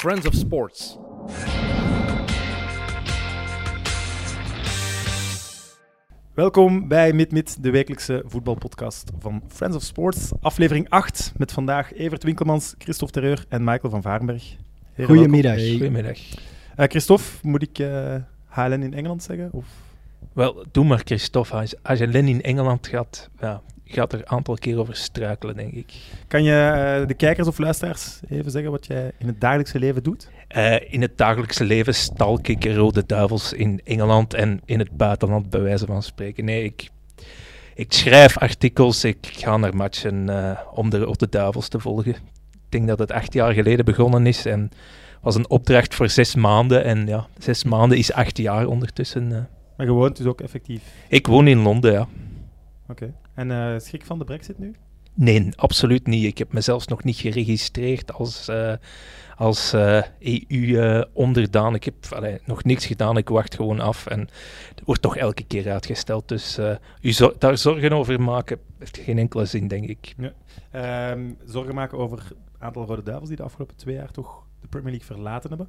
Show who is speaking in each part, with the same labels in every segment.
Speaker 1: Friends of Sports.
Speaker 2: Welkom bij MidMid, de wekelijkse voetbalpodcast van Friends of Sports. Aflevering 8 met vandaag Evert Winkelmans, Christophe Terreur en Michael van Varenberg. Heren,
Speaker 3: Goedemiddag.
Speaker 4: Goedemiddag.
Speaker 2: welkom. Eh, Christophe, moet ik eh, HLN in Engeland zeggen? Of?
Speaker 4: Wel, doe maar Christophe. Als, als je Lin in Engeland gaat, ja, gaat er een aantal keer over struikelen, denk ik.
Speaker 2: Kan je eh, de kijkers of luisteraars even zeggen wat jij in het dagelijkse leven doet?
Speaker 4: Eh, in het dagelijkse leven stalk ik rode duivels in Engeland en in het buitenland, bij wijze van spreken. Nee, ik, ik schrijf artikels, ik ga naar matchen eh, om de rode duivels te volgen. Ik denk dat het acht jaar geleden begonnen is en was een opdracht voor zes maanden. En ja, zes maanden is acht jaar ondertussen. eh.
Speaker 2: Maar gewoon, het is ook effectief.
Speaker 4: Ik woon in Londen, ja.
Speaker 2: En eh, schrik van de brexit nu?
Speaker 4: Nee, absoluut niet. Ik heb mezelf nog niet geregistreerd als, eh, als eh, E EU-onderdaan. ik heb allee, nog niks gedaan. Ik wacht gewoon af. En het wordt toch elke keer uitgesteld. Dus eh, u zor- daar zorgen over maken heeft geen enkele zin, denk ik.
Speaker 2: Ehm, zorgen maken over het aantal rode duivels die de afgelopen twee jaar toch de Premier League verlaten hebben.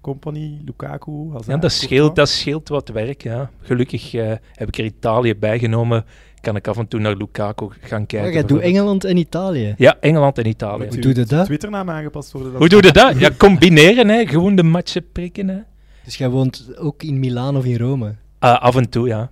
Speaker 2: Company, Lukaku, Hazard,
Speaker 4: Ja, dat,
Speaker 2: Courtois.
Speaker 4: scheelt, dat scheelt wat werk. Ja. Gelukkig eh, heb ik er Italië bijgenomen. Kan ik af en toe naar Lukaku gaan kijken.
Speaker 3: Oh, jij doet
Speaker 4: bijvoorbeeld.
Speaker 3: Engeland en Italië.
Speaker 4: Ja, Engeland en Italië.
Speaker 2: Moet
Speaker 3: Hoe
Speaker 2: uw
Speaker 3: doe je dat?
Speaker 2: Twitternaam aangepast worden. dan-
Speaker 4: Hoe doe je dat? Ja, combineren. Hè. Gewoon de matchen prikken. Hè.
Speaker 3: Dus jij woont ook in Milaan of in Rome.
Speaker 4: Ah, af en toe, ja.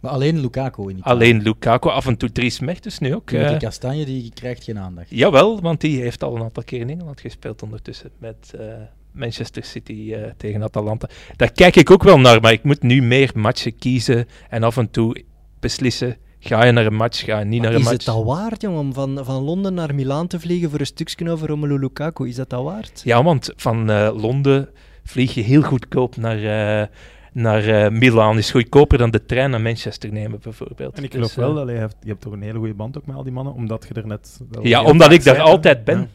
Speaker 5: Maar alleen Lukaku in Italië.
Speaker 4: Alleen Lukaku, af en toe Dries Mertens nu ook.
Speaker 5: Die met
Speaker 4: eh.
Speaker 5: die kastanje die krijgt geen aandacht.
Speaker 4: jawel, want die heeft al een aantal keer in Engeland gespeeld ondertussen met eh, Manchester City eh, tegen Atalanta. Daar kijk ik ook wel naar, maar ik moet nu meer matchen kiezen en af en toe beslissen, ga je naar een match, ga je niet
Speaker 3: Maar
Speaker 4: naar een
Speaker 3: is
Speaker 4: match.
Speaker 3: het al waard, jongen, om van, van Londen naar Milaan te vliegen voor een stukje over Romelu Lukaku? Is dat al waard?
Speaker 4: Ja, want van eh, Londen vlieg je heel goedkoop naar, eh, naar eh, Milaan. Is goedkoper dan de trein naar Manchester nemen bijvoorbeeld.
Speaker 2: En ik
Speaker 4: Dus,
Speaker 2: geloof wel,
Speaker 4: eh,
Speaker 2: allee, je hebt, je hebt toch een hele goede band ook met al die mannen, omdat je er net... wel
Speaker 4: Ja,
Speaker 2: heel
Speaker 4: omdat
Speaker 2: vaak
Speaker 4: ik daar
Speaker 2: zei,
Speaker 4: altijd
Speaker 2: hè.
Speaker 4: ben.
Speaker 2: dat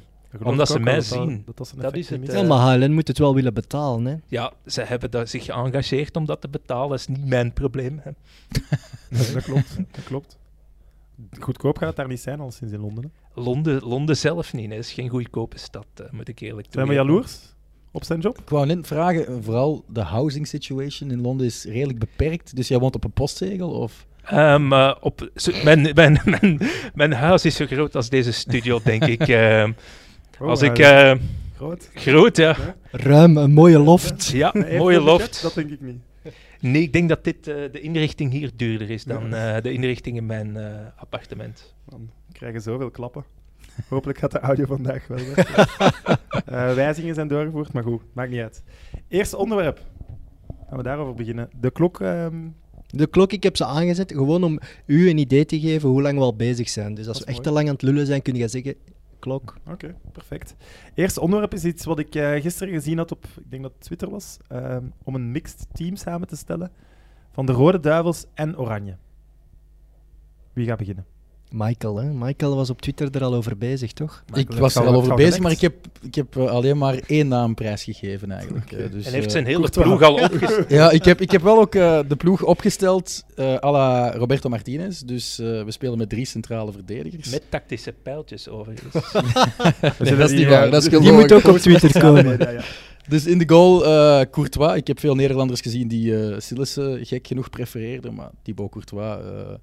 Speaker 2: geloof
Speaker 4: Omdat
Speaker 2: ik
Speaker 4: ze
Speaker 2: ook
Speaker 4: mij
Speaker 2: wel, dat dat- Dat,
Speaker 4: zien.
Speaker 2: is, een
Speaker 4: Dat is
Speaker 2: effectieve
Speaker 4: het,
Speaker 2: is.
Speaker 3: ja, maar HLN moet het wel willen betalen, hè.
Speaker 4: Ja, ze hebben daar zich geëngageerd om dat te betalen. Dat is niet mijn probleem. hè.
Speaker 2: Ja, dat klopt, dat klopt. Goedkoop gaat het daar niet zijn, al sinds in Londen. Hè.
Speaker 4: Londen, Londen zelf niet. Het is geen goedkope stad, eh, moet ik eerlijk
Speaker 2: Zijn
Speaker 4: toegeven.
Speaker 2: we jaloers op zijn job?
Speaker 5: Ik wou net vragen, eh, vooral de housing situation in Londen is redelijk beperkt. Dus jij woont op een postzegel? Of?
Speaker 4: Ehm, eh, op, zo- mijn, mijn, mijn, mijn huis is zo groot als deze studio, denk ik. Ehm,
Speaker 2: Oh,
Speaker 4: als
Speaker 2: ja,
Speaker 4: ik...
Speaker 2: dat is
Speaker 4: eh,
Speaker 2: groot.
Speaker 4: groot, ja.
Speaker 3: Ruim, een mooie loft.
Speaker 4: ja
Speaker 2: Nee, heeft
Speaker 4: mooie
Speaker 2: dat een chat?
Speaker 4: loft.
Speaker 2: Dat denk ik niet.
Speaker 4: Nee, ik denk dat dit, eh, de inrichting hier duurder is dan eh, de inrichting in mijn eh, appartement.
Speaker 2: Man, we krijgen zoveel klappen. Hopelijk gaat de audio vandaag wel weg. Eh, wijzigingen zijn doorgevoerd, maar goed, maakt niet uit. Eerste onderwerp. Gaan we daarover beginnen. De klok... ehm,
Speaker 3: De klok, ik heb ze aangezet, gewoon om u een idee te geven hoe lang we al bezig zijn. Dus als
Speaker 2: Dat
Speaker 3: we
Speaker 2: is
Speaker 3: echt te
Speaker 2: mooi.
Speaker 3: lang aan het lullen zijn, kun je zeggen, klok.
Speaker 2: Oké, perfect. Eerste onderwerp is iets wat ik eh, gisteren gezien had op, ik denk dat het Twitter was, ehm, om een mixed team samen te stellen van de Rode Duivels en Oranje. Wie gaat beginnen?
Speaker 3: Michael, hè. Michael was op Twitter er al over bezig, toch?
Speaker 2: Michael,
Speaker 5: ik
Speaker 2: heb
Speaker 5: was
Speaker 2: je
Speaker 5: er
Speaker 2: al-
Speaker 5: al
Speaker 2: heb
Speaker 5: over
Speaker 2: je al
Speaker 5: bezig, maar ik heb, ik heb eh, alleen maar één naam prijsgegeven eigenlijk. eh, dus,
Speaker 4: en heeft
Speaker 5: eh,
Speaker 4: zijn hele
Speaker 2: Courtois.
Speaker 4: ploeg al opgesteld.
Speaker 5: Ja, ik heb, ik heb wel ook eh, de ploeg opgesteld eh à la Roberto Martinez. Dus eh, we spelen met drie centrale verdedigers.
Speaker 4: Met tactische pijltjes, overigens.
Speaker 5: nee,
Speaker 2: zullen
Speaker 5: dat is
Speaker 2: die,
Speaker 5: niet
Speaker 2: eh,
Speaker 5: waar. Dat is
Speaker 3: Die moet
Speaker 5: gelogen.
Speaker 3: ook op Twitter komen.
Speaker 2: Ja, ja.
Speaker 5: Dus in de goal eh, Courtois. Ik heb veel Nederlanders gezien die eh Sillissen gek genoeg prefereerden, maar Thibaut Courtois eh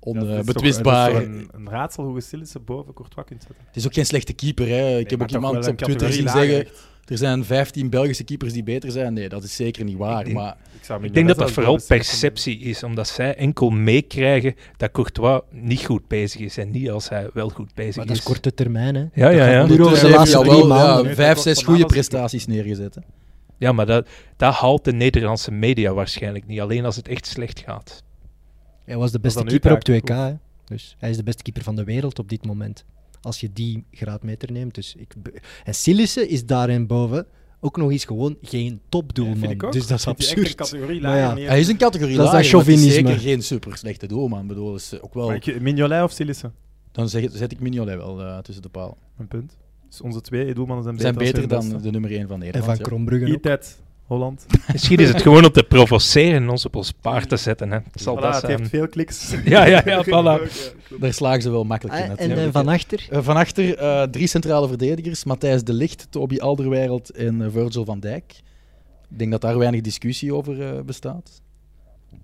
Speaker 2: Ja, dat is toch-
Speaker 5: onbetwistbaar.
Speaker 2: dat is toch Een, een raadsel hoe je Sillissen boven Courtois kunt zetten.
Speaker 5: het is ook geen slechte keeper. Hè. Ik heb ook iemand op Twitter zien zeggen, er zijn 15 Belgische keepers die beter zijn. Nee, dat is zeker niet waar.
Speaker 4: Ik denk-
Speaker 5: maar
Speaker 4: Ik denk dat dat vooral perceptie is, omdat zij enkel meekrijgen dat Courtois niet goed bezig is en niet als hij wel goed bezig
Speaker 3: Maar
Speaker 4: is.
Speaker 3: dat is korte termijn, hè.
Speaker 4: Ja, ja, ja.
Speaker 3: Puur over de
Speaker 5: ondertussen
Speaker 3: laatste
Speaker 5: heeft hij
Speaker 3: drie
Speaker 5: al wel
Speaker 3: maanden.
Speaker 5: ja, vijf,
Speaker 2: Van
Speaker 5: zes
Speaker 2: Aanholt-
Speaker 5: goede prestaties neergezet. Hè.
Speaker 4: Ja, maar dat, dat haalt de Nederlandse media waarschijnlijk niet. Alleen als het echt slecht gaat.
Speaker 3: Hij was de beste
Speaker 2: dan uw
Speaker 3: keeper op
Speaker 2: taak,
Speaker 3: 2K. hè. Dus hij is de beste keeper van de wereld op dit moment. Als je die graadmeter neemt. Dus ik be- en Sillissen is daarin boven ook nog eens gewoon geen topdoelman. dus dat is
Speaker 2: Echt een
Speaker 3: absurd.
Speaker 2: categorie
Speaker 3: Maar ja.
Speaker 2: lager
Speaker 5: Hij is een categorie
Speaker 3: Dat is
Speaker 5: lager,
Speaker 3: dat
Speaker 5: maar het is
Speaker 3: chauvinisme.
Speaker 5: zeker geen super slechte doelman. Ik Bedoel, dus ook wel,
Speaker 2: neer. Mignolet of Sillissen?
Speaker 5: dan zeg, zet ik Mignolet wel eh, tussen de paal.
Speaker 2: Een punt. Dus onze twee doelmannen zijn
Speaker 5: We
Speaker 2: beter,
Speaker 5: zijn beter
Speaker 2: als hun
Speaker 5: dan eh,
Speaker 2: beste.
Speaker 5: de nummer 1 van
Speaker 3: En
Speaker 5: Nederland.
Speaker 3: van
Speaker 5: ja.
Speaker 3: Krombrugge ook.
Speaker 2: Itet, Holland.
Speaker 4: Misschien is het gewoon om te provoceren en ons op ons paard te zetten. Hè. Het zal
Speaker 2: Voilà,
Speaker 4: dat
Speaker 2: het
Speaker 4: zijn.
Speaker 2: heeft veel kliks.
Speaker 4: Ja, ja, ja, voilà.
Speaker 5: Daar slagen ze wel makkelijk in.
Speaker 3: Ah, en
Speaker 5: natuurlijk,
Speaker 3: eh,
Speaker 5: hè.
Speaker 3: van achter?
Speaker 5: Eh, van achter eh, drie centrale verdedigers: Matthijs de Ligt, Toby Alderweireld en eh, Virgil van Dijk. Ik denk dat daar weinig discussie over eh, bestaat.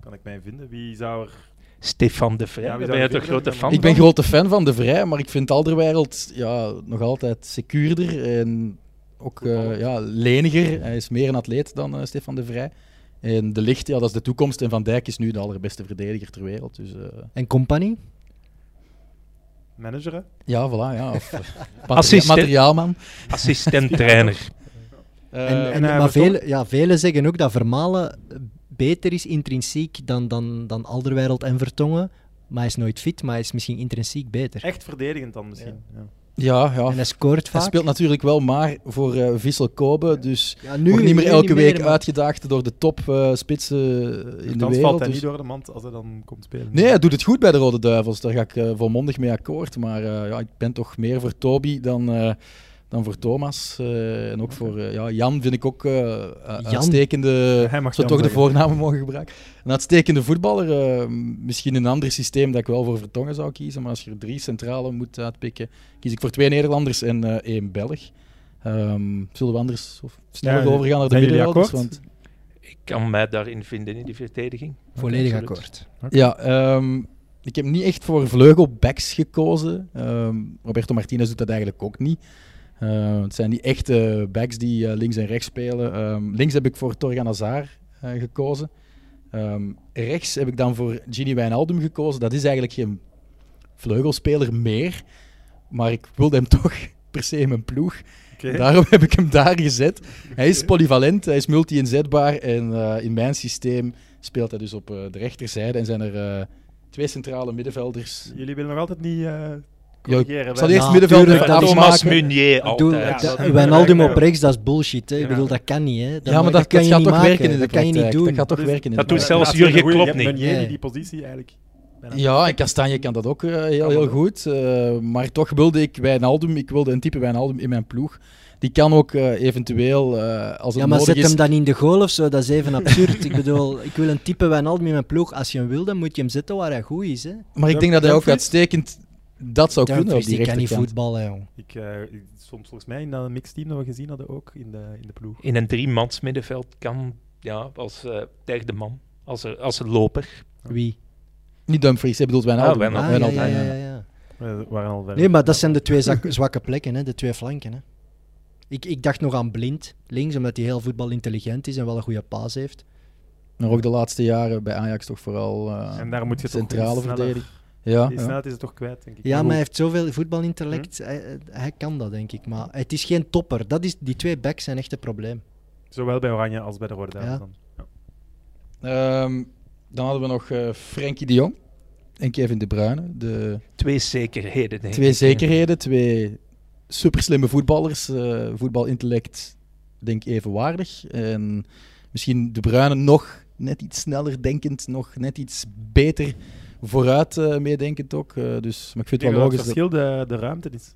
Speaker 2: Kan ik mij vinden? Wie zou er...
Speaker 4: Stefan de Vrij,
Speaker 2: Ja, wie
Speaker 4: daar
Speaker 2: zou
Speaker 4: ben je
Speaker 2: ik
Speaker 4: toch
Speaker 2: vinden?
Speaker 4: grote fan
Speaker 5: Ik ben
Speaker 4: van?
Speaker 5: grote fan van De Vrij, maar ik vind Alderweireld ja, nog altijd secuurder en ook eh, ja, leniger. Hij is meer een atleet dan eh, Stefan De Vrij. En De Ligt, ja, dat is de toekomst. En Van Dijk is nu de allerbeste verdediger ter wereld. Dus eh,
Speaker 3: En compagnie?
Speaker 2: Manager, hè?
Speaker 5: ja, voilà. Ja. Of, eh,
Speaker 4: Assistent.
Speaker 5: materiaalman.
Speaker 4: Assistent-trainer.
Speaker 5: Eh,
Speaker 3: En,
Speaker 2: en,
Speaker 3: en,
Speaker 2: eh,
Speaker 3: maar
Speaker 2: Vertongen?
Speaker 3: velen ja, velen zeggen ook dat Vermalen beter is intrinsiek dan, dan, dan Alderwereld en Vertongen. Maar hij is nooit fit, maar hij is misschien intrinsiek beter.
Speaker 2: Echt verdedigend dan misschien. Ja.
Speaker 5: ja, ja.
Speaker 3: En hij scoort
Speaker 5: Hij
Speaker 3: vaak.
Speaker 5: speelt natuurlijk wel maar voor eh Vissel Kobe, dus
Speaker 3: ja, nu,
Speaker 5: wordt niet meer
Speaker 3: nu
Speaker 5: elke week
Speaker 3: maar-
Speaker 5: uitgedaagd door de topspitsen eh, in de
Speaker 2: Dan valt
Speaker 5: wereld.
Speaker 2: hij
Speaker 5: dus-
Speaker 2: niet door de mand als hij dan komt spelen.
Speaker 5: Nee, hij doet het goed bij de Rode Duivels, daar ga ik eh, volmondig mee akkoord. Maar eh, ja, ik ben toch meer voor Toby dan, eh, dan voor Thomas. eh, en ook voor eh, ja, Jan vind ik ook eh
Speaker 3: Jan?
Speaker 5: uitstekende...
Speaker 2: Hij mag
Speaker 5: Zou
Speaker 2: Jan
Speaker 5: toch de
Speaker 2: zeggen.
Speaker 5: voornamen mogen gebruiken? Een uitstekende voetballer. eh, misschien een ander systeem dat ik wel voor Vertongen zou kiezen. Maar als je er drie centrale moet uitpikken, kies ik voor twee Nederlanders en eh, één Belg. Ehm, zullen we anders of sneller
Speaker 2: Ja,
Speaker 5: overgaan naar de
Speaker 2: zijn jullie
Speaker 5: middenvelders?
Speaker 2: akkoord?
Speaker 5: Want,
Speaker 4: Ik kan mij daarin vinden in die verdediging.
Speaker 3: Volledig
Speaker 4: Absoluut.
Speaker 3: akkoord.
Speaker 5: ja, ehm, ik heb niet echt voor vleugelbacks gekozen. Ehm, Roberto Martinez doet dat eigenlijk ook niet. Eh, het zijn die echte backs die eh, links en rechts spelen. Ehm, links heb ik voor Torgan Hazard eh, gekozen. Ehm, rechts heb ik dan voor Gini Wijnaldum gekozen. Dat is eigenlijk geen vleugelspeler meer. Maar ik wilde hem toch per se in mijn ploeg.
Speaker 2: Oké.
Speaker 5: Daarom heb ik hem daar gezet. Hij is polyvalent, hij is multi-inzetbaar. En eh, in mijn systeem speelt hij dus op eh, de rechterzijde. En zijn er eh, twee centrale middenvelders.
Speaker 2: Jullie willen nog altijd niet eh
Speaker 5: Ja, ik
Speaker 2: corrigeren.
Speaker 5: zal
Speaker 2: hè?
Speaker 5: eerst
Speaker 3: Ja,
Speaker 5: middenvelder
Speaker 3: tuurlijk,
Speaker 5: eraf
Speaker 3: dat is-
Speaker 4: Thomas
Speaker 5: maken.
Speaker 4: Meunier
Speaker 3: Doe,
Speaker 4: altijd.
Speaker 2: ja,
Speaker 3: dat-
Speaker 2: dat-
Speaker 3: Wijnaldum
Speaker 2: dat-
Speaker 3: op rechts, dat is bullshit. Hè. Ik
Speaker 4: Ja.
Speaker 3: bedoel, dat kan niet. Hè. Dat,
Speaker 5: ja, maar dat,
Speaker 3: kan
Speaker 5: dat
Speaker 3: je
Speaker 5: gaat
Speaker 3: niet
Speaker 5: toch
Speaker 3: maken.
Speaker 5: werken in de
Speaker 3: Dat kan je niet
Speaker 5: praktijk.
Speaker 3: doen.
Speaker 5: Dat gaat toch
Speaker 2: Dus Dat-
Speaker 5: werken in de
Speaker 4: dat doet
Speaker 5: praktijk.
Speaker 4: zelfs
Speaker 2: Laatst geen
Speaker 4: Jurgen
Speaker 2: goeie,
Speaker 4: Klopp
Speaker 2: je hebt
Speaker 4: niet.
Speaker 2: Meunier die
Speaker 3: Nee.
Speaker 2: die positie eigenlijk. bijna-
Speaker 5: Ja, en Kastanje kan dat ook eh, heel,
Speaker 2: Kan
Speaker 5: heel
Speaker 2: dat ook.
Speaker 5: goed. eh, maar toch wilde ik Wijnaldum, ik wilde een type Wijnaldum in mijn ploeg. Die kan ook eh, eventueel, eh, als het
Speaker 3: Ja, maar
Speaker 5: nodig
Speaker 3: zet
Speaker 5: is...
Speaker 3: hem dan in de goal of zo, dat is even absurd. ik bedoel, ik wil een type Wijnaldum in mijn ploeg. Als je hem wil, dan moet je hem zetten waar hij goed is. Hè.
Speaker 5: Maar ik denk dat hij ook
Speaker 2: Dumfries?
Speaker 5: uitstekend dat zou kunnen op
Speaker 3: Dumfries,
Speaker 5: die
Speaker 3: die kan niet
Speaker 5: rechterkant.
Speaker 3: voetballen, jong.
Speaker 2: Ik, eh, ik- soms volgens mij in dat mixteam dat we gezien hadden ook in de, in de ploeg.
Speaker 4: In een driemans middenveld kan, ja, als eh, derde man, als, er, als een loper.
Speaker 3: Wie?
Speaker 5: Niet Dumfries, hij bedoelt Wijnaldum.
Speaker 4: Ah, Wijnaldum.
Speaker 3: Ah, ja,
Speaker 5: Wijnaldum, ja.
Speaker 3: ja, ja, ja.
Speaker 2: Maar we waren al verder.
Speaker 3: Nee, maar dat zijn de twee zak- zwakke plekken, hè, de twee flanken. Hè. Ik, ik dacht nog aan Blind, links, omdat hij heel voetbalintelligent is en wel een goede paas heeft.
Speaker 5: Maar ook de laatste jaren bij Ajax toch vooral eh,
Speaker 2: En daar moet je toch
Speaker 5: centrale
Speaker 2: iets sneller-
Speaker 5: verdediging. Ah, Ja,
Speaker 2: Die
Speaker 5: ja.
Speaker 2: snelheid is het toch kwijt, denk ik. Hm?
Speaker 3: Ja, maar hij heeft zoveel voetbalintellect, hij, eh, hij kan dat, denk ik. Maar het is geen topper. Dat is, die twee backs zijn echt een probleem.
Speaker 2: Zowel bij Oranje als bij de Rode Duivels
Speaker 3: Ja.
Speaker 2: dan.
Speaker 5: Ehm, dan hadden we nog eh Frenkie de Jong en Kevin De Bruyne. De
Speaker 4: Twee zekerheden. denk
Speaker 5: twee
Speaker 4: ik.
Speaker 5: zekerheden, twee superslimme voetballers. eh, voetbalintellect, denk ik, evenwaardig. En misschien De Bruyne nog net iets sneller denkend, nog net iets beter vooruit eh, meedenkend ook. Eh, dus, maar ik vind het
Speaker 2: Ik denk
Speaker 5: wel
Speaker 2: dat het
Speaker 5: logisch. dat-
Speaker 2: verschil de, de ruimte is.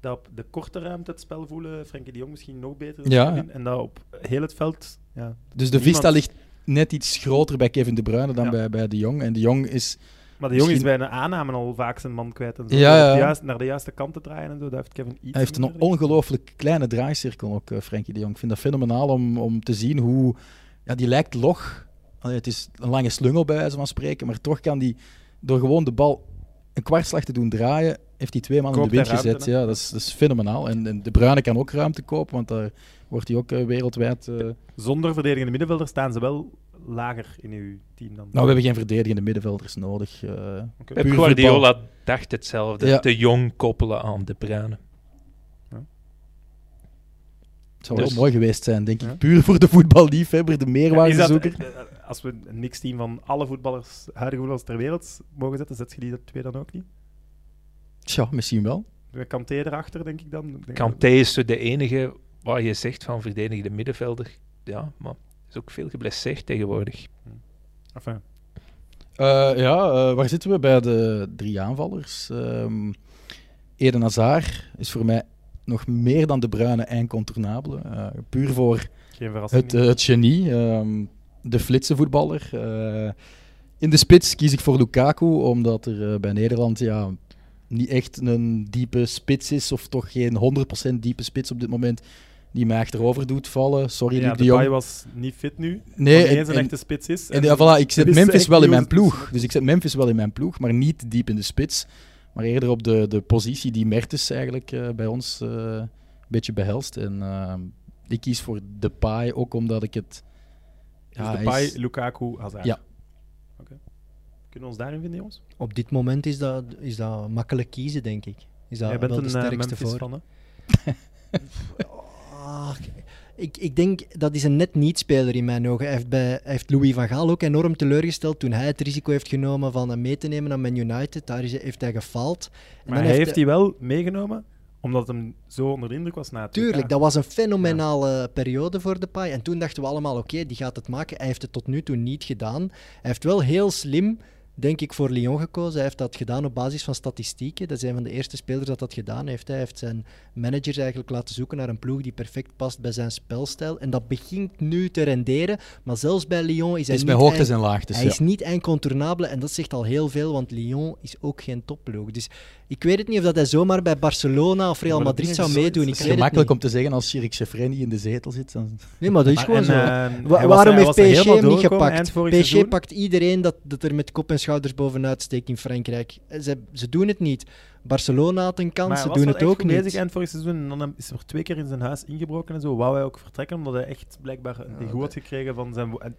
Speaker 2: Dat op de korte ruimte het spel voelen, Frenkie de Jong misschien nog beter. is
Speaker 5: Ja.
Speaker 2: dan Lin. En dat op heel het veld, ja.
Speaker 5: Dus de
Speaker 2: niemand-
Speaker 5: vista ligt net iets groter bij Kevin De Bruyne dan
Speaker 2: Ja.
Speaker 5: bij, bij De Jong. En De Jong is
Speaker 2: Maar de jongen is
Speaker 5: Misschien-
Speaker 2: bij een aanname al vaak zijn man kwijt. En zo.
Speaker 5: Ja,
Speaker 2: Door
Speaker 5: ja.
Speaker 2: de juist- naar de juiste kant te draaien en zo. Dat heeft Kevin iets
Speaker 5: Hij heeft een
Speaker 2: minder, denk ik.
Speaker 5: ongelooflijk kleine draaicirkel ook, eh, Frenkie de Jong. Ik vind dat fenomenaal om, om te zien hoe... Ja, die lijkt log. Allee, het is een lange slungel bij wijze van spreken, maar toch kan die door gewoon de bal een kwartslag te doen draaien, heeft hij twee man in de
Speaker 2: Koopt
Speaker 5: wind
Speaker 2: hij ruimte,
Speaker 5: gezet.
Speaker 2: hè?
Speaker 5: Ja, dat is, dat is fenomenaal. En, en De Bruyne kan ook ruimte kopen, want daar wordt hij ook eh, wereldwijd... eh,
Speaker 2: Zonder verdedigende middenvelder staan ze wel lager in uw team dan.
Speaker 5: Nou, we hebben geen verdedigende middenvelders nodig. eh.
Speaker 2: Oké.
Speaker 4: Pep
Speaker 5: Puur
Speaker 4: Guardiola dacht hetzelfde.
Speaker 5: Ja.
Speaker 4: De jong koppelen aan de bruine.
Speaker 5: het zou
Speaker 4: Dus-
Speaker 5: wel mooi geweest zijn, denk ik.
Speaker 2: Ja.
Speaker 5: Puur voor de voetballiefhebber, de meerwaardezoeker.
Speaker 2: Is dat- eh, eh, Als we een mixteam van alle voetballers, huidige voetballers ter wereld mogen zetten, zet je die dat twee dan ook niet?
Speaker 5: Tja, misschien wel.
Speaker 2: We Kanté erachter, denk ik dan. Ik denk
Speaker 4: Kanté is zo de enige waar je zegt van verdedigende middenvelder. Ja, maar is ook veel geblesseerd tegenwoordig.
Speaker 2: dat- enfin,
Speaker 5: Eh, ja, eh, waar zitten we bij de drie aanvallers? Ehm Eden Hazard is voor mij nog meer dan De Bruyne en Contournable. Eh, puur voor
Speaker 2: Geen verrassing.
Speaker 5: het, eh, het genie, ehm, de flitsenvoetballer. Eh, in de spits kies ik voor Lukaku, omdat er eh, bij Nederland ja, niet echt een diepe spits is, of toch geen 100% diepe spits op dit moment, die mij achterover doet vallen. Sorry,
Speaker 2: ja,
Speaker 5: Luc
Speaker 2: de
Speaker 5: de Jong.
Speaker 2: Bai was niet fit nu.
Speaker 5: Nee,
Speaker 2: Nee,
Speaker 5: en-
Speaker 2: eens een
Speaker 5: en-
Speaker 2: echte spits is.
Speaker 5: en, ja, voilà, ik zet
Speaker 2: wist
Speaker 5: Memphis
Speaker 2: echt
Speaker 5: wel
Speaker 2: niet
Speaker 5: in
Speaker 2: hoe
Speaker 5: mijn
Speaker 2: ze het
Speaker 5: ploeg. Dus ik zet Memphis wel in mijn ploeg, maar niet diep in de spits. Maar eerder op de, de positie die Mertens eigenlijk eh, bij ons eh, een beetje behelst. En eh, ik kies voor Depay ook omdat ik het...
Speaker 2: dus de
Speaker 5: hij
Speaker 2: Bai,
Speaker 5: is-
Speaker 2: Lukaku, Hazard.
Speaker 5: Ja.
Speaker 2: Oké. Kunnen we ons daarin vinden, jongens?
Speaker 3: Op dit moment is dat, is dat makkelijk kiezen, denk ik. Is dat
Speaker 2: Jij bent
Speaker 3: wel
Speaker 2: een
Speaker 3: de
Speaker 2: eh,
Speaker 3: sterkste
Speaker 2: Memphis
Speaker 3: voor.
Speaker 2: van, hè?
Speaker 3: Ah, ik, ik denk dat is een net niet-speler in mijn ogen. Hij heeft, bij, hij heeft Louis van Gaal ook enorm teleurgesteld toen hij het risico heeft genomen van hem mee te nemen naar Man United. Daar is, hij- heeft hij gefaald. En
Speaker 2: Maar
Speaker 3: dan
Speaker 2: hij heeft
Speaker 3: hij-
Speaker 2: die wel meegenomen, omdat hem zo onder de indruk was na het
Speaker 3: Tuurlijk,
Speaker 2: WK.
Speaker 3: dat was een fenomenale periode voor Depay. En toen dachten we allemaal, oké, die gaat het maken. Hij heeft het tot nu toe niet gedaan. Hij heeft wel heel slim, denk ik, voor Lyon gekozen. Hij heeft dat gedaan op basis van statistieken. Dat is een van de eerste spelers dat dat gedaan heeft. Hij heeft zijn managers eigenlijk laten zoeken naar een ploeg die perfect past bij zijn spelstijl. En dat begint nu te renderen. Maar zelfs bij Lyon is
Speaker 5: Het
Speaker 3: hij
Speaker 5: is
Speaker 3: niet
Speaker 5: met hoogtes
Speaker 3: eind-
Speaker 5: en laagtes.
Speaker 3: hij
Speaker 5: Dus ja.
Speaker 3: is niet incontournabel en dat zegt al heel veel, want Lyon is ook geen topploeg. Dus ik weet het niet of dat hij zomaar bij Barcelona of Real
Speaker 2: Maar dat
Speaker 3: Madrid
Speaker 2: is
Speaker 3: zou
Speaker 2: zo- dat
Speaker 3: meedoen.
Speaker 2: is
Speaker 3: Ik
Speaker 5: Het
Speaker 3: weet
Speaker 5: is
Speaker 3: het
Speaker 5: gemakkelijk
Speaker 3: niet.
Speaker 5: om te zeggen als Shirik Sefreni in de zetel zit. Dan...
Speaker 3: Nee, maar dat is
Speaker 2: Maar-
Speaker 3: gewoon
Speaker 2: en,
Speaker 3: zo.
Speaker 2: eh,
Speaker 3: Wa-
Speaker 2: hij was-
Speaker 3: waarom
Speaker 2: hij was
Speaker 3: heeft
Speaker 2: er
Speaker 3: PSG
Speaker 2: helemaal
Speaker 3: hem niet
Speaker 2: doorgekomen eind
Speaker 3: gepakt?
Speaker 2: vorig
Speaker 3: PSG
Speaker 2: seizoen.
Speaker 3: pakt iedereen dat, dat er met kop en schouders bovenuit steekt in Frankrijk. Eh, Ze, ze doen het niet. Barcelona had een kans,
Speaker 2: Maar hij
Speaker 3: ze
Speaker 2: was
Speaker 3: doen
Speaker 2: wel
Speaker 3: het
Speaker 2: echt
Speaker 3: ook
Speaker 2: goed
Speaker 3: niet.
Speaker 2: bezig eind vorig seizoen. En dan is er twee keer in zijn huis ingebroken en zo. Wou hij ook vertrekken, omdat hij echt blijkbaar een goed had gekregen van zijn... wo- en-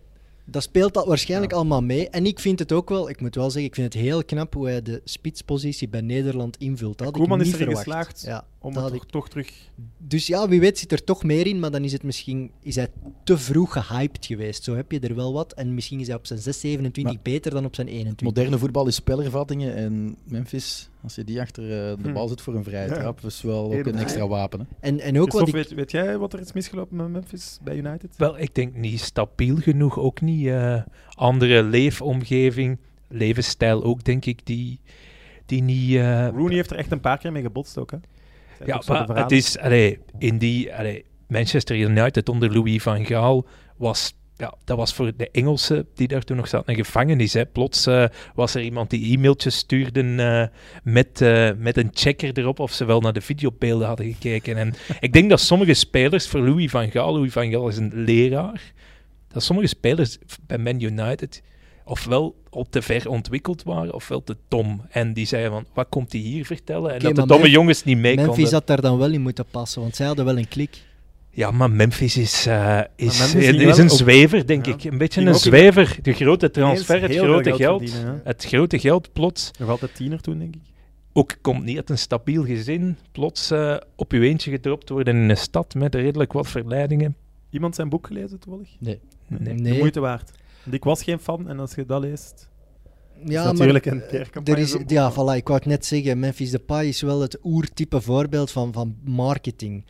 Speaker 3: Dat speelt dat waarschijnlijk allemaal mee. En ik vind het ook wel, ik moet wel zeggen, ik vind het heel knap hoe hij de spitspositie bij Nederland invult. Dat had ik
Speaker 2: Koeman is
Speaker 3: niet
Speaker 2: erin
Speaker 3: verwacht.
Speaker 2: geslaagd
Speaker 3: Ja,
Speaker 2: Om
Speaker 3: dat
Speaker 2: het
Speaker 3: had
Speaker 2: toch, toch terug...
Speaker 3: Dus ja, wie weet zit er toch meer in, maar dan is het misschien is hij te vroeg gehyped geweest. Zo heb je er wel wat. En misschien is hij op zijn 6, 27 beter dan op zijn 21.
Speaker 5: Moderne voetbal is spelervattingen. En Memphis, als je die achter eh, de
Speaker 2: Hm.
Speaker 5: bal zit voor een vrije
Speaker 2: Ja.
Speaker 5: trap, is wel ook
Speaker 2: Eerder.
Speaker 5: een extra wapen. Hè.
Speaker 3: En, en ook wat
Speaker 2: Christophe,
Speaker 3: ik...
Speaker 2: weet, weet jij wat er is misgelopen met Memphis bij United?
Speaker 4: Wel, ik denk niet stabiel genoeg, ook niet eh, andere leefomgeving, levensstijl ook, denk ik, die, die niet... eh,
Speaker 2: Rooney heeft er echt een paar keer mee gebotst ook, hè? Zijn
Speaker 4: ja,
Speaker 2: ook zo de
Speaker 4: maar het
Speaker 2: verhalen.
Speaker 4: is... Allee, in die, allee, Manchester United onder Louis van Gaal was... Ja, dat was voor de Engelsen die daar toen nog zaten een gevangenis. Hè. Plots eh, was er iemand die e-mailtjes stuurde eh, met, eh, met een checker erop of ze wel naar de videobeelden hadden gekeken. En ik denk dat sommige spelers voor Louis van Gaal, Louis van Gaal is een leraar, dat sommige spelers bij Man United ofwel al te ver ontwikkeld waren, ofwel te dom. En die zeiden van, wat komt hij hier vertellen? En
Speaker 3: Oké,
Speaker 4: dat de
Speaker 3: maar
Speaker 4: domme
Speaker 3: Memf-
Speaker 4: jongens niet mee
Speaker 3: Memphis
Speaker 4: konden.
Speaker 3: had daar dan wel in moeten passen, want zij hadden wel een klik.
Speaker 4: Ja, maar Memphis is, eh, is,
Speaker 2: Memphis ging
Speaker 4: is
Speaker 2: wel
Speaker 4: een
Speaker 2: op-
Speaker 4: zwever, denk
Speaker 2: Ja.
Speaker 4: ik. Een beetje
Speaker 2: Ging
Speaker 4: een
Speaker 2: ook in-
Speaker 4: zwever. De grote
Speaker 2: Ineens
Speaker 4: transfer, het
Speaker 2: heel
Speaker 4: grote
Speaker 2: veel
Speaker 4: geld.
Speaker 2: verdienen, hè.
Speaker 4: het grote geld plots
Speaker 2: Nog altijd tiener toen, denk ik.
Speaker 4: ook komt niet uit een stabiel gezin. Plots eh, op je eentje gedropt worden in een stad met redelijk wat verleidingen.
Speaker 2: Iemand zijn boek gelezen toevallig?
Speaker 4: Nee.
Speaker 2: De moeite waard. Want ik was geen fan en als je dat leest.
Speaker 3: Ja,
Speaker 2: is natuurlijk een kerkcampagne
Speaker 3: Er is,
Speaker 2: zo'n boek.
Speaker 3: ja, voilà, ik wou het net zeggen. Memphis Depay is wel het oertype voorbeeld van, van marketing.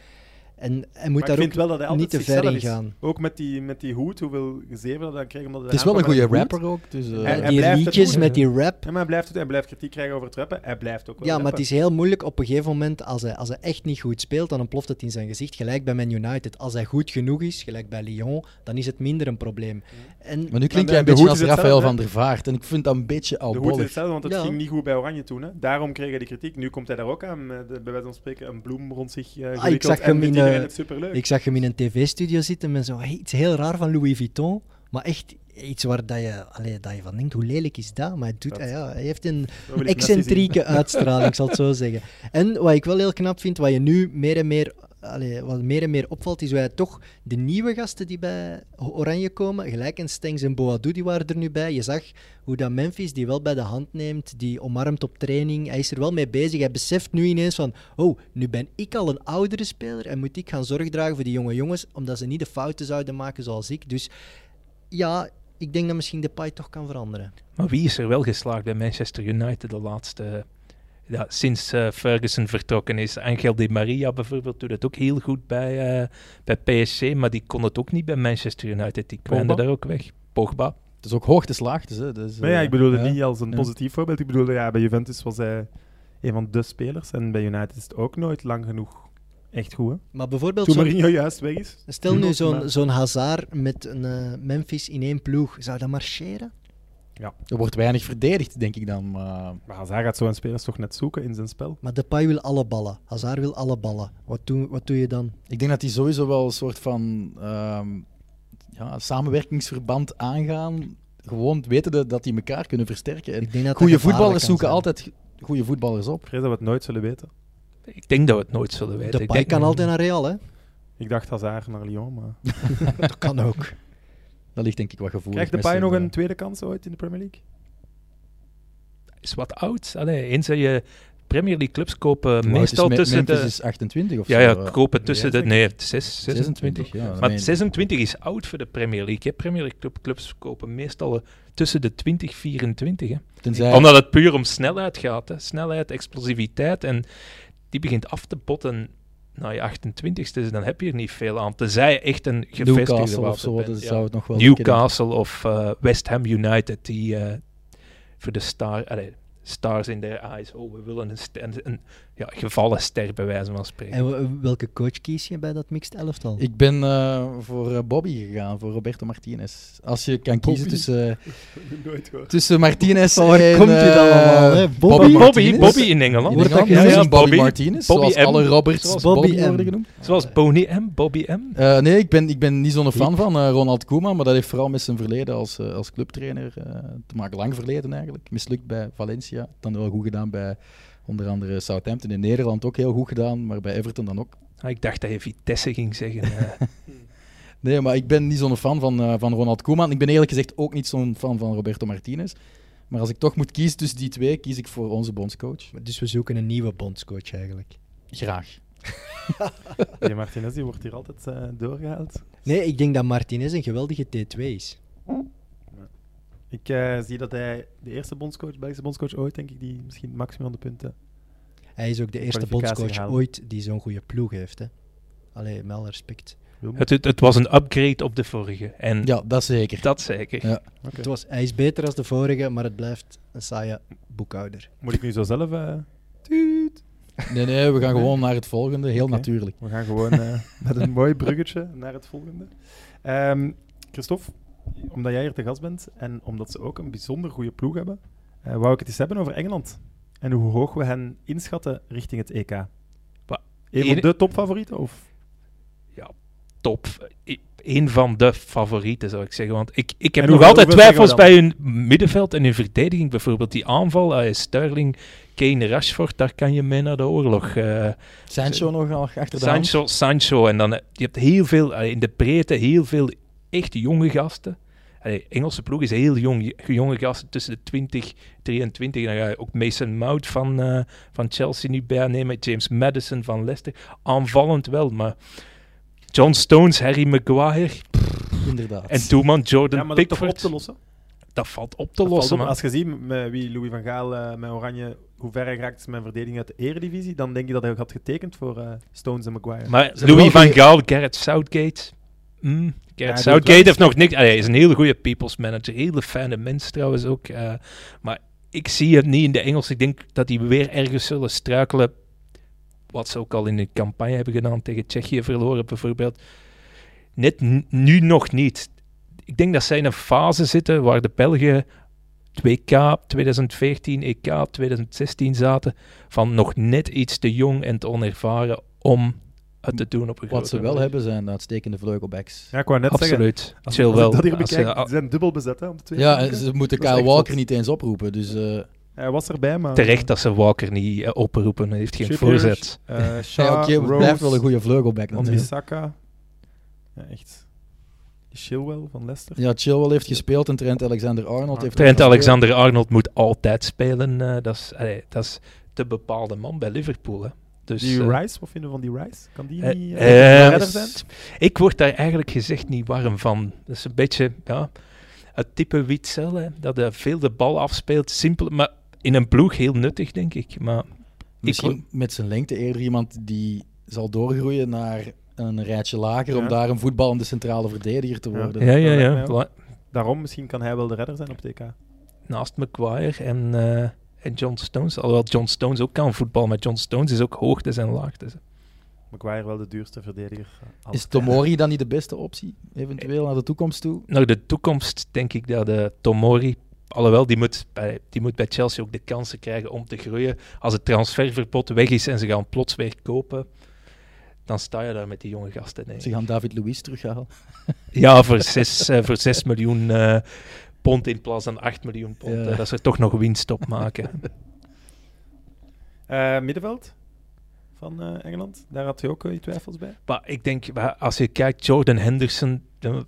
Speaker 3: En hij moet
Speaker 2: Maar
Speaker 3: daar
Speaker 2: ik
Speaker 3: ook
Speaker 2: vind wel dat hij altijd
Speaker 3: niet te
Speaker 2: zichzelf
Speaker 3: ver in
Speaker 2: is.
Speaker 3: gaan.
Speaker 2: Ook met die, met die hoed, hoeveel gezeven dat hij kreeg. Omdat
Speaker 5: Het is wel een goede rapper ook. Dus, eh,
Speaker 2: Hij- hij
Speaker 3: die
Speaker 2: blijft het
Speaker 3: liedjes
Speaker 2: doen.
Speaker 3: met die rap.
Speaker 2: Ja, maar hij blijft, het, hij blijft kritiek krijgen over het rappen. Hij blijft ook wel
Speaker 3: Ja, maar het
Speaker 2: rappen.
Speaker 3: is heel moeilijk op een gegeven moment, als hij, als hij echt niet goed speelt, dan ontploft het in zijn gezicht. Gelijk bij Man United. Als hij goed genoeg is, gelijk bij Lyon, dan is het minder een probleem. En
Speaker 5: Maar nu
Speaker 2: Maar
Speaker 5: klink
Speaker 2: de-
Speaker 5: jij een
Speaker 2: de
Speaker 5: beetje
Speaker 2: hoed
Speaker 5: als
Speaker 2: is
Speaker 5: Rafael
Speaker 2: hetzelfde,
Speaker 5: van der Vaart. En ik vind dat een beetje
Speaker 2: De hoed is
Speaker 5: albollig.
Speaker 2: hetzelfde, want het
Speaker 3: Ja.
Speaker 2: ging niet goed bij Oranje toen. Hè. Daarom kreeg hij die kritiek. Nu komt hij daar ook aan, met, eh, bij wijze van spreken, een bloem rond zich eh gewikkeld.
Speaker 3: ik zag
Speaker 2: en
Speaker 3: hem
Speaker 2: vindt
Speaker 3: in,
Speaker 2: iedereen
Speaker 3: eh,
Speaker 2: het superleuk.
Speaker 3: ik zag hem in een tv-studio zitten met zo hey, iets heel raar van Louis Vuitton. Maar echt iets waar dat je, allee, dat je van denkt, hoe lelijk is dat? Maar hij, doet,
Speaker 2: Dat-
Speaker 3: ah ja, hij heeft een
Speaker 2: Dat wil ik net eens zien.
Speaker 3: excentrieke uitstraling, ik zal het zo zeggen. En wat ik wel heel knap vind, wat je nu meer en meer, allee, wat meer en meer opvalt, is wij toch de nieuwe gasten die bij Oranje komen, gelijk en Stengs en Boadou, die waren er nu bij. Je zag hoe dat Memphis die wel bij de hand neemt, die omarmt op training. Hij is er wel mee bezig. Hij beseft nu ineens van, oh, nu ben ik al een oudere speler en moet ik gaan zorg dragen voor die jonge jongens, omdat ze niet de fouten zouden maken zoals ik. Dus ja, ik denk dat misschien de Pai toch kan veranderen.
Speaker 4: Maar wie is er wel geslaagd bij Manchester United de laatste... Ja, sinds eh, Ferguson vertrokken is. Angel Di Maria bijvoorbeeld doet het ook heel goed bij, eh, bij PSG, maar die kon het ook niet bij Manchester United. Die kwijnde
Speaker 2: Pogba?
Speaker 4: daar ook weg. Pogba.
Speaker 5: Het is ook hoogtes, laagtes. Hè. Dus,
Speaker 2: Maar ja,
Speaker 5: eh,
Speaker 2: ik bedoelde
Speaker 5: ja.
Speaker 2: niet als een
Speaker 5: Ja.
Speaker 2: positief voorbeeld. Ik bedoelde, ja, bij Juventus was hij een van de spelers. En bij United is het ook nooit lang genoeg Echt goed, hè?
Speaker 3: Maar bijvoorbeeld,
Speaker 2: Toen
Speaker 3: zo'n-
Speaker 2: Mourinho juist weg is.
Speaker 3: stel nu
Speaker 2: Maar-
Speaker 3: zo'n zo'n Hazard met een eh, Memphis in één ploeg. Zou dat marcheren?
Speaker 5: Er wordt weinig verdedigd, denk ik dan. maar- eh,
Speaker 2: Maar Hazard gaat zo'n spelers toch net zoeken in zijn spel.
Speaker 3: Maar Depay wil alle ballen. Hazard wil alle ballen. Wat doe, wat doe je dan?
Speaker 5: Ik denk dat die sowieso wel een soort van ehm, ja, samenwerkingsverband aangaan. Gewoon wetende dat die elkaar kunnen versterken. En
Speaker 3: Ik denk dat dat
Speaker 5: goede
Speaker 3: gevaarlijk
Speaker 5: voetballers
Speaker 3: kan
Speaker 5: zoeken
Speaker 3: zijn.
Speaker 5: altijd goede voetballers op.
Speaker 2: Ik vrees dat we het nooit zullen weten.
Speaker 4: Ik denk dat we het nooit zullen weten. ik
Speaker 3: Depay
Speaker 4: denk
Speaker 3: kan altijd naar Real, hè?
Speaker 2: Ik dacht Hazard naar Lyon, maar...
Speaker 3: Dat kan ook.
Speaker 5: Dat ligt denk ik wat gevoelig.
Speaker 2: Krijgt
Speaker 5: Messi,
Speaker 2: Depay nog
Speaker 5: eh,
Speaker 2: een tweede kans ooit in de Premier League?
Speaker 4: is wat oud. Allee, eens dat je Premier League clubs kopen
Speaker 5: Wout is
Speaker 4: meestal
Speaker 5: Me-
Speaker 4: tussen
Speaker 5: Memphis
Speaker 4: de...
Speaker 5: is 28 of
Speaker 4: ja,
Speaker 5: zo,
Speaker 4: ja,
Speaker 5: eh,
Speaker 4: kopen tussen de...
Speaker 2: denk ik.
Speaker 4: Nee, 6, 26.
Speaker 5: 26. Ja, dan
Speaker 4: Maar
Speaker 5: ben je-
Speaker 4: 26 is oud voor de Premier League. Hè. Premier League club- clubs kopen meestal eh, tussen de 20 en 24. Hè.
Speaker 5: tenzij-
Speaker 4: Omdat het puur om snelheid gaat. Hè. Snelheid, explosiviteit. En die begint af te botten na je 28ste. Dus dan heb je er niet veel aan. Tenzij je echt een gevestigde
Speaker 5: Newcastle of
Speaker 4: wapen
Speaker 5: zo,
Speaker 4: bent,
Speaker 5: dat
Speaker 4: ja.
Speaker 5: zou het nog wel
Speaker 4: Newcastle of eh, West Ham United. Die eh, voor de star, allee, stars in their eyes. Oh, we willen een, st- een, een, ja, gevallen ster bij wijze van spreken.
Speaker 3: En we- welke coach kies je bij dat mixed elftal?
Speaker 5: Ik ben eh, voor eh, Bobby gegaan, voor Roberto Martinez. Als je kan kiezen
Speaker 2: Bobby.
Speaker 5: tussen,
Speaker 2: Nooit hoor.
Speaker 5: tussen Martinez
Speaker 3: Van waar
Speaker 5: en...
Speaker 3: komt dit
Speaker 5: eh,
Speaker 3: allemaal, hè? Bobby?
Speaker 4: Bobby,
Speaker 5: Martinez?
Speaker 4: Bobby in Engeland.
Speaker 5: Wordt dat
Speaker 3: Ja,
Speaker 5: genoemd?
Speaker 3: ja,
Speaker 5: Bobby,
Speaker 4: Bobby.
Speaker 5: Martinez,
Speaker 4: Bobby
Speaker 5: zoals
Speaker 4: M.
Speaker 5: alle Roberts
Speaker 4: Zoals
Speaker 5: Bobby,
Speaker 3: Bobby M.
Speaker 5: worden genoemd.
Speaker 4: Zoals Boney M, Bobby M.
Speaker 5: Eh, nee, ik ben, ik ben niet zo'n fan van eh, Ronald Koeman, maar dat heeft vooral met zijn verleden als, eh, als clubtrainer eh, te maken. Lang verleden eigenlijk. Mislukt bij Valencia, dan wel goed gedaan bij onder andere Southampton in Nederland ook heel goed gedaan, maar bij Everton dan ook.
Speaker 4: Ah, ik dacht dat je Vitesse ging zeggen. eh.
Speaker 5: Nee, maar ik ben niet zo'n fan van, eh, van Ronald Koeman. Ik ben eerlijk gezegd ook niet zo'n fan van Roberto Martinez. Maar als ik toch moet kiezen tussen die twee, kies ik voor onze bondscoach.
Speaker 3: Dus we zoeken een nieuwe bondscoach eigenlijk.
Speaker 5: Graag.
Speaker 2: Die Martinez die wordt hier altijd eh, doorgehaald.
Speaker 3: Nee, ik denk dat Martinez een geweldige T2 is.
Speaker 2: Ik eh, zie dat hij de eerste bondscoach, Belgische bondscoach ooit, denk ik, die misschien het maximum aan de punten.
Speaker 3: Hij is ook de eerste
Speaker 2: kwalificatie
Speaker 3: bondscoach
Speaker 2: halen.
Speaker 3: ooit die zo'n goede ploeg heeft. Hè? Allee, met alle respect.
Speaker 2: Wil
Speaker 4: het, het, het was een upgrade op de vorige. En
Speaker 5: Ja, dat zeker.
Speaker 4: dat zeker.
Speaker 5: Ja.
Speaker 3: Het was, hij is beter als de vorige, maar het blijft een saaie boekhouder.
Speaker 2: Moet ik nu zo zelf... eh,
Speaker 5: Nee, nee, we gaan gewoon naar het volgende. Heel
Speaker 2: Oké.
Speaker 5: natuurlijk.
Speaker 2: we gaan gewoon eh, met een mooi bruggetje naar het volgende. Ehm Christophe, omdat jij hier te gast bent en omdat ze ook een bijzonder goede ploeg hebben, eh, wou ik het eens hebben over Engeland. En hoe hoog we hen inschatten richting het EK.
Speaker 4: Wa-
Speaker 2: Een van
Speaker 4: Eén-
Speaker 2: de topfavorieten? Of?
Speaker 4: Top. I- Eén van de favorieten, zou ik zeggen. Want ik, ik heb
Speaker 2: En
Speaker 4: nog
Speaker 2: hoeveel-
Speaker 4: altijd
Speaker 2: hoeveel
Speaker 4: twijfels bij
Speaker 2: zeggen
Speaker 4: hun middenveld en hun verdediging. Bijvoorbeeld die aanval. eh, Sterling, Kane, Rashford. Daar kan je mee naar de oorlog. eh.
Speaker 5: Sancho nog al achter de hand.
Speaker 4: Sancho, Sancho. En dan, eh, je hebt heel veel, eh, in de breedte, heel veel echt jonge gasten. Allee, Engelse ploeg is heel jong, jonge gasten tussen de 20, 23. En dan ga je ook Mason Mount van, eh, van Chelsea nu bijnemen. James Madison van Leicester. Aanvallend wel, maar... John Stones, Harry Maguire
Speaker 5: Inderdaad.
Speaker 4: en Toeman, Jordan
Speaker 2: ja, maar dat toch
Speaker 4: Pickford.
Speaker 2: op te lossen?
Speaker 4: dat valt op te
Speaker 2: Dat valt
Speaker 4: lossen,
Speaker 2: op.
Speaker 4: man.
Speaker 2: Als je ziet met wie Louis van Gaal eh, met Oranje, hoe ver hij geraakt is met verdediging uit de eredivisie, dan denk je dat hij ook had getekend voor eh, Stones en Maguire.
Speaker 4: Maar
Speaker 5: hebben
Speaker 4: Louis
Speaker 5: wel
Speaker 4: van
Speaker 5: geen-
Speaker 4: Gaal, Gareth Southgate. Mm, Gareth
Speaker 2: doet wel.
Speaker 4: Southgate heeft nog niks. ah, Hij is een hele goede people's manager. Hele fijne mens trouwens ook. eh, maar ik zie het niet in de Engels. Ik denk dat die weer ergens zullen struikelen. Wat ze ook al in de campagne hebben gedaan tegen Tsjechië verloren bijvoorbeeld. Net n- nu nog niet. Ik denk dat zij in een fase zitten waar de Belgen 2K 2014, EK 2016 zaten. Van nog net iets te jong en te onervaren om het te doen op een
Speaker 5: Wat ze
Speaker 4: grotere
Speaker 5: wel
Speaker 4: manier.
Speaker 5: hebben zijn uitstekende vleugelbacks.
Speaker 2: Ja, ik wou net zeggen.
Speaker 4: Absoluut.
Speaker 2: Als,
Speaker 4: Chill
Speaker 2: als
Speaker 4: wel.
Speaker 2: ik dat hier
Speaker 4: Als je-
Speaker 2: bekijk,
Speaker 4: ah,
Speaker 2: ze zijn dubbel bezet hè, om de twee.
Speaker 5: Ja,
Speaker 2: te
Speaker 5: en
Speaker 2: maken.
Speaker 5: ze moeten
Speaker 2: Dat is
Speaker 5: Kyle
Speaker 2: echt
Speaker 5: Walker
Speaker 2: zot.
Speaker 5: niet eens oproepen. Dus eh
Speaker 2: Hij was erbij, maar...
Speaker 4: terecht dat ze Walker niet eh, oproepen. Hij heeft geen
Speaker 2: Trippier,
Speaker 4: voorzet.
Speaker 2: eh
Speaker 5: ja,
Speaker 2: Shaw,
Speaker 5: oké, het
Speaker 2: Rose,
Speaker 5: blijft wel een goede vleugelback natuurlijk.
Speaker 2: Wan-Bissaka. Ja, echt. Die Chilwell van Leicester.
Speaker 5: Ja, Chilwell heeft gespeeld en Trent
Speaker 2: Ah,
Speaker 5: Alexander-Arnold heeft...
Speaker 4: Trent
Speaker 5: ook
Speaker 4: Alexander-Arnold moet altijd spelen. eh, dat, is, allee, dat is de bepaalde man bij Liverpool. Hè. Dus,
Speaker 2: die
Speaker 4: eh,
Speaker 2: Rice, wat vinden we van die Rice? Kan die
Speaker 4: Eh,
Speaker 2: niet
Speaker 4: eh,
Speaker 2: eh, redder
Speaker 4: s-
Speaker 2: zijn?
Speaker 4: Ik word daar eigenlijk gezegd niet warm van. Dat is een beetje ja, het type Witzel, hè, dat hij veel de bal afspeelt. Simpel, maar in een ploeg heel nuttig, denk ik. Maar
Speaker 5: Misschien met zijn lengte eerder iemand die zal doorgroeien naar een rijtje lager om
Speaker 2: Ja.
Speaker 5: daar een voetballende centrale verdediger te
Speaker 2: Ja.
Speaker 5: worden.
Speaker 4: ja, ja,
Speaker 2: lijkt mij
Speaker 4: ja.
Speaker 2: ook.
Speaker 4: La-
Speaker 2: Daarom, misschien kan hij wel de redder zijn op TK. Ja,
Speaker 4: naast Maguire en, eh, dus en John Stones. Alhoewel John Stones ook kan voetbal, maar John Stones is ook hoogtes en laagtes.
Speaker 2: Maguire wel de duurste verdediger. eh, aller
Speaker 5: Is Tomori dan niet de beste optie, eventueel naar de toekomst toe?
Speaker 4: Naar de toekomst denk ik dat de Tomori, alhoewel die moet, bij, die moet bij Chelsea ook de kansen krijgen om te groeien. Als het transferverbod weg is en ze gaan plots weer kopen, dan sta je daar met die jonge gasten. denk ik.
Speaker 5: Ze gaan David Luiz terughalen.
Speaker 4: Ja, voor 6, voor zes miljoen eh, pond in plaats van 8 miljoen pond.
Speaker 5: Ja.
Speaker 4: eh, dat ze er toch nog winst op maken.
Speaker 2: tijden. Eh, middenveld van eh, Engeland. Daar had hij ook eh, je twijfels bij.
Speaker 4: maar ik denk, wa- als je kijkt, Jordan Henderson, dan-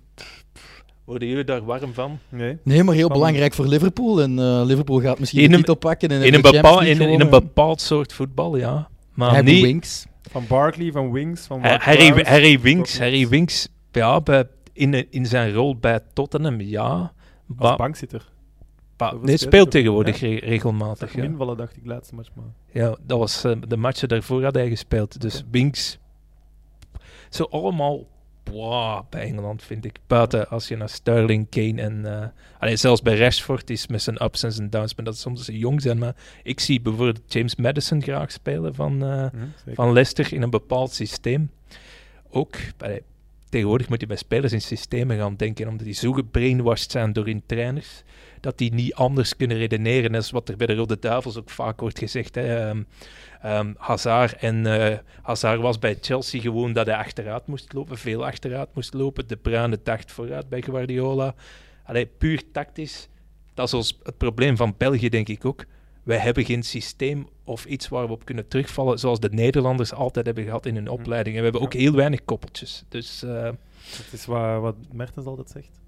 Speaker 4: worden jullie daar warm van?
Speaker 2: Nee.
Speaker 5: Nee, maar heel
Speaker 4: Van-
Speaker 5: belangrijk voor Liverpool. En eh, Liverpool gaat misschien
Speaker 4: In
Speaker 5: de
Speaker 4: een-
Speaker 5: titel pakken. En
Speaker 4: In een, bepaal, in, in een bepaald soort voetbal, ja. Maar
Speaker 5: Harry
Speaker 4: niet,
Speaker 5: eh, Winks.
Speaker 2: Van Barkley, van Wings, van
Speaker 4: Ha-
Speaker 2: Ward
Speaker 4: Harry,
Speaker 2: Prowse.
Speaker 4: Harry Winks,
Speaker 2: ook
Speaker 4: Harry
Speaker 2: niet.
Speaker 4: Winks, ja, bij, in, in zijn rol bij Tottenham, ja.
Speaker 2: Als
Speaker 4: Maar,
Speaker 2: bankzitter.
Speaker 4: maar-
Speaker 2: dat was
Speaker 4: nee,
Speaker 2: de-
Speaker 4: speelt tegenwoordig re- regelmatig.
Speaker 2: Tegen
Speaker 4: Ja.
Speaker 2: invallen dacht ik laatste match. Maar.
Speaker 4: Ja, dat was eh, de matchen daarvoor had hij gespeeld. Dus
Speaker 2: Oké.
Speaker 4: Winks, zo allemaal boah, bij Engeland vind ik. Buiten als je naar Sterling, Kane en eh allee, zelfs bij Rashford is met zijn ups en zijn downs, maar dat soms ze jong zijn. Maar ik zie bijvoorbeeld James Madison graag spelen van, eh,
Speaker 2: Mhm, zeker.
Speaker 4: van Leicester in een bepaald systeem. Ook bij, tegenwoordig moet je bij spelers in systemen gaan denken, omdat die zo gebrainwashed zijn door hun trainers, dat die niet anders kunnen redeneren. Dat is wat er bij de Rode Duivels ook vaak wordt gezegd. Hè. Ehm, ehm, Hazard en eh, Hazard was bij Chelsea gewoon dat hij achteruit moest lopen, veel achteruit moest lopen. De Bruyne dacht vooruit bij Guardiola. Allee, puur tactisch. Dat is ons, het probleem van België, denk ik ook. Wij hebben geen systeem of iets waar we op kunnen terugvallen, zoals de Nederlanders altijd hebben gehad in hun opleiding. En we hebben ook
Speaker 2: Hm. Ja. Hm.
Speaker 4: heel weinig koppeltjes. Dus eh,
Speaker 2: Dat is wat, wat Mertens altijd zegt.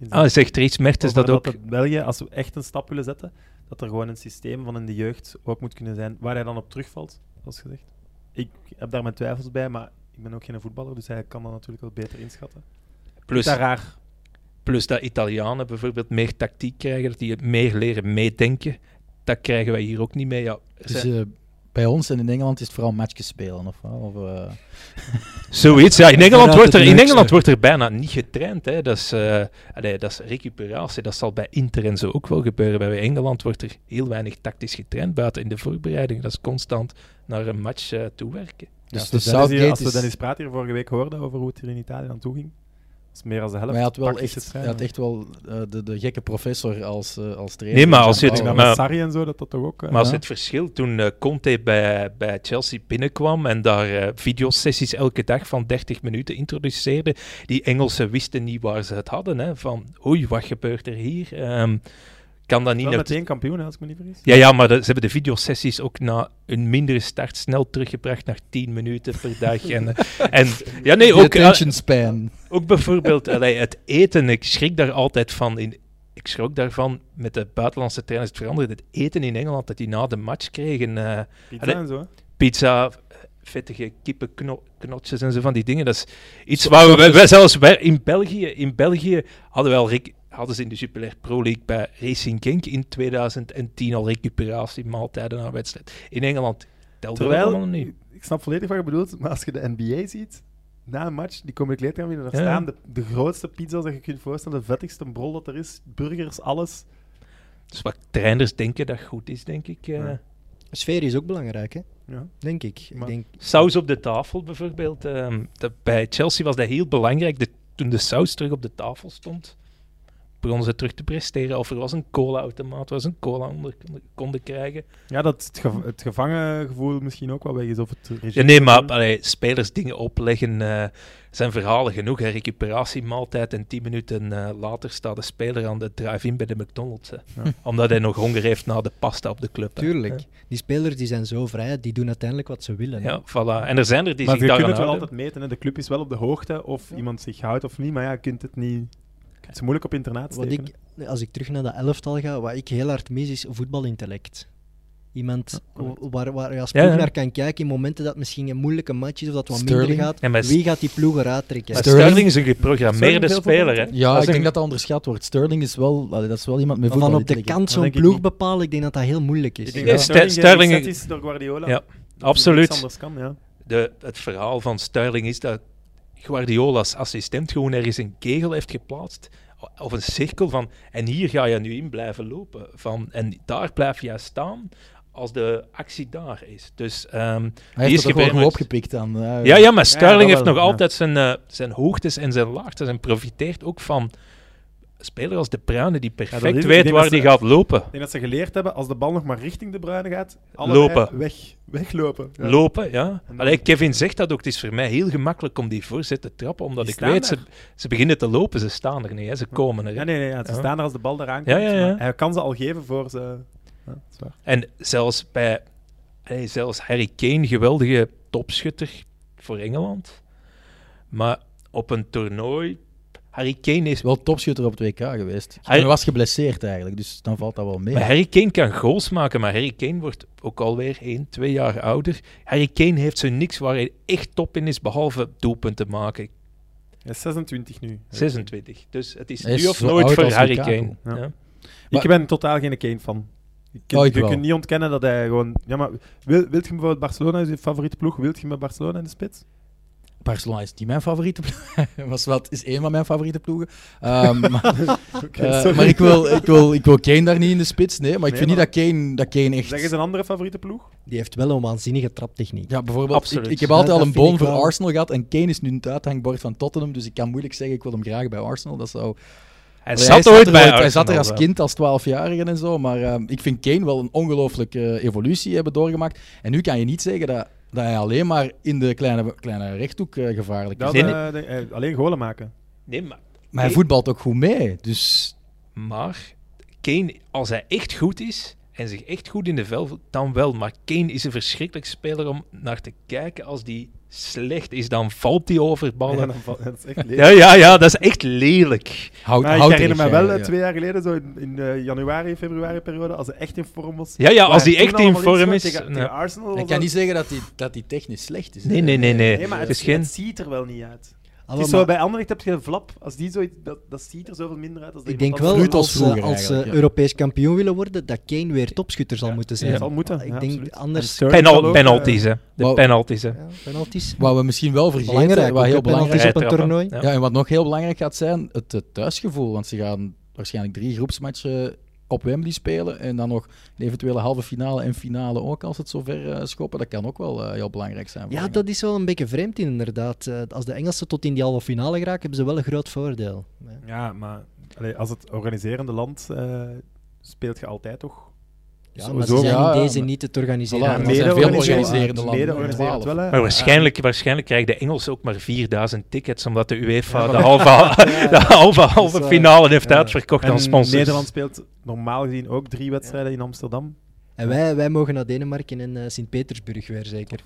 Speaker 2: In zijn-
Speaker 4: ah, zegt Ries Mertens
Speaker 2: Over
Speaker 4: dat ook.
Speaker 2: het België, als we echt een stap willen zetten, dat er gewoon een systeem van in de jeugd ook moet kunnen zijn waar hij dan op terugvalt, zoals gezegd. Ik heb daar mijn twijfels bij, maar ik ben ook geen voetballer, dus hij kan dat natuurlijk wel beter inschatten.
Speaker 4: Plus,
Speaker 2: Is dat raar?
Speaker 4: Plus dat Italianen bijvoorbeeld meer tactiek krijgen, dat die het meer leren meedenken. Dat krijgen wij hier ook niet mee. Ja, er
Speaker 5: Dus
Speaker 4: zijn-
Speaker 5: eh, bij ons en in Engeland is het vooral matchjes spelen. Of, wat? of, eh,
Speaker 4: Zoiets, ja. In Engeland,
Speaker 3: Inderdaad,
Speaker 4: wordt er,
Speaker 3: het
Speaker 4: in
Speaker 3: leukste.
Speaker 4: Engeland wordt er bijna niet getraind. Hè. Dat, is, eh, allee, dat is recuperatie. Dat zal bij Inter en zo ook wel gebeuren. Bij Engeland wordt er heel weinig tactisch getraind buiten in de voorbereiding. Dat is constant naar een match eh, toewerken.
Speaker 5: dus
Speaker 2: Ja,
Speaker 5: de
Speaker 2: dus Dennis hier-
Speaker 5: Southgate
Speaker 2: als we
Speaker 5: is...
Speaker 2: Dennis Praat hier vorige week hoorden over hoe het hier in Italië aan toe ging, dat is meer dan de helft.
Speaker 5: maar hij had wel
Speaker 2: praktische
Speaker 5: echt, hij
Speaker 2: trainen.
Speaker 5: had echt wel eh, de, de gekke professor als, eh, als trainer.
Speaker 4: Nee, maar
Speaker 5: Dus
Speaker 4: als je
Speaker 5: aan
Speaker 2: Ik denk dat
Speaker 4: het-
Speaker 5: Paul-
Speaker 4: maar-
Speaker 2: met Sarri en zo, dat dat toch ook... eh,
Speaker 4: Maar als
Speaker 5: Ja.
Speaker 4: het verschil toen eh, Conte bij, bij Chelsea binnenkwam en daar eh, videosessies elke dag van 30 minuten introduceerde, die Engelsen wisten niet waar ze het hadden. Hè, van oei, wat gebeurt er hier? Ehm, kan dat niet
Speaker 2: wel
Speaker 4: naar
Speaker 2: meteen kampioen, hè, als ik me niet vergis.
Speaker 4: Ja, ja, maar de- ze hebben de videosessies ook na een mindere start snel teruggebracht naar 10 minuten per dag. En, eh, en ja, nee,
Speaker 5: de
Speaker 4: ook, eh,
Speaker 5: attention span.
Speaker 4: ook bijvoorbeeld allee, het eten. Ik schrik daar altijd van. In, ik schrok daarvan met de buitenlandse trainers. Het veranderde het eten in Engeland dat die na de match kregen. eh,
Speaker 2: Pizza
Speaker 4: Allee,
Speaker 2: en zo. hè.
Speaker 4: pizza, vettige kippenknotjes en zo van die dingen. Dat is iets waar we, wij- wij zelfs wij in België, in België hadden, we al rec- hadden ze in de Jupiler Pro League bij Racing Genk in 2010 al recuperatie maaltijden na wedstrijd. In Engeland telde dat
Speaker 2: Terwijl,
Speaker 4: allemaal niet.
Speaker 2: ik snap volledig wat je bedoelt, maar als je de NBA ziet, na een match, die komen de kleedkamer binnen, daar
Speaker 4: Ja.
Speaker 2: staan de, de grootste pizza's dat je kunt voorstellen, de vettigste brol dat er is, burgers, alles.
Speaker 4: Dus wat trainers denken dat goed is, denk ik. eh.
Speaker 2: Ja.
Speaker 3: Sfeer is ook belangrijk, hè?
Speaker 2: Ja.
Speaker 3: denk ik.
Speaker 2: Maar-
Speaker 3: ik denk,
Speaker 4: Saus op de tafel bijvoorbeeld. ehm, dat, bij Chelsea was dat heel belangrijk. De- toen de saus terug op de tafel stond, begonnen ze terug te presteren. Of er was een cola-automaat, waar ze een cola onder konden- konden krijgen.
Speaker 2: Ja, dat het, gev- het gevangengevoel misschien ook wel weg is, of het regime.
Speaker 4: Dus Ja, nee, maar allee, spelers dingen opleggen eh, zijn verhalen genoeg. Hè. Recuperatie, maaltijd en tien minuten eh, later staat de speler aan de drive-in bij de McDonald's. hè.
Speaker 2: Ja.
Speaker 4: Omdat hij nog honger heeft na de pasta op de club. hè.
Speaker 3: tuurlijk. Die spelers die zijn zo vrij, die doen uiteindelijk wat ze willen. hè.
Speaker 4: Ja, voilà. En er zijn er die
Speaker 2: Maar je
Speaker 4: zich
Speaker 2: kunt
Speaker 4: daaraan
Speaker 2: het wel
Speaker 4: houden.
Speaker 2: altijd meten, hè. de club is wel op de hoogte of iemand zich houdt of niet, maar ja, je kunt het niet... je kunt ze moeilijk op internaat
Speaker 3: Wat
Speaker 2: steken.
Speaker 3: ik, als ik terug naar dat elftal ga, wat ik heel hard mis is voetbalintellect. Iemand
Speaker 2: correct.
Speaker 3: wa- waar, waar je als
Speaker 4: Ja,
Speaker 3: ploeg
Speaker 4: ja.
Speaker 3: naar kan kijken in momenten dat het misschien een moeilijke match is of dat het wat
Speaker 5: Sterling.
Speaker 3: minder gaat.
Speaker 4: En bij S-
Speaker 3: Wie gaat die ploeg eruit trekken?
Speaker 4: Maar
Speaker 5: Sterling-
Speaker 4: Sterling is een geprogrammeerde
Speaker 2: Sterling veel
Speaker 4: speler. Hè.
Speaker 2: voetbal?
Speaker 5: Ja,
Speaker 4: Dat
Speaker 5: ik
Speaker 4: is
Speaker 5: denk
Speaker 4: een-
Speaker 5: dat dat onderschat wordt. Sterling is wel, allee, dat is wel iemand met
Speaker 3: Van
Speaker 5: voetbal.
Speaker 3: op de kant
Speaker 2: Dat
Speaker 3: zo'n
Speaker 2: denk ik
Speaker 3: ploeg
Speaker 2: niet.
Speaker 3: bepalen, ik denk dat dat heel moeilijk is.
Speaker 2: Ik denk
Speaker 4: Ja,
Speaker 2: dat
Speaker 4: Ster-
Speaker 2: Sterling,
Speaker 4: Sterling-
Speaker 2: geïnteresseerd is door Guardiola.
Speaker 4: Ja,
Speaker 2: dat hij niks
Speaker 4: absoluut.
Speaker 2: anders kan, ja.
Speaker 4: de, het verhaal van Sterling is dat Guardiola's assistent gewoon ergens een kegel heeft geplaatst. Of een cirkel van, en hier ga je nu in blijven lopen. Van, en daar blijf jij staan. als de actie daar is. Dus ehm,
Speaker 5: Hij
Speaker 4: Die
Speaker 5: heeft
Speaker 4: is
Speaker 5: het ook wel goed
Speaker 4: gebeurd.
Speaker 5: opgepikt dan. eh.
Speaker 4: ja, ja, maar Sterling
Speaker 2: dat
Speaker 4: heeft
Speaker 2: wel,
Speaker 4: nog
Speaker 2: ja.
Speaker 4: altijd zijn, eh, zijn hoogtes en zijn laagtes en profiteert ook van spelers als De Bruyne die perfect
Speaker 2: is het. Ik
Speaker 4: weet
Speaker 2: denk
Speaker 4: waar
Speaker 2: dat
Speaker 4: die
Speaker 2: ze-
Speaker 4: gaat lopen.
Speaker 2: Ik denk dat ze geleerd hebben, als de bal nog maar richting de bruine gaat, allebei
Speaker 4: Lopen.
Speaker 2: Weg, weglopen. Ja.
Speaker 4: Lopen, ja.
Speaker 2: dan-
Speaker 4: Allee, Kevin zegt dat ook. Het is voor mij heel gemakkelijk om die voorzet te trappen, omdat
Speaker 2: Die
Speaker 4: ik
Speaker 2: staan
Speaker 4: weet, ze,
Speaker 2: er.
Speaker 4: ze beginnen te lopen, ze staan er niet, hè. ze komen er. hè.
Speaker 2: Ja, nee, nee, ja, ze
Speaker 4: Ja.
Speaker 2: staan er als de bal eraan
Speaker 4: Ja,
Speaker 2: komt.
Speaker 4: ja, ja.
Speaker 2: maar hij kan ze al geven voor ze... Ja, dat is waar.
Speaker 4: En zelfs bij allee, zelfs Harry Kane, geweldige topschutter voor Engeland. Maar op een toernooi, Harry Kane is
Speaker 5: Is wel topschutter op het WK geweest.
Speaker 4: Hij-
Speaker 5: Hij was geblesseerd eigenlijk, dus dan valt dat wel mee.
Speaker 4: Maar Harry Kane kan goals maken, maar Harry Kane wordt ook alweer 1, 2 jaar ouder. Harry Kane heeft zo niks waar hij echt top in is, behalve doelpunten maken.
Speaker 2: Hij is 26 nu.
Speaker 4: 26. Dus het is
Speaker 5: Hij is
Speaker 4: nu of
Speaker 5: zo
Speaker 4: nooit
Speaker 5: oud
Speaker 4: voor
Speaker 5: als
Speaker 4: Harry Kane.
Speaker 5: Lukaku.
Speaker 2: Ja.
Speaker 4: Ja.
Speaker 2: Ik
Speaker 5: Maar-
Speaker 2: ben totaal geen Kane van. Je kunt,
Speaker 5: Oh,
Speaker 4: Ah,
Speaker 5: ik
Speaker 2: je
Speaker 5: wel.
Speaker 2: kunt niet ontkennen dat hij gewoon... Ja, maar wil, wilt je hem bijvoorbeeld Barcelona is je favoriete ploeg? Wilt je hem met Barcelona in de spits?
Speaker 5: Barcelona is niet mijn favoriete ploeg. was wel, is één van mijn favoriete ploegen. Ehm, maar
Speaker 2: Oké,
Speaker 5: eh,
Speaker 2: sorry.
Speaker 5: maar ik, wil, ik, wil, ik wil Kane daar niet in de spits. Nee, maar ik
Speaker 2: Nee,
Speaker 5: vind
Speaker 2: maar-
Speaker 5: niet dat Kane, dat Kane echt.
Speaker 2: Zeg eens een andere favoriete ploeg.
Speaker 3: Die heeft wel een waanzinnige traptechniek.
Speaker 5: Ja, bijvoorbeeld, ik,
Speaker 4: Absoluut.
Speaker 5: ik heb
Speaker 3: Ja,
Speaker 5: altijd
Speaker 3: dat
Speaker 5: al een
Speaker 3: vind
Speaker 5: boon
Speaker 3: ik
Speaker 5: voor
Speaker 3: wel.
Speaker 5: Arsenal gehad en Kane is nu het uithangbord van Tottenham, dus ik kan moeilijk zeggen ik wil hem graag bij Arsenal. Dat zou...
Speaker 4: Hij
Speaker 5: Allee,
Speaker 4: zat
Speaker 5: hij
Speaker 4: ooit
Speaker 5: er
Speaker 4: bij
Speaker 5: Hij zat er
Speaker 4: Arsenal
Speaker 5: als
Speaker 4: wel.
Speaker 5: kind, als 12-jarige en zo, maar ehm, ik vind Kane wel een ongelooflijke eh, evolutie hebben doorgemaakt. En nu kan je niet zeggen dat, dat hij alleen maar in de kleine, kleine rechthoek eh, gevaarlijk is.
Speaker 2: Dat,
Speaker 4: Nee,
Speaker 2: eh, denk- eh, alleen golen maken.
Speaker 4: Nee, maar,
Speaker 5: Maar hij voetbalt ook goed mee, dus...
Speaker 4: maar Kane, als hij echt goed is en zich echt goed in de vel voelt, dan wel. Maar Kane is een verschrikkelijk speler om naar te kijken. Als die slecht is, dan valt hij over ballen.
Speaker 2: Ja, dan val- dat is echt lelijk.
Speaker 4: Ja, ja, ja, dat is echt lelijk.
Speaker 5: Houd,
Speaker 2: Maar ik
Speaker 5: houdt
Speaker 2: herinner me
Speaker 5: erg,
Speaker 2: wel
Speaker 5: ja,
Speaker 2: eh,
Speaker 5: ja.
Speaker 2: twee jaar geleden, zo in, in de januari, februari periode, als hij echt in vorm was.
Speaker 4: Ja, ja,
Speaker 2: Waar
Speaker 4: als
Speaker 2: hij
Speaker 4: die echt
Speaker 2: toen
Speaker 4: in
Speaker 2: allemaal
Speaker 4: vorm
Speaker 2: inschoot
Speaker 4: is.
Speaker 2: Tegen,
Speaker 4: ja.
Speaker 2: tegen Arsenal was
Speaker 5: Ik
Speaker 2: dat-
Speaker 5: kan niet zeggen dat hij, dat hij technisch slecht is. hè.
Speaker 4: Nee, nee, nee, nee.
Speaker 2: Nee, maar het,
Speaker 4: Het is geen-
Speaker 2: het ziet er wel niet uit. Het
Speaker 3: Alhoewel,
Speaker 2: is zo,
Speaker 3: maar
Speaker 2: bij Anderlecht heb je een flap. Als die zo, dat, dat ziet er zoveel minder uit. Als dat
Speaker 3: ik denk
Speaker 2: iemand
Speaker 3: wel,
Speaker 2: anders
Speaker 5: Bruut
Speaker 3: als,
Speaker 5: als
Speaker 2: doet.
Speaker 3: ze-
Speaker 5: vroeger
Speaker 3: als ze
Speaker 5: eigenlijk, ja.
Speaker 3: Europees kampioen willen worden, dat Kane weer topschutter zal
Speaker 2: Ja,
Speaker 3: moeten
Speaker 2: dat
Speaker 3: zijn.
Speaker 2: zal moeten,
Speaker 3: Ik
Speaker 2: ja,
Speaker 3: denk,
Speaker 2: absoluut.
Speaker 3: anders...
Speaker 2: En
Speaker 4: Penal-
Speaker 2: Sterling kan ook,
Speaker 4: penalties, hè. De
Speaker 5: wou-
Speaker 4: penalties, hè.
Speaker 3: Ja, penalties.
Speaker 5: Wat we misschien wel vergeten,
Speaker 3: Belangrijk,
Speaker 5: wat
Speaker 3: ook,
Speaker 5: heel
Speaker 3: hè, penalties
Speaker 5: belangrijk
Speaker 3: op een
Speaker 4: Vrijtrappen,
Speaker 3: toernooi.
Speaker 4: ja.
Speaker 5: Ja, en wat nog heel belangrijk gaat zijn, het eh, thuisgevoel. Want ze gaan waarschijnlijk drie groepsmatchen op Wembley spelen. En dan nog de eventuele halve finale en finale ook, als het zover eh, schoppen. Dat kan ook wel eh, heel belangrijk zijn. voor
Speaker 3: Ja,
Speaker 5: Engeland.
Speaker 3: dat is wel een beetje vreemd inderdaad. Eh, Als de Engelsen tot in die halve finale geraken, hebben ze wel een groot voordeel. Ja.
Speaker 2: Ja, maar allee, als het organiserende land eh, speelt je altijd toch?
Speaker 3: Ja,
Speaker 2: Zo-
Speaker 3: maar
Speaker 2: zo-
Speaker 3: ze zijn
Speaker 5: Ja,
Speaker 3: in deze
Speaker 5: maar-
Speaker 3: niet het organiseren.
Speaker 5: Voilà,
Speaker 3: Ja,
Speaker 5: er
Speaker 3: maar-
Speaker 5: zijn
Speaker 2: mede-
Speaker 5: veel
Speaker 2: organiserend-
Speaker 5: organiserende landen.
Speaker 2: mede organiserend wel, hè.
Speaker 4: Maar waarschijnlijk, waarschijnlijk krijgen de Engelsen ook maar 4000 tickets, omdat de UEFA de halve,
Speaker 3: ja.
Speaker 4: de halve, halve
Speaker 3: Dat is waar.
Speaker 4: finale heeft
Speaker 2: Ja.
Speaker 4: uitverkocht aan
Speaker 2: Eh, En
Speaker 4: sponsors.
Speaker 2: Nederland speelt normaal gezien ook drie wedstrijden in Amsterdam.
Speaker 3: En wij, wij mogen naar Denemarken en eh, Sint-Petersburg weer zeker.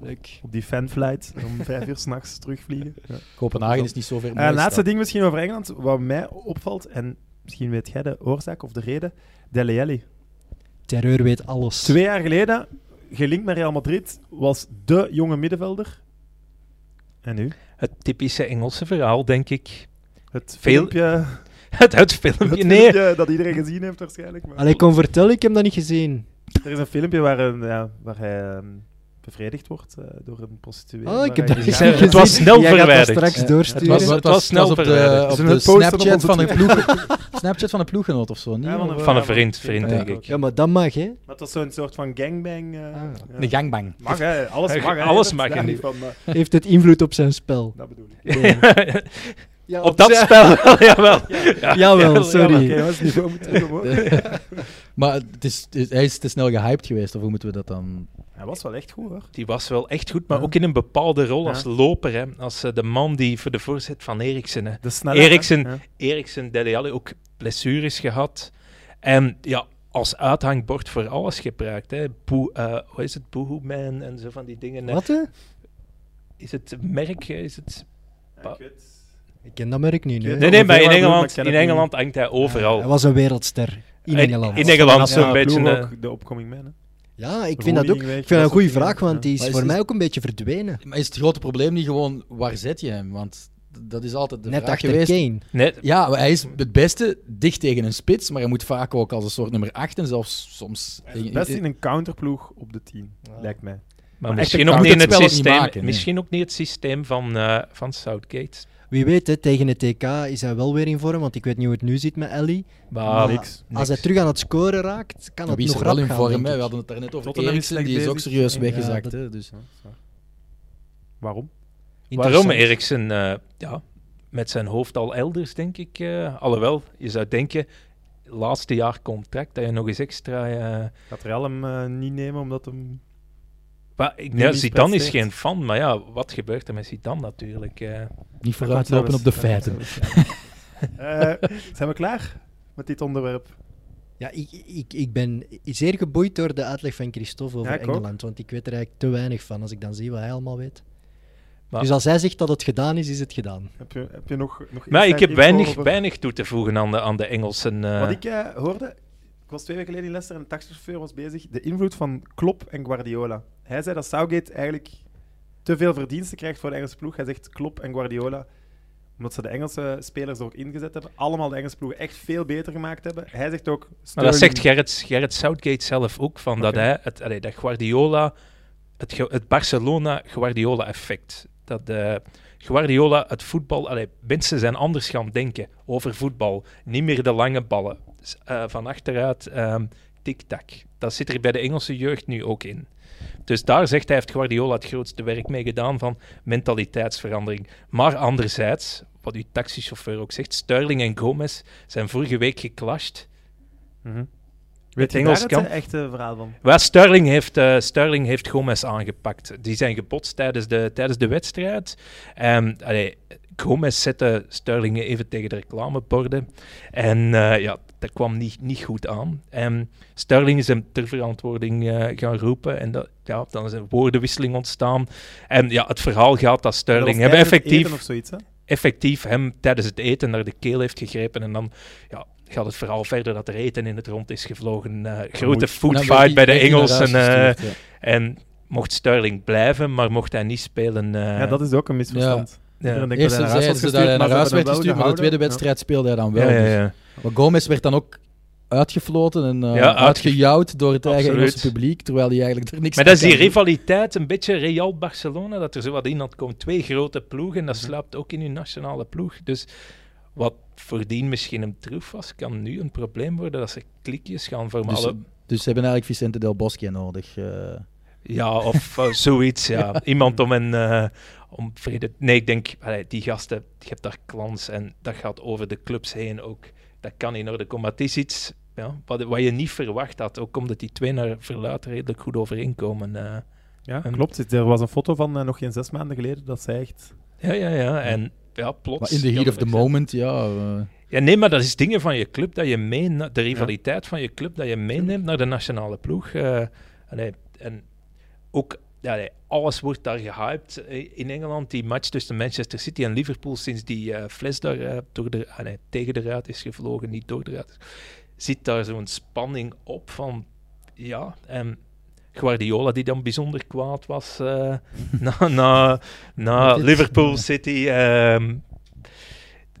Speaker 3: Leuk.
Speaker 2: Op die fanflight. Om vijf uur s'nachts terugvliegen. Ja.
Speaker 5: Kopenhagen is niet zo ver.
Speaker 2: Eh, laatste ding misschien over Engeland, wat mij opvalt, en misschien weet jij de oorzaak of de reden, Dele Alli.
Speaker 3: Terreur weet alles.
Speaker 2: Twee jaar geleden, gelinkt met Real Madrid, was de jonge middenvelder. En nu?
Speaker 4: Het typische Engelse verhaal, denk ik.
Speaker 2: Het
Speaker 4: Veel-
Speaker 2: filmpje,
Speaker 4: Het, het
Speaker 2: het
Speaker 4: filmpje, nee.
Speaker 2: filmpje dat iedereen gezien heeft waarschijnlijk. Maar
Speaker 3: Allee, kom vertel, ik heb dat niet gezien.
Speaker 2: Er is een filmpje waar, een, ja, waar hij ehm, bevredigd wordt eh, door een prostituee.
Speaker 3: Oh,
Speaker 2: waar
Speaker 3: ik heb
Speaker 2: hij
Speaker 3: dat
Speaker 4: Het
Speaker 3: niet
Speaker 2: gegaan-
Speaker 3: gezien.
Speaker 4: was snel
Speaker 3: Jij gaat dat
Speaker 4: verwijderd.
Speaker 3: straks
Speaker 5: Ja,
Speaker 3: doorsturen.
Speaker 5: Het was, het was snel op de,
Speaker 4: verwijderd.
Speaker 5: op
Speaker 2: Zullen we
Speaker 5: de
Speaker 2: het posten op
Speaker 5: Snapchat
Speaker 2: onze
Speaker 5: van een
Speaker 2: Twitter?
Speaker 5: ploeg, Snapchat van een ploeggenoot of zo. Niet?
Speaker 2: Ja,
Speaker 5: Of,
Speaker 4: Van een vriend, vriend,
Speaker 5: denk
Speaker 4: ik.
Speaker 3: Ja, maar dat mag, hè.
Speaker 2: Maar het was zo'n soort van gangbang. eh,
Speaker 3: Ah.
Speaker 2: ja.
Speaker 5: eh, Een gangbang.
Speaker 2: Mag hè, alles mag hè.
Speaker 4: Alles
Speaker 2: Dat
Speaker 4: mag
Speaker 2: is
Speaker 4: in
Speaker 2: daar
Speaker 4: die-
Speaker 2: niet van, maar
Speaker 3: Heeft het invloed op zijn spel?
Speaker 2: dat bedoel ik.
Speaker 3: Ja,
Speaker 4: Op dat spel, wel, jawel. Ja,
Speaker 3: Jawel, sorry.
Speaker 2: Oké, jongens, niveau moet terug omhoog.
Speaker 5: Maar het is, het is- hij is te snel gehyped geweest, of hoe moeten we dat dan...
Speaker 2: Hij was wel echt goed hoor.
Speaker 4: Die was wel echt goed, maar
Speaker 2: Ja.
Speaker 4: ook in een bepaalde rol
Speaker 2: Ja.
Speaker 4: als loper. Hè. Als eh, de man die voor de voorzet van Eriksen... Hè.
Speaker 2: De snelheid.
Speaker 4: Eriksen,
Speaker 2: hè? Ja.
Speaker 4: Eriksen, Dele Alli ook blessures gehad. En ja, als uithangbord voor alles gebruikt. Hè. Boe, eh, hoe is het? Boohoo Man en zo van die dingen. hè.
Speaker 3: Wat, hè?
Speaker 4: Is het merk? eh, Is het...
Speaker 2: Ja, ik weet-
Speaker 3: Ik ken dat merk niet,
Speaker 2: Nee,
Speaker 3: hè.
Speaker 4: Nee,
Speaker 2: veel
Speaker 4: nee, maar in
Speaker 2: waar, maar ik
Speaker 4: Engeland,
Speaker 2: ken
Speaker 4: in
Speaker 2: het niet.
Speaker 4: Engeland hangt hij overal.
Speaker 3: Hij was een wereldster. In
Speaker 4: Eh,
Speaker 3: Engeland.
Speaker 4: in Engeland
Speaker 2: Ja,
Speaker 4: zo'n beetje...
Speaker 2: ploeg
Speaker 4: eh,
Speaker 2: ook, de opkoming man. hè.
Speaker 3: Ja, ik
Speaker 2: De
Speaker 3: vind dat ook...
Speaker 2: Roening weg,
Speaker 3: Ik vind
Speaker 2: dat
Speaker 3: dat een goede
Speaker 2: soort
Speaker 3: vraag,
Speaker 2: dingen,
Speaker 3: want
Speaker 2: ja.
Speaker 3: die is
Speaker 5: Maar is-
Speaker 3: voor
Speaker 5: is-
Speaker 3: mij ook een beetje verdwenen.
Speaker 5: Maar is het grote probleem niet gewoon, waar zet je hem? Want dat is altijd de
Speaker 3: Net
Speaker 5: vraag
Speaker 3: achter
Speaker 5: geweest.
Speaker 3: Kane.
Speaker 4: net,
Speaker 5: Ja, maar hij is het beste dicht tegen een spits, maar hij moet vaak ook als een soort nummer 8 en zelfs soms...
Speaker 2: Hij is het Best in een counterploeg op de 10, lijkt mij.
Speaker 4: maar
Speaker 2: echt,
Speaker 4: misschien
Speaker 5: je
Speaker 4: ook
Speaker 5: kan
Speaker 4: niet in
Speaker 5: het
Speaker 4: het
Speaker 5: spel niet
Speaker 4: systeem,
Speaker 5: maken, nee.
Speaker 4: misschien ook niet het systeem van, eh, van Southgate.
Speaker 3: Wie weet, hè, tegen het TK is hij wel weer in vorm, want ik weet niet hoe het nu zit met Ellie.
Speaker 4: Maar
Speaker 2: niks.
Speaker 3: Als hij terug aan het scoren raakt, kan
Speaker 5: Wie
Speaker 3: het
Speaker 5: is
Speaker 3: nog
Speaker 5: er wel
Speaker 3: rap
Speaker 5: in
Speaker 3: gaan,
Speaker 5: vorm?
Speaker 3: denk
Speaker 5: hè?
Speaker 3: ik.
Speaker 5: We hadden het daarnet over
Speaker 2: Tottenham is
Speaker 5: Eriksen, die
Speaker 2: slecht
Speaker 5: is ook
Speaker 2: bezig.
Speaker 5: serieus
Speaker 2: Ja,
Speaker 5: weggezakt.
Speaker 3: dat-
Speaker 5: hè, dus.
Speaker 2: Waarom?
Speaker 4: Waarom
Speaker 3: Interessant.
Speaker 4: Eriksen eh, ja, met zijn hoofd al elders, denk ik. eh, alhoewel, je zou denken, laatste jaar contract, dat je nog eens extra... eh,
Speaker 2: Gaat Real hem eh, niet nemen omdat hem...
Speaker 4: maar ik,
Speaker 2: Nee,
Speaker 4: ja,
Speaker 2: die
Speaker 4: Zidane is
Speaker 2: presteert.
Speaker 4: geen fan, maar ja, wat gebeurt er met Zidane natuurlijk? eh?
Speaker 5: Niet
Speaker 2: Daar
Speaker 5: vooruitlopen
Speaker 2: gaan
Speaker 5: op de
Speaker 2: we eens-
Speaker 5: feiten.
Speaker 2: Eh, zijn we klaar met dit onderwerp?
Speaker 3: Ja, ik, ik, ik ben zeer geboeid door de uitleg van Christophe over
Speaker 2: Ja, ik ook.
Speaker 3: Engeland, want ik weet er eigenlijk te weinig van als ik dan zie wat hij allemaal weet.
Speaker 4: Maar-
Speaker 3: Dus als hij zegt dat het gedaan is, is het gedaan.
Speaker 2: Heb je, heb je nog, nog
Speaker 4: maar ik
Speaker 2: inside
Speaker 4: heb
Speaker 2: info
Speaker 4: weinig,
Speaker 2: over-
Speaker 4: weinig toe te voegen aan de, aan de Engelsen. eh.
Speaker 2: Wat ik eh, hoorde, ik was twee weken geleden in Leicester en een taxichauffeur was bezig, de invloed van Klopp en Guardiola. Hij zei dat Southgate eigenlijk te veel verdiensten krijgt voor de Engelse ploeg. Hij zegt Klopp en Guardiola, omdat ze de Engelse spelers er ook ingezet hebben, allemaal de Engelse ploegen echt veel beter gemaakt hebben. Hij zegt ook...
Speaker 4: Maar dat
Speaker 2: Sterling-
Speaker 4: zegt Gerrit, Gerrit Southgate zelf ook, van dat
Speaker 2: Oké.
Speaker 4: hij, het, allee, dat Guardiola, het, ge- het Barcelona-Guardiola-effect. Dat eh, Guardiola het voetbal, allee, mensen zijn anders gaan denken over voetbal. Niet meer de lange ballen. S- eh, van achteruit, ehm tik-tak. Dat zit er bij de Engelse jeugd nu ook in. Dus daar zegt hij, heeft Guardiola het grootste werk mee gedaan van mentaliteitsverandering. Maar anderzijds, wat uw taxichauffeur ook zegt, Sterling en Gomez zijn vorige week geclashed.
Speaker 2: Mhm.
Speaker 4: Weet
Speaker 2: Weet
Speaker 4: je
Speaker 2: je
Speaker 4: Engels
Speaker 2: daar
Speaker 4: kan?
Speaker 2: het eh, echte verhaal van?
Speaker 4: Wel, Sterling heeft, eh, Sterling heeft Gomez aangepakt. Die zijn gebotst tijdens de, tijdens de wedstrijd. En, allee, Gomez zette Sterling even tegen de reclameborden. En eh, ja, dat kwam niet, niet goed aan. En Sterling is hem ter verantwoording eh, gaan roepen. En dat, ja, dan is een woordenwisseling ontstaan. En ja, het verhaal gaat dat
Speaker 2: Dat was
Speaker 4: Sterling hem
Speaker 2: tijdens het
Speaker 4: effectief
Speaker 2: eten Of zoiets, hè?
Speaker 4: effectief hem tijdens het eten naar de keel heeft gegrepen. En dan ja, gaat het verhaal verder dat er eten in het rond is gevlogen. Eh, grote
Speaker 5: Nou,
Speaker 4: food
Speaker 5: werd die-
Speaker 4: fight bij de
Speaker 5: werd die naar
Speaker 4: Engelsen.
Speaker 5: huis
Speaker 4: eh,
Speaker 5: gestuurd, ja.
Speaker 4: en mocht Sterling blijven, maar mocht hij niet spelen. eh,
Speaker 2: ja, dat is ook een misverstand.
Speaker 4: ja.
Speaker 2: Iedereen denkt
Speaker 5: Eerst
Speaker 2: dat hij naar huis
Speaker 5: zeiden ze
Speaker 2: wordt
Speaker 5: dat
Speaker 2: gestuurd,
Speaker 5: hij naar
Speaker 2: maar ze
Speaker 5: huis
Speaker 2: hebben
Speaker 5: werd
Speaker 2: hem
Speaker 5: gestuurd,
Speaker 2: wel
Speaker 5: maar de tweede
Speaker 2: gehouden.
Speaker 5: wedstrijd speelde hij dan wel.
Speaker 4: Ja, ja,
Speaker 5: dus.
Speaker 4: ja.
Speaker 5: Maar Gomez werd dan ook uitgefloten en eh
Speaker 4: Ja, uitge-
Speaker 5: uitgejouwd door het eigen
Speaker 4: Absoluut.
Speaker 5: Engelse publiek, terwijl hij eigenlijk er niks
Speaker 4: Maar dat is
Speaker 5: aan
Speaker 4: die
Speaker 5: kan doen.
Speaker 4: rivaliteit, een beetje Real-Barcelona, dat er zo wat in had komen. Twee grote ploegen, dat slaapt ook in hun nationale ploeg. Dus wat voordien misschien een troef was, kan nu een probleem worden dat ze klikjes gaan vormen.
Speaker 5: Dus,
Speaker 4: Alle-
Speaker 5: dus ze hebben eigenlijk Vicente Del Bosque nodig. eh.
Speaker 4: Ja, of eh, zoiets, ja. Iemand om een... eh, om vrede... Nee, ik denk, allee, die gasten, je hebt daar klans en dat gaat over de clubs heen ook. Dat kan in orde komen. Maar het is iets ja, wat, wat je niet verwacht had, ook omdat die twee naar verluid redelijk goed overeenkomen. eh.
Speaker 2: Ja,
Speaker 4: En-
Speaker 2: klopt. Het- Er was een foto van eh, nog geen zes maanden geleden dat zij echt...
Speaker 4: Ja, ja, ja. En ja, plots...
Speaker 5: maar in the heat
Speaker 4: kan
Speaker 5: of the
Speaker 4: er-
Speaker 5: moment, ja. eh,
Speaker 4: Ja, nee, maar dat is dingen van je club dat je mee... De rivaliteit van je club dat je meeneemt naar de nationale ploeg. eh, allee, en ook... ja, allee, alles wordt daar gehyped eh, in Engeland. Die match tussen Manchester City en Liverpool sinds die eh, fles daar eh, door de, ah, nee, tegen de ruit is gevlogen, niet door de ruit, is- zit daar zo'n spanning op van... Ja, en Guardiola die dan bijzonder kwaad was eh, na, na, na
Speaker 5: Dit-
Speaker 4: Liverpool
Speaker 5: ja.
Speaker 4: City. ehm,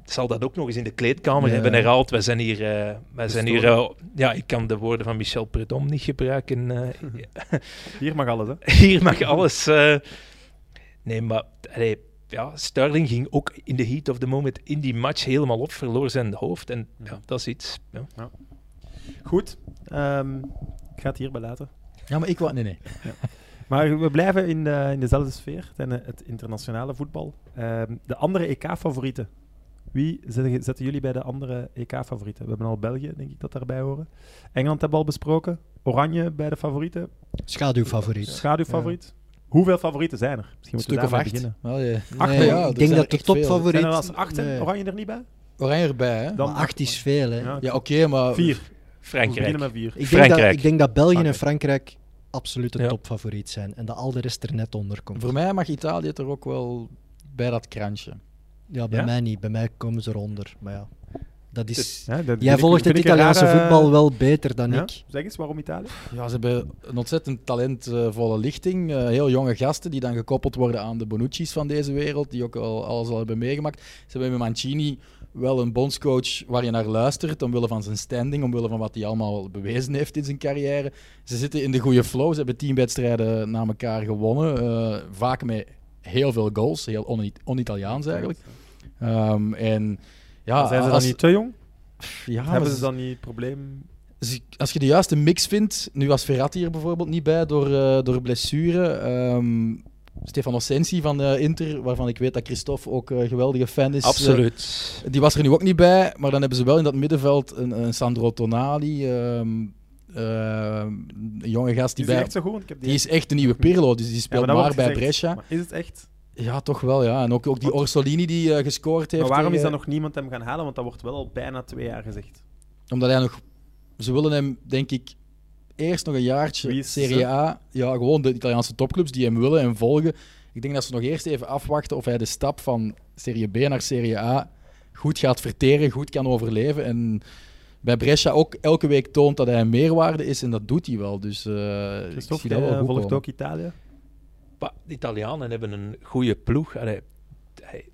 Speaker 4: zal dat ook nog eens in de kleedkamer
Speaker 5: Ja.
Speaker 4: hebben herhaald. Wij zijn hier... eh, wij zijn hier
Speaker 2: Verstoren.
Speaker 4: eh, ja, ik kan de woorden van Michel Predom niet gebruiken. eh,
Speaker 2: Hier mag alles, hè.
Speaker 4: hier mag alles. eh, nee, maar allee, ja, Sterling ging ook in de heat of the moment in die match helemaal op, verloor zijn hoofd. En ja, dat is iets. Ja.
Speaker 2: Goed. ehm, ik ga het hierbij laten.
Speaker 5: Ja, maar ik wou... Nee, nee.
Speaker 2: Maar we blijven in, de, in dezelfde sfeer, het, eh, het internationale voetbal. Ehm, de andere EK-favorieten. Wie zetten, zetten jullie bij de andere EK-favorieten? We hebben al België, denk ik, dat daarbij horen. Engeland hebben we al besproken. Oranje bij de favorieten.
Speaker 3: Schaduwfavoriet.
Speaker 2: Schaduwfavoriet. Hoeveel favorieten zijn er? Misschien
Speaker 5: Een
Speaker 2: moeten we
Speaker 5: stuk of
Speaker 2: daarmee
Speaker 5: acht.
Speaker 2: beginnen.
Speaker 5: Wel, ja.
Speaker 2: Acht,
Speaker 5: Nee,
Speaker 2: hè?
Speaker 5: ja,
Speaker 2: Ik
Speaker 5: er
Speaker 3: ik denk
Speaker 5: zijn
Speaker 3: dat
Speaker 5: er
Speaker 3: de
Speaker 5: echt veel.
Speaker 3: topfavoriet...
Speaker 2: Zijn er als acht en
Speaker 3: Nee.
Speaker 2: Oranje er niet bij?
Speaker 5: Oranje erbij, hè?
Speaker 2: Dan
Speaker 3: Maar acht is veel, hè.
Speaker 2: Ja,
Speaker 5: Ja, oké, maar...
Speaker 2: Vier. We
Speaker 4: Frankrijk.
Speaker 2: beginnen met vier.
Speaker 3: Ik denk, dat,
Speaker 4: Frankrijk.
Speaker 3: ik denk dat België en
Speaker 2: Frankrijk.
Speaker 3: Frankrijk absoluut de
Speaker 4: Ja.
Speaker 3: topfavoriet zijn. En dat al de rest er net onder komt.
Speaker 5: Voor mij mag Italië er ook wel bij dat krantje.
Speaker 3: Ja, bij
Speaker 2: Ja?
Speaker 3: mij niet. Bij mij komen ze eronder. Maar ja, dat is...
Speaker 2: Ja, dat vind
Speaker 3: Jij
Speaker 2: ik-
Speaker 3: volgt
Speaker 2: vind
Speaker 3: het
Speaker 2: ik een
Speaker 3: Italiaanse
Speaker 2: rare-
Speaker 3: voetbal wel beter dan
Speaker 2: Ja?
Speaker 3: ik.
Speaker 2: Zeg eens, waarom Italië?
Speaker 5: Ja, ze hebben een ontzettend talentvolle lichting. Eh, heel jonge gasten die dan gekoppeld worden aan de Bonucci's van deze wereld, die ook al alles al hebben meegemaakt. Ze hebben met Mancini wel een bondscoach waar je naar luistert, omwille van zijn standing, omwille van wat hij allemaal bewezen heeft in zijn carrière. Ze zitten in de goede flow, ze hebben tien wedstrijden na elkaar gewonnen, eh, vaak met heel veel goals, heel on- on-Italiaans eigenlijk. Ehm, en ja,
Speaker 2: Maar zijn ze dan
Speaker 5: als, Ah,
Speaker 2: niet te jong?
Speaker 5: ja,
Speaker 2: Hebben
Speaker 5: maar
Speaker 2: ze dan niet probleem?
Speaker 5: als- Dus als je de juiste mix vindt, nu was Verratti er bijvoorbeeld niet bij door, eh, door blessure. ehm, Stefano Sensi van eh, Inter, waarvan ik weet dat Christophe ook een geweldige fan is. eh,
Speaker 4: Absoluut.
Speaker 5: Die was er nu ook niet bij, maar dan hebben ze wel in dat middenveld een, een Sandro Tonali, ehm, ehm, een jonge gast
Speaker 2: Die
Speaker 5: die, bij,
Speaker 2: is die echt zo goed. Want ik heb die
Speaker 5: die is echt de nieuwe Pirlo, dus die
Speaker 2: Ja,
Speaker 5: speelt
Speaker 2: dat
Speaker 5: maar
Speaker 2: wordt
Speaker 5: bij
Speaker 2: gezegd.
Speaker 5: Brescia.
Speaker 2: Maar is het echt?
Speaker 5: Ja, toch wel, ja. En ook, ook die
Speaker 2: Want-
Speaker 5: Orsolini die eh, gescoord heeft.
Speaker 2: Maar waarom is
Speaker 5: tegen-
Speaker 2: dan nog niemand hem gaan halen? Want dat wordt wel al bijna twee jaar gezegd.
Speaker 5: Omdat hij nog... Ze willen hem, denk ik, eerst nog een
Speaker 2: Wie
Speaker 5: jaartje
Speaker 2: is
Speaker 5: Serie
Speaker 2: ze?
Speaker 5: A... Ja, gewoon de Italiaanse topclubs die hem willen en volgen. Ik denk dat ze nog eerst even afwachten of hij de stap van Serie B naar Serie A goed gaat verteren, goed kan overleven. En bij Brescia ook elke week toont dat hij een meerwaarde is en dat doet hij wel. Dus eh, ik zie
Speaker 2: Christophe,
Speaker 5: dat wel
Speaker 2: jij eh,
Speaker 5: goed
Speaker 2: volgt
Speaker 5: komen.
Speaker 2: ook Italië.
Speaker 4: Maar de Italianen hebben een goede ploeg. Allee, hij-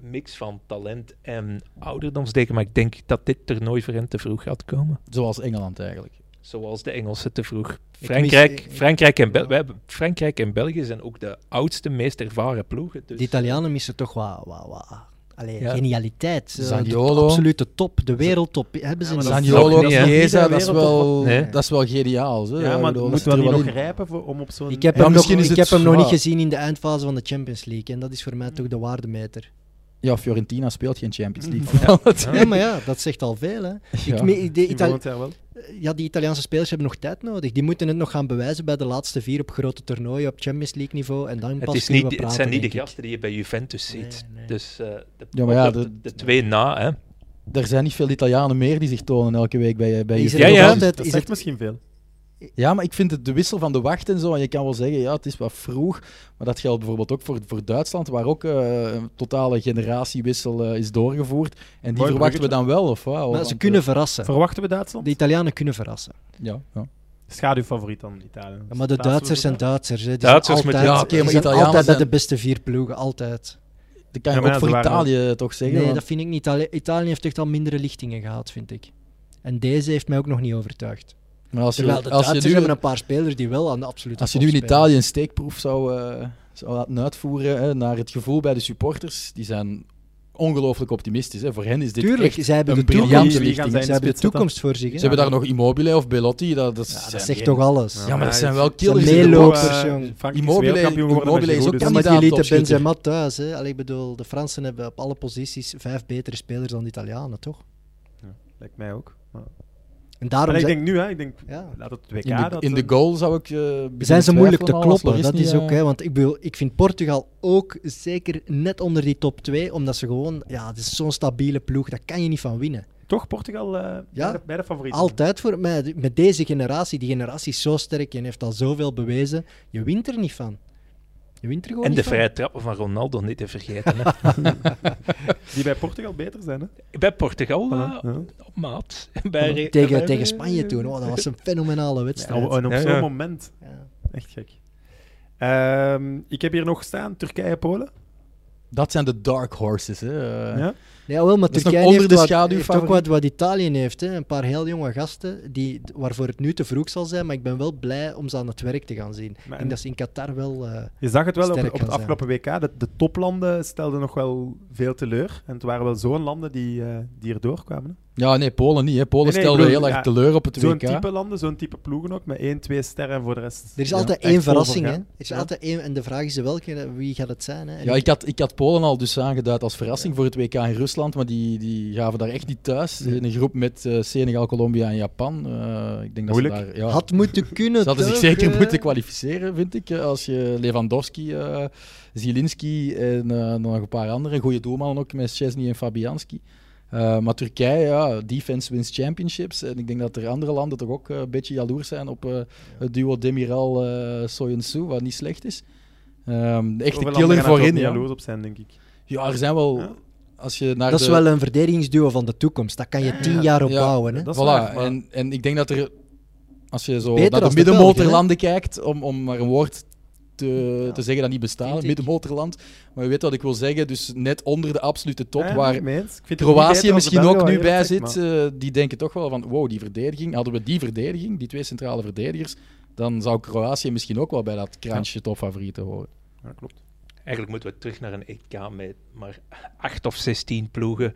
Speaker 4: mix van talent en ouderdomsdeken. Maar ik denk dat dit toernooi voor hen te vroeg gaat komen.
Speaker 5: Zoals Engeland eigenlijk.
Speaker 4: Zoals de Engelsen te vroeg.
Speaker 3: mis-
Speaker 4: Frankrijk,
Speaker 3: ik-
Speaker 4: Frankrijk, en Bel-
Speaker 3: Ja.
Speaker 4: wij hebben- Frankrijk en België zijn ook de oudste, meest ervaren ploegen. Dus
Speaker 3: De Italianen missen toch wat, wat, wat allee,
Speaker 4: Ja.
Speaker 3: genialiteit. Ze-
Speaker 5: Zaniolo.
Speaker 3: De absolute top, de wereldtop hebben ze
Speaker 2: Ja, maar
Speaker 3: niet.
Speaker 2: dat is
Speaker 5: Zaniolo,
Speaker 4: nog niet, hè?
Speaker 5: Chiesa,
Speaker 2: Niet de
Speaker 5: dat is wel,
Speaker 2: wereldtop.
Speaker 4: Nee.
Speaker 5: dat is wel geniaal. Zo.
Speaker 2: Ja, maar
Speaker 5: bedoel, dat
Speaker 2: moeten we
Speaker 5: is
Speaker 2: niet
Speaker 5: er wel
Speaker 2: nog
Speaker 5: in.
Speaker 2: rijpen voor, om op zo'n...
Speaker 3: Ik heb,
Speaker 5: Ja,
Speaker 3: hem, nog,
Speaker 5: misschien is
Speaker 3: ik
Speaker 5: het
Speaker 3: heb hem nog niet
Speaker 5: zwaar.
Speaker 3: gezien in de eindfase van de Champions League. En dat is voor mij toch de waardemeter.
Speaker 5: Ja, Fiorentina speelt geen Champions League.
Speaker 4: Ja.
Speaker 3: Ja, maar ja, dat zegt al veel. Hè.
Speaker 5: Ja.
Speaker 3: Ik, me- de
Speaker 2: Misschien
Speaker 3: Itali-
Speaker 2: volgend jaar wel.
Speaker 3: ja, die Italiaanse spelers hebben nog tijd nodig. Die moeten het nog gaan bewijzen bij de laatste vier op grote toernooien op Champions League niveau. En dan
Speaker 4: het,
Speaker 3: pas
Speaker 4: is
Speaker 3: kunnen
Speaker 4: niet,
Speaker 3: we
Speaker 4: het
Speaker 3: praten,
Speaker 4: zijn niet de
Speaker 3: denk ik.
Speaker 4: gasten die je bij Juventus ziet.
Speaker 3: Nee, nee.
Speaker 4: Dus eh, de,
Speaker 5: Ja, maar ja,
Speaker 4: de,
Speaker 5: de-
Speaker 4: de twee na, hè.
Speaker 5: Er zijn niet veel Italianen meer die zich tonen elke week bij, eh, bij
Speaker 3: Is
Speaker 5: Juve.
Speaker 3: het
Speaker 4: Ja,
Speaker 3: nog
Speaker 4: ja.
Speaker 3: altijd-
Speaker 2: Dat
Speaker 3: is
Speaker 2: zegt
Speaker 3: het-
Speaker 2: misschien veel.
Speaker 5: Ja, maar ik vind het de wissel van de wacht en zo. En je kan wel zeggen, ja, het is wat vroeg. Maar dat geldt bijvoorbeeld ook voor, voor Duitsland, waar ook eh, een totale generatiewissel eh, is doorgevoerd. En die
Speaker 2: Mooi
Speaker 5: verwachten we dan
Speaker 2: bruggetje.
Speaker 5: wel, of wat?
Speaker 3: Maar
Speaker 5: Want,
Speaker 3: Nou, ze
Speaker 5: eh,
Speaker 3: kunnen verrassen.
Speaker 2: Verwachten we Duitsland?
Speaker 3: De Italianen kunnen verrassen.
Speaker 5: Ja, ja.
Speaker 2: Schaduwfavoriet dan Italië.
Speaker 3: Ja, maar de Duitsers zijn Duitsers. Hè. Die
Speaker 4: Duitsers met-
Speaker 3: zijn altijd,
Speaker 5: ja, oké,
Speaker 3: die
Speaker 5: maar
Speaker 3: zijn
Speaker 5: Italianen
Speaker 3: altijd bij
Speaker 5: zijn-
Speaker 3: de beste vier ploegen. Altijd.
Speaker 5: Dat kan je
Speaker 2: Ja, maar
Speaker 5: ook
Speaker 2: ja,
Speaker 5: voor
Speaker 2: ze waren
Speaker 5: Italië toch zeggen.
Speaker 3: Nee,
Speaker 5: want-
Speaker 3: dat vind ik niet. Allee, Italië heeft echt al mindere lichtingen gehad, vind ik. En deze heeft mij ook nog niet overtuigd.
Speaker 5: maar als je,
Speaker 3: Terwijl de
Speaker 5: als
Speaker 3: Duitsers
Speaker 5: je,
Speaker 3: hebben
Speaker 5: nu,
Speaker 3: een paar spelers die wel aan de absolute
Speaker 5: als je
Speaker 3: top
Speaker 5: nu in
Speaker 3: spelen.
Speaker 5: Italië een steekproef zou, eh, zou laten uitvoeren hè, naar het gevoel bij de supporters, die zijn ongelooflijk optimistisch. Hè. Voor hen is dit
Speaker 3: Tuurlijk,
Speaker 5: echt
Speaker 3: zij hebben
Speaker 5: een
Speaker 3: de toekomst.
Speaker 5: briljante
Speaker 2: Wie- wie
Speaker 5: lichting.
Speaker 2: gaan
Speaker 5: hè.
Speaker 2: zij
Speaker 3: Ze hebben de
Speaker 2: spits zetten.
Speaker 3: toekomst voor zich. hè.
Speaker 5: Ze hebben daar nog Immobile of Belotti. Dat, dat,
Speaker 3: Ja,
Speaker 5: zijn
Speaker 3: dat zegt
Speaker 5: geen-
Speaker 3: toch alles.
Speaker 5: Ja, maar dat zijn wel killers.
Speaker 3: zijn
Speaker 5: in de
Speaker 3: meelopers,
Speaker 5: box.
Speaker 3: jong.
Speaker 2: eh,
Speaker 5: Immobile- Immobile is ook
Speaker 3: Ja, maar
Speaker 5: kandidaat
Speaker 3: die lieten
Speaker 5: topschutter.
Speaker 3: Benzema thuis. Hè. Allee, ik bedoel, de Fransen hebben op alle posities vijf betere spelers dan de Italianen, toch?
Speaker 2: Lijkt mij ook. Maar-
Speaker 3: En daarom
Speaker 2: En ik
Speaker 3: zijn-
Speaker 2: denk nu, hè, ik denk,
Speaker 3: ja.
Speaker 2: laat het WK...
Speaker 5: In de,
Speaker 2: dat
Speaker 5: in de
Speaker 2: een-
Speaker 5: goal zou ik. eh,
Speaker 3: zijn
Speaker 5: beginnen
Speaker 3: ze moeilijk te
Speaker 5: twijfelen al, als
Speaker 3: kloppen.
Speaker 5: Loris
Speaker 3: Dat
Speaker 5: niet,
Speaker 3: is
Speaker 5: eh,
Speaker 3: ook, hè, want ik, bedoel, ik vind Portugal ook zeker net onder die top 2, omdat ze gewoon, ja, het is zo'n stabiele ploeg, daar kan je niet van winnen.
Speaker 2: Toch Portugal eh,
Speaker 3: Ja.
Speaker 2: bij, de, bij de favorieten.
Speaker 3: Altijd voor mij, met deze generatie, die generatie is zo sterk en heeft al zoveel bewezen, je wint er niet van. Je wint er gewoon
Speaker 4: En de
Speaker 3: niet van.
Speaker 4: vrije trappen van Ronaldo niet te vergeten. Hè.
Speaker 2: Die bij Portugal beter zijn, hè?
Speaker 4: Bij Portugal eh,
Speaker 2: Ja. En
Speaker 4: op maat. En Bij, Re- en
Speaker 3: Tegen,
Speaker 4: bij-
Speaker 3: tegen Spanje toen, oh, dat was een fenomenale wedstrijd.
Speaker 2: op- En op
Speaker 4: Ja,
Speaker 2: zo'n
Speaker 4: ja.
Speaker 2: moment.
Speaker 3: Ja.
Speaker 2: Echt gek. Ehm, ik heb hier nog staan Turkije-Polen.
Speaker 5: Dat zijn de dark horses. Hè. eh.
Speaker 2: Ja.
Speaker 3: Ja, wel, maar
Speaker 5: Dat is
Speaker 3: Turkije
Speaker 5: nog onder
Speaker 3: heeft,
Speaker 5: de
Speaker 3: wat-
Speaker 5: schaduw
Speaker 3: heeft ook
Speaker 5: favoriet.
Speaker 3: wat, wat Italië heeft. Hè. Een paar heel jonge gasten die, waarvoor het nu te vroeg zal zijn. Maar ik ben wel blij om ze aan het werk te gaan zien. ik
Speaker 2: Maar-
Speaker 3: denk dat ze in Qatar wel... eh,
Speaker 2: Je zag het wel op,
Speaker 3: Sterk
Speaker 2: op het
Speaker 3: kan zijn.
Speaker 2: afgelopen WK. De, de toplanden stelden nog wel veel teleur. En het waren wel zo'n landen die, eh die erdoor kwamen. hè.
Speaker 5: ja, nee, Polen niet. Hè. Polen
Speaker 2: Nee, nee, ik
Speaker 5: stelde
Speaker 2: bedoel,
Speaker 5: heel erg
Speaker 2: ja,
Speaker 5: teleur op het
Speaker 2: Zo'n
Speaker 5: WK.
Speaker 2: type landen, zo'n type ploegen ook. Met één, twee sterren en voor de rest.
Speaker 3: er is
Speaker 2: ja,
Speaker 3: altijd
Speaker 2: echt
Speaker 3: één verrassing. Hè.
Speaker 2: overgaan.
Speaker 3: Er is
Speaker 2: Ja.
Speaker 3: altijd één, en de vraag is welke, wie gaat het zijn. Hè. En
Speaker 5: Ja,
Speaker 3: ik-
Speaker 5: ik had, ik had Polen al dus aangeduid als verrassing voor het WK in Rusland, maar die, die gaven daar echt niet thuis.
Speaker 2: Nee.
Speaker 5: In een groep met eh, Senegal, Colombia en Japan. Eh, ik denk dat
Speaker 2: Moeilijk.
Speaker 5: ze daar... Ja,
Speaker 3: had moeten kunnen.
Speaker 5: ze hadden zich
Speaker 3: toch,
Speaker 5: zeker
Speaker 3: eh?
Speaker 5: moeten kwalificeren, vind ik. eh, Als je Lewandowski, eh Zielinski en eh, nog een paar andere goede doelmannen ook, met Chesney en Fabianski. Eh, maar Turkije, ja, defense wins championships. En ik denk dat er andere landen toch ook eh, een beetje jaloers zijn op eh, het duo Demiral eh Soyuncu, wat niet slecht is. Ehm de echte
Speaker 2: Zoveel landen
Speaker 5: killer
Speaker 2: gaan daar ook
Speaker 5: voorin.
Speaker 2: niet
Speaker 5: Ja.
Speaker 2: jaloers op zijn, denk ik.
Speaker 5: Ja, er zijn wel.
Speaker 2: Ja.
Speaker 5: Als je naar
Speaker 3: Dat
Speaker 5: de,
Speaker 3: is wel een verdedigingsduo van de toekomst. Daar kan je tien jaar op
Speaker 5: ja,
Speaker 3: bouwen. Hè.
Speaker 2: dat is
Speaker 5: voilà,
Speaker 2: waar, maar-
Speaker 5: en, en ik denk dat er. Als je zo
Speaker 3: Beter
Speaker 5: naar de
Speaker 3: als de
Speaker 5: middenmotorlanden kijkt, om, om maar een woord te,
Speaker 3: Ja,
Speaker 5: te zeggen dat niet bestaat,
Speaker 3: vind ik.
Speaker 5: middenmotorland. Maar je weet wat ik wil zeggen, dus net onder de absolute top,
Speaker 2: Ja,
Speaker 5: waar
Speaker 2: mee eens. Ik vind het Eh, niet beter
Speaker 5: Kroatië
Speaker 2: dan
Speaker 5: misschien
Speaker 2: de
Speaker 5: ook
Speaker 2: Belgen,
Speaker 5: nu
Speaker 2: wel
Speaker 5: bij
Speaker 2: eerlijk
Speaker 5: zit,
Speaker 2: gezegd,
Speaker 5: eh, die denken toch wel van, wow, die verdediging, hadden we die verdediging, die twee centrale verdedigers, dan zou Kroatië misschien ook wel bij dat kraantje topfavorieten horen.
Speaker 2: maar- Ja, klopt.
Speaker 4: Eigenlijk moeten we terug naar een EK met maar acht of 16 ploegen.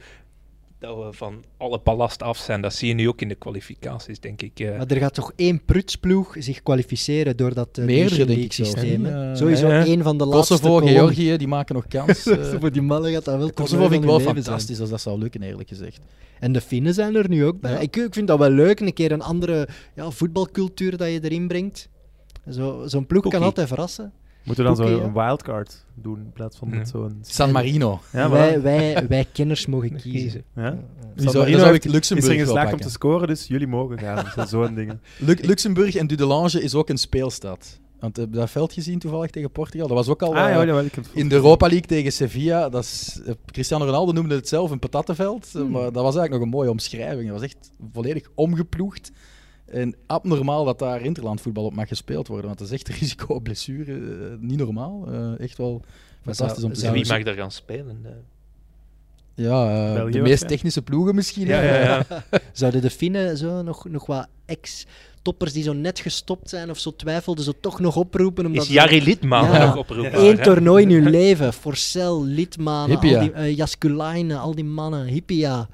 Speaker 4: Dat we van alle ballast af zijn. Dat zie je nu ook in de kwalificaties, denk ik. eh.
Speaker 3: Maar er gaat toch één prutsploeg zich kwalificeren door dat eh,
Speaker 5: Meerdere,
Speaker 3: Nation
Speaker 5: denk
Speaker 3: League
Speaker 5: ik zelfs,
Speaker 3: systeem.
Speaker 5: hè?
Speaker 3: hè?
Speaker 5: Eh,
Speaker 3: Sowieso
Speaker 4: ja, ja.
Speaker 3: één van de laatste
Speaker 5: Kosovo,
Speaker 3: kolommen.
Speaker 5: Georgië, die maken nog kans. Eh,
Speaker 3: Voor die mannen gaat dat wel
Speaker 5: Kosovo vind ik wel
Speaker 3: toernooi van hun leven zijn.
Speaker 5: fantastisch als dat zou lukken, eerlijk gezegd.
Speaker 3: En de Finnen zijn er nu ook bij.
Speaker 5: Ja.
Speaker 3: Ik, ik vind dat wel leuk, een keer een andere ja, voetbalcultuur dat je erin brengt. Zo- Zo'n ploeg
Speaker 5: Cookie.
Speaker 3: kan altijd verrassen.
Speaker 2: Moeten we dan
Speaker 3: Oké,
Speaker 2: zo
Speaker 3: ja.
Speaker 2: een wildcard doen in plaats van
Speaker 4: Ja.
Speaker 2: met zo'n...
Speaker 5: San Marino.
Speaker 2: Ja,
Speaker 3: wij,
Speaker 2: maar...
Speaker 3: wij, wij kenners mogen
Speaker 4: Kiezen.
Speaker 3: kiezen.
Speaker 2: Ja? Die
Speaker 5: Dan zou,
Speaker 2: zou, hier
Speaker 5: dan
Speaker 2: nou
Speaker 5: zou
Speaker 2: echt-
Speaker 5: ik
Speaker 2: is er
Speaker 5: Luxemburg
Speaker 2: geen
Speaker 5: wel
Speaker 2: slaag om te
Speaker 5: pakken. Oh,
Speaker 2: scoren, dus jullie mogen gaan. Zo- Zo'n dingen.
Speaker 5: Lu- Luxemburg en Dudelange is ook een speelstad. Want heb je dat veld gezien toevallig tegen Portugal? Dat was ook al...
Speaker 2: Ah,
Speaker 5: eh,
Speaker 2: ja, jawel, ik heb het
Speaker 5: in de Europa League tegen Sevilla, dat is, eh, Cristiano Ronaldo noemde het zelf een patattenveld. eh, Maar dat was eigenlijk nog een mooie omschrijving. Dat was echt volledig omgeploegd. En abnormaal dat daar interlandvoetbal op mag gespeeld worden. Want dat is echt risico op blessure. eh, niet normaal. Eh, echt wel fantastisch om te
Speaker 3: zou-
Speaker 5: zien.
Speaker 4: Wie mag daar gaan spelen? eh?
Speaker 5: Ja, eh,
Speaker 2: België
Speaker 5: de meest
Speaker 2: waarschijnlijk.
Speaker 5: technische ploegen misschien.
Speaker 4: Ja, ja, ja.
Speaker 3: Zouden de Finnen zo nog, nog wat ex-toppers die zo net gestopt zijn of zo twijfelden, zo toch nog oproepen? Omdat
Speaker 4: Is
Speaker 3: ze-
Speaker 4: Jari Litma
Speaker 3: Ja.
Speaker 4: nog oproepen?
Speaker 3: Eén toernooi in hun leven. Forcel, Litmanen, al
Speaker 5: Hippia.
Speaker 3: die, eh, Jaskulainen, al die mannen. Hippia.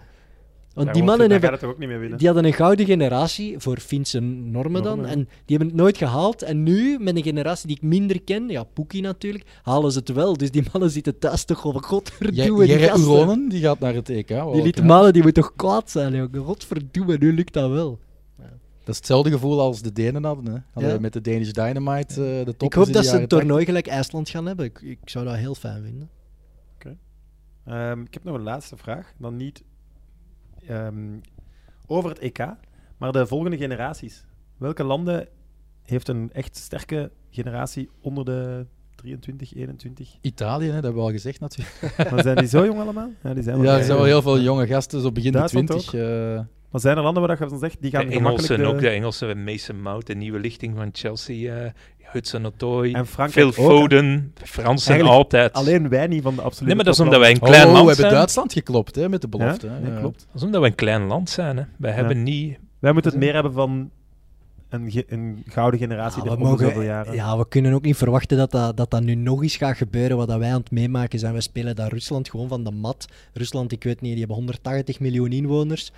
Speaker 3: Want
Speaker 2: Ja,
Speaker 3: die
Speaker 2: want
Speaker 3: mannen
Speaker 2: daar
Speaker 3: hebben,
Speaker 2: gaat het toch ook niet meer winnen.
Speaker 3: die hadden een gouden generatie voor Finse normen dan.
Speaker 2: Normen, ja.
Speaker 3: En die hebben het nooit gehaald. En nu, met een generatie die ik minder ken, ja, Poekie natuurlijk, halen ze het wel. Dus die mannen zitten thuis toch over godverdomme die
Speaker 5: Jerry
Speaker 3: gasten.
Speaker 5: Uronen, die gaat naar het EK. wel
Speaker 2: Oh,
Speaker 3: Die
Speaker 5: knap.
Speaker 3: Litmanen, die moeten toch kwaad zijn, jongen. Godverdomme, nu lukt dat wel.
Speaker 5: Dat is hetzelfde gevoel als de Denen hadden. Hè? Hadden
Speaker 3: Ja.
Speaker 5: Met de Danish Dynamite, eh, de top.
Speaker 3: ik hoop dat ze een toernooi gelijk IJsland gaan hebben. Ik, ik zou dat heel fijn vinden.
Speaker 2: Ehm, ik heb nog een laatste vraag. Dan niet ehm, over het EK, maar de volgende generaties. Welke landen heeft een echt sterke generatie onder de 23, 21?
Speaker 5: Italië, hè, dat hebben we al gezegd natuurlijk.
Speaker 2: Maar zijn die zo jong allemaal? Ja, die zijn wel,
Speaker 5: Ja,
Speaker 2: vrij
Speaker 5: er zijn wel
Speaker 2: jong.
Speaker 5: heel veel jonge gasten, zo begin de
Speaker 2: Duitsland
Speaker 5: 20. eh,
Speaker 2: Maar zijn er landen waar dat je van zegt, die
Speaker 4: De
Speaker 2: gaan
Speaker 4: Engelsen ook,
Speaker 2: gemakkelijk...
Speaker 4: de Engelsen. Mason Mount, de nieuwe lichting van Chelsea. eh Hudson Odoi.
Speaker 2: En Frankrijk
Speaker 4: Phil
Speaker 2: ook, hè?
Speaker 4: Foden. Fransen
Speaker 2: Eigenlijk
Speaker 4: altijd.
Speaker 2: Alleen wij niet van de absolute
Speaker 4: nee, maar dat is omdat
Speaker 2: toplanden.
Speaker 4: wij een
Speaker 5: oh,
Speaker 4: klein
Speaker 5: we
Speaker 4: land
Speaker 5: hebben
Speaker 4: zijn.
Speaker 5: Duitsland geklopt hè, met de belofte.
Speaker 2: Ja,
Speaker 5: hè.
Speaker 2: nee,
Speaker 5: Ja.
Speaker 2: klopt.
Speaker 4: Dat is omdat wij een klein land zijn. Hè. Wij hebben niet...
Speaker 2: Wij moeten het meer hebben van een, ge- een gouden generatie
Speaker 3: Ja,
Speaker 2: de
Speaker 3: we,
Speaker 2: om de zoveel
Speaker 3: mogen,
Speaker 2: jaren.
Speaker 3: ja, we kunnen ook niet verwachten dat dat, dat dat nu nog eens gaat gebeuren. Wat dat wij aan het meemaken zijn. We spelen daar Rusland gewoon van de mat. Rusland, ik weet niet, die hebben 180 miljoen inwoners.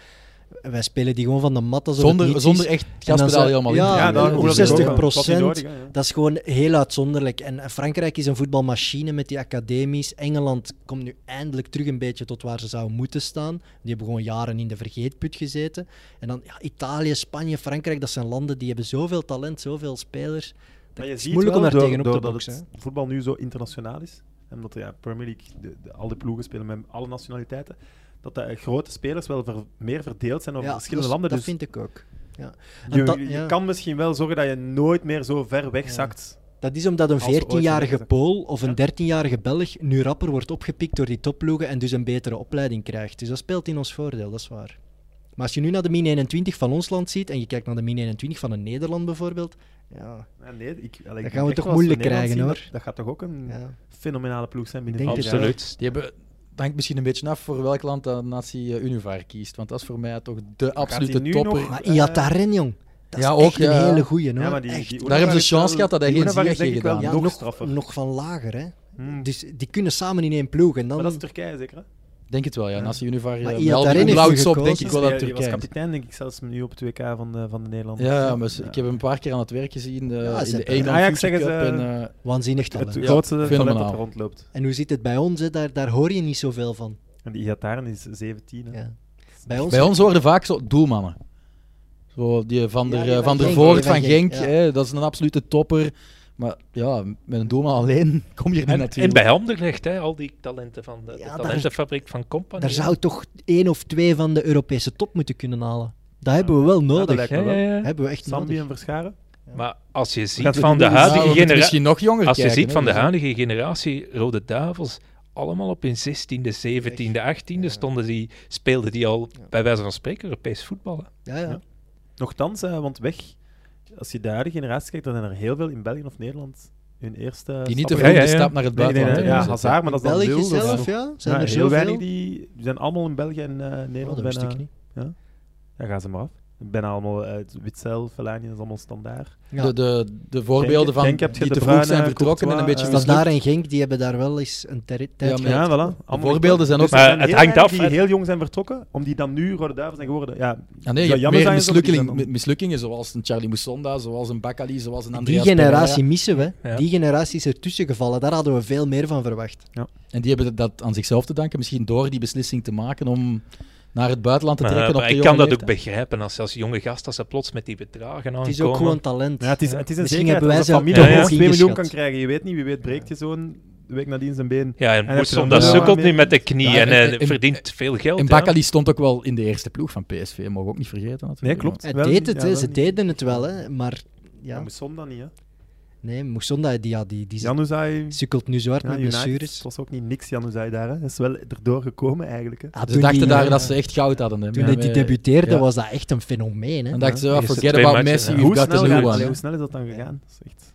Speaker 3: Wij spelen die gewoon van de mat alsof het
Speaker 5: Zonder,
Speaker 3: niets
Speaker 5: zonder
Speaker 3: is.
Speaker 5: echt
Speaker 3: dan
Speaker 5: gaspedaal
Speaker 3: zou-
Speaker 5: helemaal
Speaker 3: ja,
Speaker 5: in. te
Speaker 3: ja,
Speaker 5: gaan, hè.
Speaker 3: dan-
Speaker 5: Dat is
Speaker 3: 60
Speaker 5: ook-
Speaker 3: procent.
Speaker 2: ja.
Speaker 3: Dat is gewoon heel uitzonderlijk. En eh, Frankrijk is een voetbalmachine met die academies. Engeland komt nu eindelijk terug een beetje tot waar ze zouden moeten staan. Die hebben gewoon jaren in de vergeetput gezeten. En dan ja, Italië, Spanje, Frankrijk, dat zijn landen die hebben zoveel talent, zoveel spelers.
Speaker 2: Maar
Speaker 3: Dat
Speaker 2: je
Speaker 3: is
Speaker 2: ziet
Speaker 3: moeilijk
Speaker 2: wel
Speaker 3: om daar
Speaker 2: door-
Speaker 3: tegen op te
Speaker 2: doordat
Speaker 3: boksen.
Speaker 2: het voetbal nu zo internationaal is, en omdat de ja, Premier League, de, de- al die ploegen spelen met alle nationaliteiten, dat de grote spelers wel ver- meer verdeeld zijn over
Speaker 3: Ja,
Speaker 2: verschillende
Speaker 3: dat-
Speaker 2: landen.
Speaker 3: Dat
Speaker 2: dus
Speaker 3: vind ik ook. Ja.
Speaker 2: je,
Speaker 3: En dat-
Speaker 2: je
Speaker 3: ja.
Speaker 2: kan misschien wel zorgen dat je nooit meer zo ver wegzakt.
Speaker 3: Dat is omdat een
Speaker 2: Als we ooit
Speaker 3: 14-jarige
Speaker 2: verliezen.
Speaker 3: Pool of een
Speaker 2: Ja.
Speaker 3: 13-jarige Belg nu rapper wordt opgepikt door die topploegen en dus een betere opleiding krijgt. Dus dat speelt in ons voordeel, dat is waar. Maar als je nu naar de min 21 van ons land ziet en je kijkt naar de min 21 van een Nederland bijvoorbeeld, ja,
Speaker 2: Ja, nee, ik, allee, ik
Speaker 3: Dat
Speaker 2: denk
Speaker 3: gaan we
Speaker 2: echt
Speaker 3: toch
Speaker 2: wel, als
Speaker 3: moeilijk
Speaker 2: Nederland
Speaker 3: krijgen,
Speaker 2: zien,
Speaker 3: hoor.
Speaker 2: Dat, dat gaat toch ook een
Speaker 3: ja.
Speaker 2: fenomenale ploeg zijn binnen
Speaker 3: denk
Speaker 2: de
Speaker 3: het
Speaker 2: jaren.
Speaker 4: Absoluut.
Speaker 5: Die hebben, het hangt misschien een beetje af voor welk land dat Nazi eh, Univar kiest. Want dat is voor mij toch de
Speaker 2: die
Speaker 5: absolute
Speaker 2: nu
Speaker 5: topper.
Speaker 2: nog?
Speaker 3: Maar
Speaker 2: Eh,
Speaker 3: Iataren, jong, dat
Speaker 5: ja,
Speaker 3: is
Speaker 5: ook,
Speaker 3: echt een
Speaker 5: ja.
Speaker 3: hele goeie, hoor.
Speaker 2: Ja, maar die, die
Speaker 3: Echt.
Speaker 2: Unova
Speaker 5: Daar hebben ze
Speaker 2: is
Speaker 5: chance
Speaker 2: wel-
Speaker 5: gehad dat hij
Speaker 2: die
Speaker 5: geen
Speaker 2: Unova is
Speaker 5: zege
Speaker 2: denk ik wel
Speaker 5: gedaan.
Speaker 3: Ja,
Speaker 2: nog,
Speaker 3: nog,
Speaker 2: straffer.
Speaker 3: nog van lager, hè.
Speaker 2: Hmm.
Speaker 3: Dus die kunnen samen in één ploeg en dan...
Speaker 2: Maar dat is Turkije zeker, hè?
Speaker 5: Denk het wel, ja.
Speaker 2: Ja.
Speaker 5: Nazi Univar.
Speaker 3: Maar
Speaker 5: eh,
Speaker 3: Ian
Speaker 5: Met al
Speaker 3: Tarin
Speaker 5: die
Speaker 3: heeft
Speaker 5: blauwe
Speaker 3: nu
Speaker 5: sop denk
Speaker 3: gekozen.
Speaker 5: ik wel dat
Speaker 2: Die- die was
Speaker 5: Turkije.
Speaker 2: kapitein, denk ik, zelfs nu op het WK van de, van de Nederlanders.
Speaker 5: Ja, maar ze- ik heb hem een paar keer aan het werk gezien eh,
Speaker 3: Ja, ze
Speaker 5: in de
Speaker 3: hebben-
Speaker 5: Engeland
Speaker 2: Ajax
Speaker 5: Future
Speaker 2: zeggen
Speaker 5: Cup
Speaker 2: ze-
Speaker 5: en, eh,
Speaker 3: Waanzinnig
Speaker 2: het
Speaker 3: talent.
Speaker 5: Ja,
Speaker 2: grootste talent dat
Speaker 5: fenomenaal.
Speaker 2: er rondloopt.
Speaker 3: En hoe zit het bij ons, hè? Daar, daar hoor je niet zoveel van.
Speaker 2: En die Iataren is 17. Hè?
Speaker 3: Ja. Bij ons
Speaker 5: bij ons worden vaak zo doelmannen. Zo die van
Speaker 3: Ja,
Speaker 5: der,
Speaker 3: die
Speaker 5: eh,
Speaker 3: van
Speaker 5: van der
Speaker 3: Genk,
Speaker 5: Voort,
Speaker 3: die
Speaker 5: van
Speaker 3: van
Speaker 5: Genk,
Speaker 3: Genk, ja.
Speaker 5: hè, dat is een absolute topper. Maar ja, met een doelman alleen kom je er niet Nou,
Speaker 4: En, en
Speaker 5: natuurlijk.
Speaker 4: bij Anderlecht, hè, al die talenten van de, de
Speaker 3: Ja, daar-
Speaker 4: talentenfabriek van Company.
Speaker 3: Daar zou toch één of twee van de Europese top moeten kunnen halen. Dat hebben we wel
Speaker 2: dat
Speaker 3: nodig.
Speaker 2: lijkt
Speaker 4: Ja,
Speaker 2: me
Speaker 4: ja,
Speaker 2: wel.
Speaker 4: ja.
Speaker 3: hebben we echt
Speaker 2: Zambi
Speaker 3: nodig.
Speaker 2: en Verscharen.
Speaker 4: Maar als je ziet
Speaker 2: Gaat
Speaker 4: van de
Speaker 5: Ja,
Speaker 2: het
Speaker 5: we
Speaker 4: huidige
Speaker 5: moeten
Speaker 4: generatie...
Speaker 5: misschien nog jonger
Speaker 4: Als je
Speaker 5: kijken,
Speaker 4: ziet
Speaker 5: hè,
Speaker 4: van de
Speaker 5: dus, eh,
Speaker 4: huidige generatie Rode Duivels, allemaal op hun 16e, 17e, 18e
Speaker 3: Ja.
Speaker 4: stonden die, speelden die al
Speaker 3: Ja.
Speaker 4: bij wijze van spreken Europees voetballen.
Speaker 3: Ja, ja.
Speaker 2: Ja. Nochtans, hè, want weg. Als je de huidige generatie kijkt, dan zijn er heel veel in België of Nederland hun eerste.
Speaker 5: Die niet te
Speaker 4: Ja,
Speaker 5: vroeg
Speaker 2: stappen-
Speaker 4: ja,
Speaker 5: de
Speaker 4: ja.
Speaker 5: stap naar het
Speaker 2: Nee, nee, nee,
Speaker 5: buitenland dus
Speaker 2: ja,
Speaker 5: hebben gezet,
Speaker 2: Hazard, maar dat is dan
Speaker 3: België
Speaker 2: nul. dat is
Speaker 3: zelf,
Speaker 2: nog-
Speaker 3: ja? Zijn
Speaker 2: Ja,
Speaker 3: er
Speaker 2: heel
Speaker 3: zoveel?
Speaker 2: weinig die die zijn allemaal in België en eh,
Speaker 3: Oh,
Speaker 2: Nederland.
Speaker 3: dat wist
Speaker 2: bijna-
Speaker 3: ik niet.
Speaker 2: Ja, gaan ze maar af. Bijna allemaal uit Witzel, Fellaini, dat is allemaal standaard.
Speaker 3: Ja.
Speaker 5: De, de, de voorbeelden
Speaker 2: Genk-
Speaker 5: van
Speaker 2: Genk heb je
Speaker 5: die
Speaker 2: De
Speaker 5: te vroeg
Speaker 2: Bruyne,
Speaker 5: zijn vertrokken en een
Speaker 2: Courtois,
Speaker 5: beetje
Speaker 2: eh,
Speaker 3: dat
Speaker 5: mislukt.
Speaker 3: daar en Genk, die hebben daar wel eens een ter- tijd
Speaker 5: maar-
Speaker 2: Ja,
Speaker 5: Ja,
Speaker 2: voilà. Allemaal
Speaker 5: voorbeelden zijn ook-
Speaker 2: er
Speaker 4: Maar
Speaker 2: zijn
Speaker 4: het
Speaker 2: heel
Speaker 4: hangt
Speaker 2: weinig
Speaker 4: af,
Speaker 2: die
Speaker 4: hè.
Speaker 2: heel jong zijn vertrokken, om die dan nu Rode Duivel zijn geworden. Ja,
Speaker 5: Ja, nee,
Speaker 2: zou
Speaker 5: je hebt
Speaker 2: jammer
Speaker 5: meer
Speaker 2: zijn, zo, maar die
Speaker 5: mislukking,
Speaker 2: zijn dan-
Speaker 5: mi- mislukkingen, zoals een Charlie Moussonda, zoals een Bakali, zoals een
Speaker 3: Die
Speaker 5: Andreas
Speaker 3: generatie
Speaker 5: Pereira.
Speaker 3: missen we.
Speaker 4: Ja.
Speaker 3: Die generatie is ertussen gevallen. Daar hadden we veel meer van verwacht.
Speaker 5: En die hebben dat aan zichzelf te danken, misschien door die beslissing te maken om naar het buitenland te
Speaker 4: Maar,
Speaker 5: trekken. op
Speaker 4: maar
Speaker 5: de
Speaker 4: ik
Speaker 5: jonge
Speaker 4: kan dat ook
Speaker 5: leeftijd.
Speaker 4: begrijpen als, als jonge gast, als ze plots met die bedragen aankomen.
Speaker 3: Het is ook gewoon talent.
Speaker 2: ja het is, het is een
Speaker 3: Misschien
Speaker 2: zekerheid
Speaker 3: hebben wij
Speaker 2: dat
Speaker 3: ze
Speaker 2: een familie
Speaker 4: te
Speaker 2: nog
Speaker 4: hoog
Speaker 2: 2 miljoen
Speaker 3: ingeschat.
Speaker 2: kan krijgen. Je weet niet, wie weet breekt je zo'n de week nadien zijn been.
Speaker 4: Ja, en,
Speaker 2: En
Speaker 4: Moesson,
Speaker 2: heb je
Speaker 4: dat
Speaker 5: dan-
Speaker 4: sukkelt
Speaker 2: Ja,
Speaker 4: nu met de knie
Speaker 5: Ja,
Speaker 4: en,
Speaker 5: en-
Speaker 4: eh,
Speaker 5: en- en-
Speaker 4: verdient veel geld.
Speaker 5: En
Speaker 4: hè.
Speaker 5: Bakali stond ook wel in de eerste ploeg van PSV, mogen we ook niet vergeten. Natuurlijk.
Speaker 2: Nee, klopt.
Speaker 3: Hij
Speaker 2: Wel
Speaker 3: deed
Speaker 2: niet,
Speaker 3: het,
Speaker 2: ja,
Speaker 3: hè.
Speaker 2: wel
Speaker 3: ze
Speaker 2: niet.
Speaker 3: deden het wel, hè. maar
Speaker 2: Ja.
Speaker 3: ja.
Speaker 2: Moesson dan niet, hè.
Speaker 3: nee, Moussonda die, ja, die, die
Speaker 2: Januzaj,
Speaker 3: sukkelt nu zo hard
Speaker 2: ja,
Speaker 3: met
Speaker 2: United,
Speaker 3: blessures.
Speaker 2: het was ook niet niks Januzaj daar, hè. Dat is wel erdoor gekomen, eigenlijk, hè.
Speaker 3: Ah,
Speaker 5: Ze
Speaker 3: toen
Speaker 5: dachten
Speaker 3: die,
Speaker 5: daar
Speaker 3: eh,
Speaker 5: dat ze echt goud hadden. Hè,
Speaker 3: Toen
Speaker 5: maar
Speaker 3: hij die
Speaker 5: wij-
Speaker 3: debuteerde
Speaker 5: ja.
Speaker 3: was dat echt een fenomeen. Hè.
Speaker 5: En dachten ze,
Speaker 4: Ja,
Speaker 5: ja,
Speaker 4: eerste
Speaker 5: forget
Speaker 4: twee
Speaker 5: about
Speaker 4: matchen,
Speaker 5: Messi,
Speaker 4: ja.
Speaker 5: we've
Speaker 2: Hoe
Speaker 5: got the
Speaker 2: snel,
Speaker 5: new
Speaker 2: gaat-
Speaker 5: one.
Speaker 2: allee, hoe snel is dat dan gegaan? Dat is echt...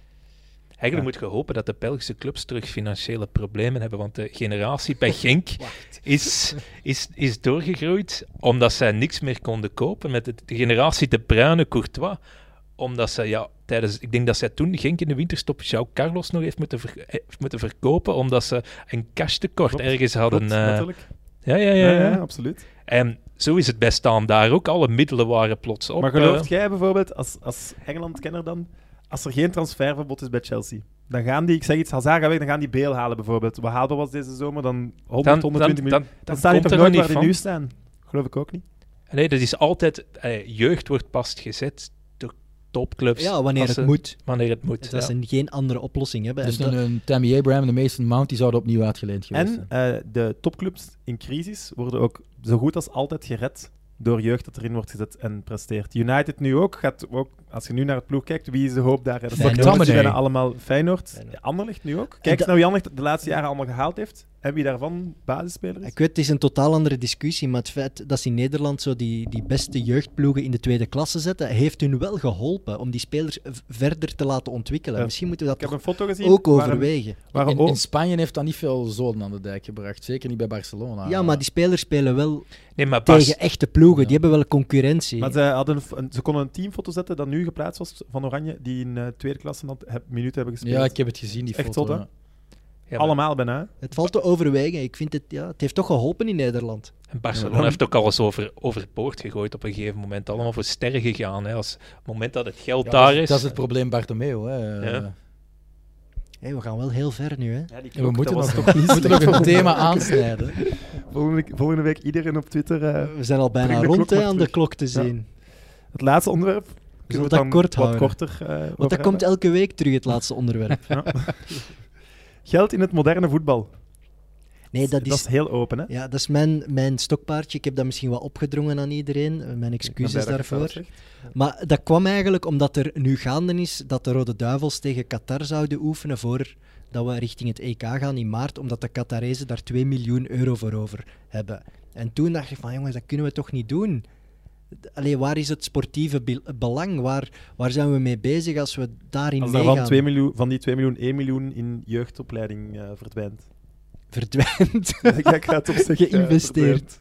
Speaker 4: Eigenlijk moet je hopen dat de Belgische clubs terug financiële problemen hebben, want de generatie bij Genk
Speaker 3: Wacht.
Speaker 4: is, is, is doorgegroeid omdat zij niks meer konden kopen met de, de generatie de Bruyne Courtois. Omdat zij, ja, tijdens, ik denk dat zij toen Genk in de winterstop João Carlos nog heeft moeten, ver- eh, heeft moeten verkopen, omdat ze een cashtekort
Speaker 2: Klopt,
Speaker 4: ergens hadden.
Speaker 2: Klopt,
Speaker 4: eh,
Speaker 2: natuurlijk.
Speaker 4: ja, ja,
Speaker 2: Ja,
Speaker 4: ja,
Speaker 2: ja,
Speaker 4: ja.
Speaker 2: absoluut.
Speaker 4: En zo is het bij Staan daar ook. Alle middelen waren plots op.
Speaker 2: Maar
Speaker 4: eh.
Speaker 2: gelooft jij bijvoorbeeld, als, als Engeland-kenner dan, als er geen transferverbod is bij Chelsea, dan gaan die, ik zeg iets, Hazard gaat weg, dan gaan die Beel halen bijvoorbeeld. Wat haalbaar was deze zomer, dan 100, 120 miljoen. Dan, staan die
Speaker 4: komt
Speaker 2: toch
Speaker 4: er
Speaker 2: nooit waar
Speaker 4: niet
Speaker 2: die
Speaker 4: van.
Speaker 2: nu staan? Geloof ik ook niet.
Speaker 4: Nee, dat is altijd... eh, jeugd wordt pas gezet door topclubs.
Speaker 3: Ja, wanneer
Speaker 4: als
Speaker 3: het
Speaker 4: ze-
Speaker 3: moet.
Speaker 4: Wanneer het moet,
Speaker 3: Dat
Speaker 4: ja.
Speaker 3: ze geen andere oplossing hebben.
Speaker 5: Dus
Speaker 3: En
Speaker 2: eh,
Speaker 5: een, een Tammy Abraham en de Mason Mount die zouden opnieuw uitgeleend geweest
Speaker 2: En
Speaker 5: zijn.
Speaker 2: eh, de topclubs in crisis worden ook zo goed als altijd gered door jeugd dat erin wordt gezet en presteert. United nu ook, gaat ook als je nu naar het ploeg kijkt, wie is de hoop daar? Dat is
Speaker 5: Feyenoord.
Speaker 2: Feyenoord, die
Speaker 5: Dominee.
Speaker 2: bijna allemaal Feyenoord.
Speaker 3: Feyenoord.
Speaker 2: Ja, Anderlecht nu ook.
Speaker 3: En
Speaker 2: Kijk eens
Speaker 3: dat-
Speaker 2: naar wie Anderlecht de laatste jaren allemaal gehaald heeft en wie daarvan basisspeler is.
Speaker 3: Ik weet, het is een totaal andere discussie, maar het feit dat ze in Nederland zo die, die beste jeugdploegen in de tweede klasse zetten, heeft hun wel geholpen om die spelers v- verder te laten ontwikkelen.
Speaker 2: Ja.
Speaker 3: Misschien moeten we
Speaker 2: Ik
Speaker 3: dat
Speaker 2: heb
Speaker 3: toch
Speaker 2: een foto gezien.
Speaker 3: ook
Speaker 2: waar een-
Speaker 3: overwegen.
Speaker 2: waar een
Speaker 5: In,
Speaker 2: o-
Speaker 5: in Spanje heeft dat niet veel zoden aan de dijk gebracht. Zeker niet bij
Speaker 2: Ah.
Speaker 5: Barcelona.
Speaker 3: Ja, maar die spelers spelen wel
Speaker 4: Nee, maar Bas,
Speaker 3: tegen echte ploegen.
Speaker 5: Ja.
Speaker 3: Die hebben wel concurrentie.
Speaker 2: maar ze, hadden een f- een- ze konden een teamfoto zetten dat nu geplaatst was van Oranje, die in eh, tweede klasse dan heb, minuten hebben gespeeld.
Speaker 5: Ja, ik heb het gezien, die
Speaker 2: Echt
Speaker 5: foto.
Speaker 2: zot, hè?
Speaker 5: ja.
Speaker 4: ja, maar
Speaker 2: Allemaal bijna. hè.
Speaker 3: Het valt te overwegen. Ik vind het, ja, het heeft toch geholpen in Nederland.
Speaker 4: Barcelona
Speaker 2: Ja, dan-
Speaker 4: heeft ook alles over, overboord gegooid op een gegeven moment. Allemaal voor sterren gegaan. Hè. Als, op het moment dat het geld
Speaker 5: Ja,
Speaker 4: daar
Speaker 5: dat,
Speaker 4: is...
Speaker 5: dat is het probleem Bartomeu. Hè.
Speaker 4: Ja.
Speaker 3: Hé, we gaan wel heel ver nu. Hè?
Speaker 5: En we moeten dat toch niet moeten nog een thema aansnijden.
Speaker 2: Volgende, volgende week iedereen op Twitter. eh,
Speaker 3: We zijn al bijna
Speaker 2: Breng de
Speaker 3: rond
Speaker 2: klok
Speaker 3: hè,
Speaker 2: maar
Speaker 3: aan de
Speaker 2: terug.
Speaker 3: klok te
Speaker 2: Ja.
Speaker 3: zien.
Speaker 2: het laatste onderwerp.
Speaker 3: zullen
Speaker 2: Kunnen
Speaker 3: dat
Speaker 2: dan
Speaker 3: kort
Speaker 2: wat
Speaker 3: houden.
Speaker 2: korter. eh, over
Speaker 3: Want dat
Speaker 2: hebben.
Speaker 3: komt elke week terug, het laatste onderwerp.
Speaker 2: Geld in het moderne voetbal.
Speaker 3: Nee, dat is,
Speaker 2: heel open, hè?
Speaker 3: ja, dat is mijn, mijn stokpaardje. Ik heb dat misschien wat opgedrongen aan iedereen. Eh, Mijn excuses daarvoor. Maar dat kwam eigenlijk omdat er nu gaande is dat de Rode Duivels tegen Qatar zouden oefenen voor dat we richting het EK gaan in maart, omdat de Qatarezen daar 2 miljoen euro voor over hebben. En toen dacht ik van jongens, dat kunnen we toch niet doen. Allee, waar is het sportieve be- belang? Waar, waar zijn we mee bezig als we daarin
Speaker 2: Als daarvan
Speaker 3: meegaan?
Speaker 2: 2 miljoen, van die 2 miljoen 1 miljoen in jeugdopleiding eh, verdwijnt.
Speaker 3: Verdwijnt.
Speaker 2: ik ga het op zich eh, verdwijnt.
Speaker 3: geïnvesteerd.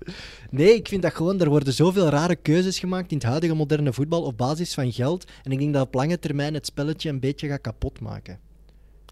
Speaker 3: Nee, ik vind dat gewoon, er worden zoveel rare keuzes gemaakt in het huidige moderne voetbal op basis van geld. En ik denk dat op lange termijn het spelletje een beetje gaat kapotmaken.